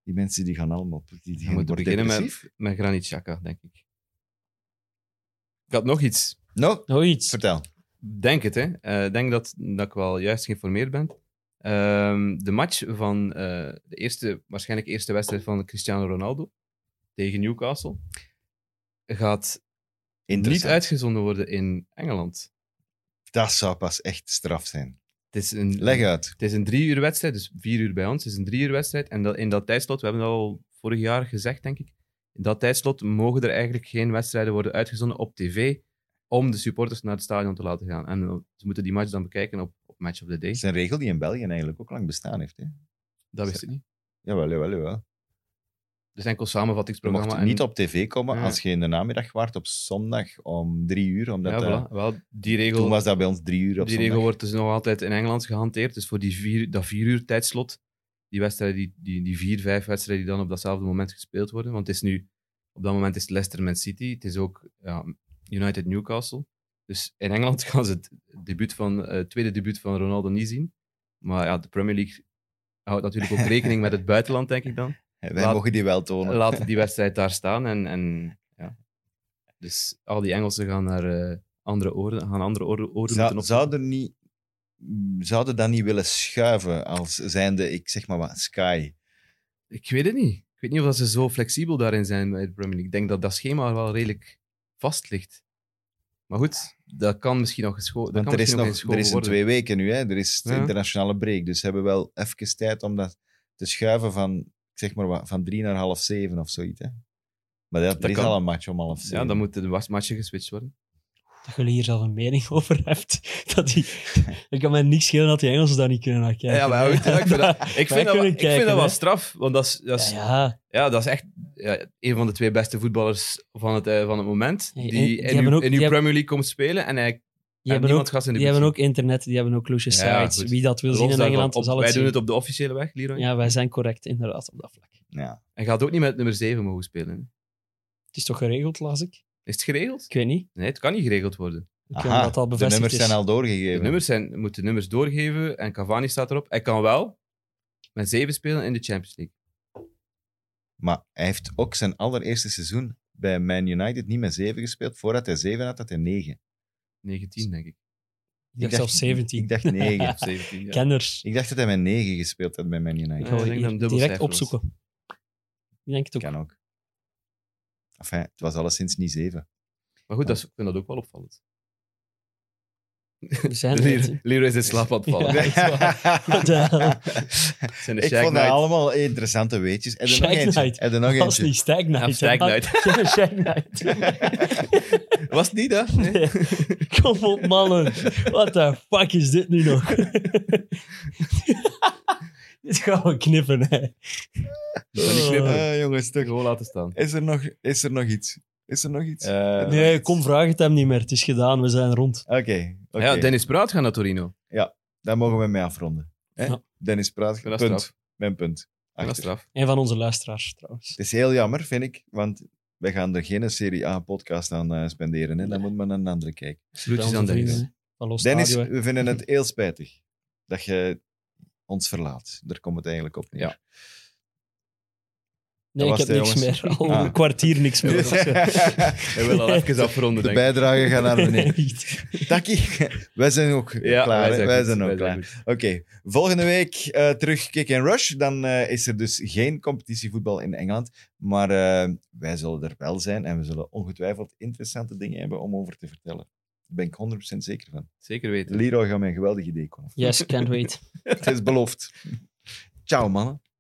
[SPEAKER 2] Die mensen die gaan allemaal... Die, die
[SPEAKER 3] Je moet
[SPEAKER 2] worden
[SPEAKER 3] beginnen
[SPEAKER 2] depressief.
[SPEAKER 3] met, met Granit Xhaka, denk ik. Ik had nog iets.
[SPEAKER 2] Nou,
[SPEAKER 4] Oh, iets.
[SPEAKER 2] vertel.
[SPEAKER 3] Denk het, hè. Eh, denk dat, dat ik wel juist geïnformeerd ben. Ehm, de match van eh, de eerste, waarschijnlijk eerste wedstrijd van Cristiano Ronaldo tegen Newcastle gaat niet
[SPEAKER 2] Interessant.
[SPEAKER 3] uitgezonden worden in Engeland.
[SPEAKER 2] Dat zou pas echt straf zijn.
[SPEAKER 3] Het is een,
[SPEAKER 2] Leg uit.
[SPEAKER 3] het is een drie uur wedstrijd, dus vier uur bij ons. Het is een drie uur wedstrijd. En dat, in dat tijdslot, we hebben dat al vorig jaar gezegd, denk ik. In dat tijdslot mogen er eigenlijk geen wedstrijden worden uitgezonden op tv om de supporters naar het stadion te laten gaan. En eh, ze moeten die match dan bekijken op, op Match of the Day.
[SPEAKER 2] Het is een regel die in België eigenlijk ook lang bestaan heeft. Hè?
[SPEAKER 3] Dat wist ik niet.
[SPEAKER 2] Jawel, jawel, jawel.
[SPEAKER 3] Dus enkel
[SPEAKER 2] Je mocht
[SPEAKER 3] samenvattingsprogramma. en-
[SPEAKER 2] niet op tv komen
[SPEAKER 3] Ja.
[SPEAKER 2] als je in de namiddag waart op zondag om drie uur. Omdat
[SPEAKER 3] Ja,
[SPEAKER 2] dat- eh,
[SPEAKER 3] voilà. Wel, die regel,
[SPEAKER 2] Toen was dat bij ons drie uur op
[SPEAKER 3] die
[SPEAKER 2] zondag.
[SPEAKER 3] regel wordt dus nog altijd in Engeland gehanteerd. Dus voor die vier, dat vier uur tijdslot, die, wedstrijden, die, die, die vier, vijf wedstrijden die dan op datzelfde moment gespeeld worden. Want het is nu, op dat moment is het Leicester Man City, het is ook ja, United Newcastle. Dus in Engeland [laughs] gaan ze het debuut van, eh, het tweede debuut van Ronaldo niet zien. Maar ja, de Premier League houdt natuurlijk ook rekening met het buitenland, denk ik dan.
[SPEAKER 2] Wij
[SPEAKER 3] Laat-
[SPEAKER 2] mogen die wel tonen.
[SPEAKER 3] Laten die wedstrijd daar staan. En, en, ja. Dus al die Engelsen gaan naar eh, andere oren, gaan andere oren, oren
[SPEAKER 2] Zou,
[SPEAKER 3] moeten op.
[SPEAKER 2] zouden niet, zouden dat niet willen schuiven als zijnde, ik zeg maar wat, Sky?
[SPEAKER 3] Ik weet het niet. Ik weet niet of dat ze zo flexibel daarin zijn bij de Premier League. Ik denk dat dat schema wel redelijk vast ligt. Maar goed, dat kan misschien nog geschoten
[SPEAKER 2] Want er is nog er is een
[SPEAKER 3] worden.
[SPEAKER 2] twee weken nu, hè? er is de
[SPEAKER 3] Ja.
[SPEAKER 2] internationale break. Dus ze hebben wel even tijd om dat te schuiven van, ik zeg maar wat, van drie naar half zeven of zoiets. Hè? Maar dat,
[SPEAKER 3] Dat
[SPEAKER 2] er is
[SPEAKER 3] kan.
[SPEAKER 2] al een match om half zeven.
[SPEAKER 3] Ja, dan moeten de was- matchen geswitcht worden.
[SPEAKER 4] Dat jullie hier zelf een mening [laughs] over hebt. Dat,
[SPEAKER 3] [laughs]
[SPEAKER 4] die, dat kan mij niks schelen dat die Engelsen daar niet kunnen naar kijken.
[SPEAKER 3] Ja, maar goed, ja, ik vind dat,
[SPEAKER 4] [laughs]
[SPEAKER 3] ik vind dat, wel-
[SPEAKER 4] kunnen
[SPEAKER 3] ik vind
[SPEAKER 4] kijken,
[SPEAKER 3] dat wel
[SPEAKER 4] hè.
[SPEAKER 3] straf. Want dat is, dat is,
[SPEAKER 4] Ja,
[SPEAKER 3] ja,
[SPEAKER 4] ja.
[SPEAKER 3] dat is echt ja, een van de twee beste voetballers van het, eh, van het moment.
[SPEAKER 4] Ja,
[SPEAKER 3] Die,
[SPEAKER 4] en die
[SPEAKER 3] in
[SPEAKER 4] hebben
[SPEAKER 3] uw,
[SPEAKER 4] ook-
[SPEAKER 3] in uw
[SPEAKER 4] die hebben-
[SPEAKER 3] Premier League komt spelen en, hij, en
[SPEAKER 4] Die, hebben
[SPEAKER 3] niemand
[SPEAKER 4] ook,
[SPEAKER 3] gaat in de
[SPEAKER 4] die hebben ook internet, die hebben ook loesje
[SPEAKER 3] Ja,
[SPEAKER 4] sites.
[SPEAKER 3] goed.
[SPEAKER 4] Wie dat wil
[SPEAKER 3] Los
[SPEAKER 4] zien in
[SPEAKER 3] daarvan,
[SPEAKER 4] Engeland,
[SPEAKER 3] op-
[SPEAKER 4] zal
[SPEAKER 3] Wij
[SPEAKER 4] het
[SPEAKER 3] doen
[SPEAKER 4] zien.
[SPEAKER 3] het op de officiële weg, Leroy.
[SPEAKER 4] Ja, wij zijn correct, inderdaad, op dat vlak.
[SPEAKER 2] Ja.
[SPEAKER 3] En gaat ook niet met nummer 7 mogen spelen. hè?
[SPEAKER 4] Het is toch geregeld, las ik?
[SPEAKER 3] Is het geregeld?
[SPEAKER 4] Ik weet niet.
[SPEAKER 3] Nee, het kan niet geregeld worden.
[SPEAKER 4] Ik weet niet
[SPEAKER 2] Aha,
[SPEAKER 4] of dat al
[SPEAKER 2] de
[SPEAKER 4] bevestigd
[SPEAKER 2] nummers
[SPEAKER 4] is.
[SPEAKER 2] zijn al doorgegeven.
[SPEAKER 3] De nummers zijn, moet de nummers doorgeven en Cavani staat erop. Hij kan wel met zeven spelen in de Champions League.
[SPEAKER 2] Maar hij heeft ook zijn allereerste seizoen bij Man United niet met 7 gespeeld. Voordat hij 7 had, had hij 9.
[SPEAKER 3] 19, denk ik.
[SPEAKER 4] Ik dacht zelfs 17.
[SPEAKER 2] Ik dacht 9.
[SPEAKER 4] [laughs]
[SPEAKER 3] Of 17, ja.
[SPEAKER 4] Kenners.
[SPEAKER 2] ik dacht dat hij met 9 gespeeld had bij Man United.
[SPEAKER 4] Ik
[SPEAKER 3] Ja,
[SPEAKER 4] ga
[SPEAKER 3] ik denk dat
[SPEAKER 4] hier
[SPEAKER 3] het dubbel
[SPEAKER 4] direct
[SPEAKER 3] cijfer was.
[SPEAKER 4] opzoeken. Ik denk het ook.
[SPEAKER 2] Kan ook. Enfin, het was alleszins niet 7.
[SPEAKER 3] Maar goed, dat is, ik vind dat ook wel opvallend.
[SPEAKER 4] We
[SPEAKER 3] [laughs]
[SPEAKER 4] zijn er net, hè.
[SPEAKER 3] Leroy Leroy is in slaap aan het vallen.
[SPEAKER 4] [laughs] Ja, dat is waar.
[SPEAKER 2] [laughs]
[SPEAKER 4] Wat de hel?
[SPEAKER 3] Het Zijn de
[SPEAKER 2] Ik
[SPEAKER 3] Shaq
[SPEAKER 2] vond dat
[SPEAKER 3] Knight.
[SPEAKER 2] [laughs] allemaal interessante weetjes. En er nog
[SPEAKER 4] Shag
[SPEAKER 2] eentje.
[SPEAKER 4] Knight.
[SPEAKER 2] En er nog
[SPEAKER 4] Dat was
[SPEAKER 2] eentje.
[SPEAKER 4] niet Stag Night.
[SPEAKER 3] Ja,
[SPEAKER 4] hè.
[SPEAKER 3] Stag Night.
[SPEAKER 4] [laughs] Ja, Stag Night.
[SPEAKER 3] [laughs] Was het niet, hè? Nee.
[SPEAKER 4] Kom op, mannen. What the fuck is dit nu nog? [laughs] dit gaan we knippen, hè.
[SPEAKER 3] [laughs] Dat kan niet knippen.
[SPEAKER 2] Eh, jongens, toch.
[SPEAKER 3] Gewoon laten staan.
[SPEAKER 2] Is er, nog, is er nog iets? Is er nog iets?
[SPEAKER 5] Eh,
[SPEAKER 4] Nee, kom, vraag het hem niet meer. Het is gedaan, we zijn rond.
[SPEAKER 2] Oké. oké.
[SPEAKER 3] Ja, Dennis Praat gaat naar Torino.
[SPEAKER 2] Daar mogen we mee afronden. Hè?
[SPEAKER 4] Ja.
[SPEAKER 2] Dennis Praat,
[SPEAKER 3] vind dat
[SPEAKER 2] punt.
[SPEAKER 3] straf.
[SPEAKER 2] Mijn punt.
[SPEAKER 3] Dat is
[SPEAKER 2] Achter.
[SPEAKER 3] straf.
[SPEAKER 4] Een van onze luisteraars, trouwens.
[SPEAKER 2] Het is heel jammer, vind ik, want wij gaan er geen Serie A-podcast aan eh, spenderen. Hè? Dan moet men een andere kijken.
[SPEAKER 3] Groetjes aan
[SPEAKER 4] Dennis.
[SPEAKER 3] Dennis.
[SPEAKER 4] Van Los
[SPEAKER 2] Dennis,
[SPEAKER 4] Stadio, hè.
[SPEAKER 2] we vinden
[SPEAKER 3] [laughs]
[SPEAKER 2] het heel spijtig dat je ons verlaat. Daar komt het eigenlijk op neer.
[SPEAKER 3] Ja.
[SPEAKER 4] Nee, ik
[SPEAKER 2] was
[SPEAKER 4] heb
[SPEAKER 2] het,
[SPEAKER 4] niks
[SPEAKER 2] jongens.
[SPEAKER 4] meer. Al
[SPEAKER 2] Ah.
[SPEAKER 4] een kwartier
[SPEAKER 2] [laughs]
[SPEAKER 4] niks meer.
[SPEAKER 2] Dus-
[SPEAKER 4] of zo.
[SPEAKER 2] [laughs]
[SPEAKER 3] We willen al even afronden,
[SPEAKER 2] de
[SPEAKER 3] denk ik.
[SPEAKER 2] bijdrage gaat naar
[SPEAKER 3] [laughs]
[SPEAKER 2] beneden.
[SPEAKER 4] Echt.
[SPEAKER 2] Taki, wij zijn ook
[SPEAKER 3] Ja,
[SPEAKER 2] klaar. hè?
[SPEAKER 3] goed.
[SPEAKER 2] Wij zijn ook
[SPEAKER 3] Wij
[SPEAKER 2] klaar.
[SPEAKER 3] goed.
[SPEAKER 2] Oké, volgende week eh, terug Kick and Rush. Dan eh, is er dus geen competitievoetbal in Engeland. Maar eh, wij zullen er wel zijn en we zullen ongetwijfeld interessante dingen hebben om over te vertellen. Daar ben ik 100% zeker van.
[SPEAKER 3] Zeker weten.
[SPEAKER 2] [laughs] Leroy gaat mij een geweldig idee komen.
[SPEAKER 4] Yes, can't wait.
[SPEAKER 2] Het is beloofd. Ciao, mannen.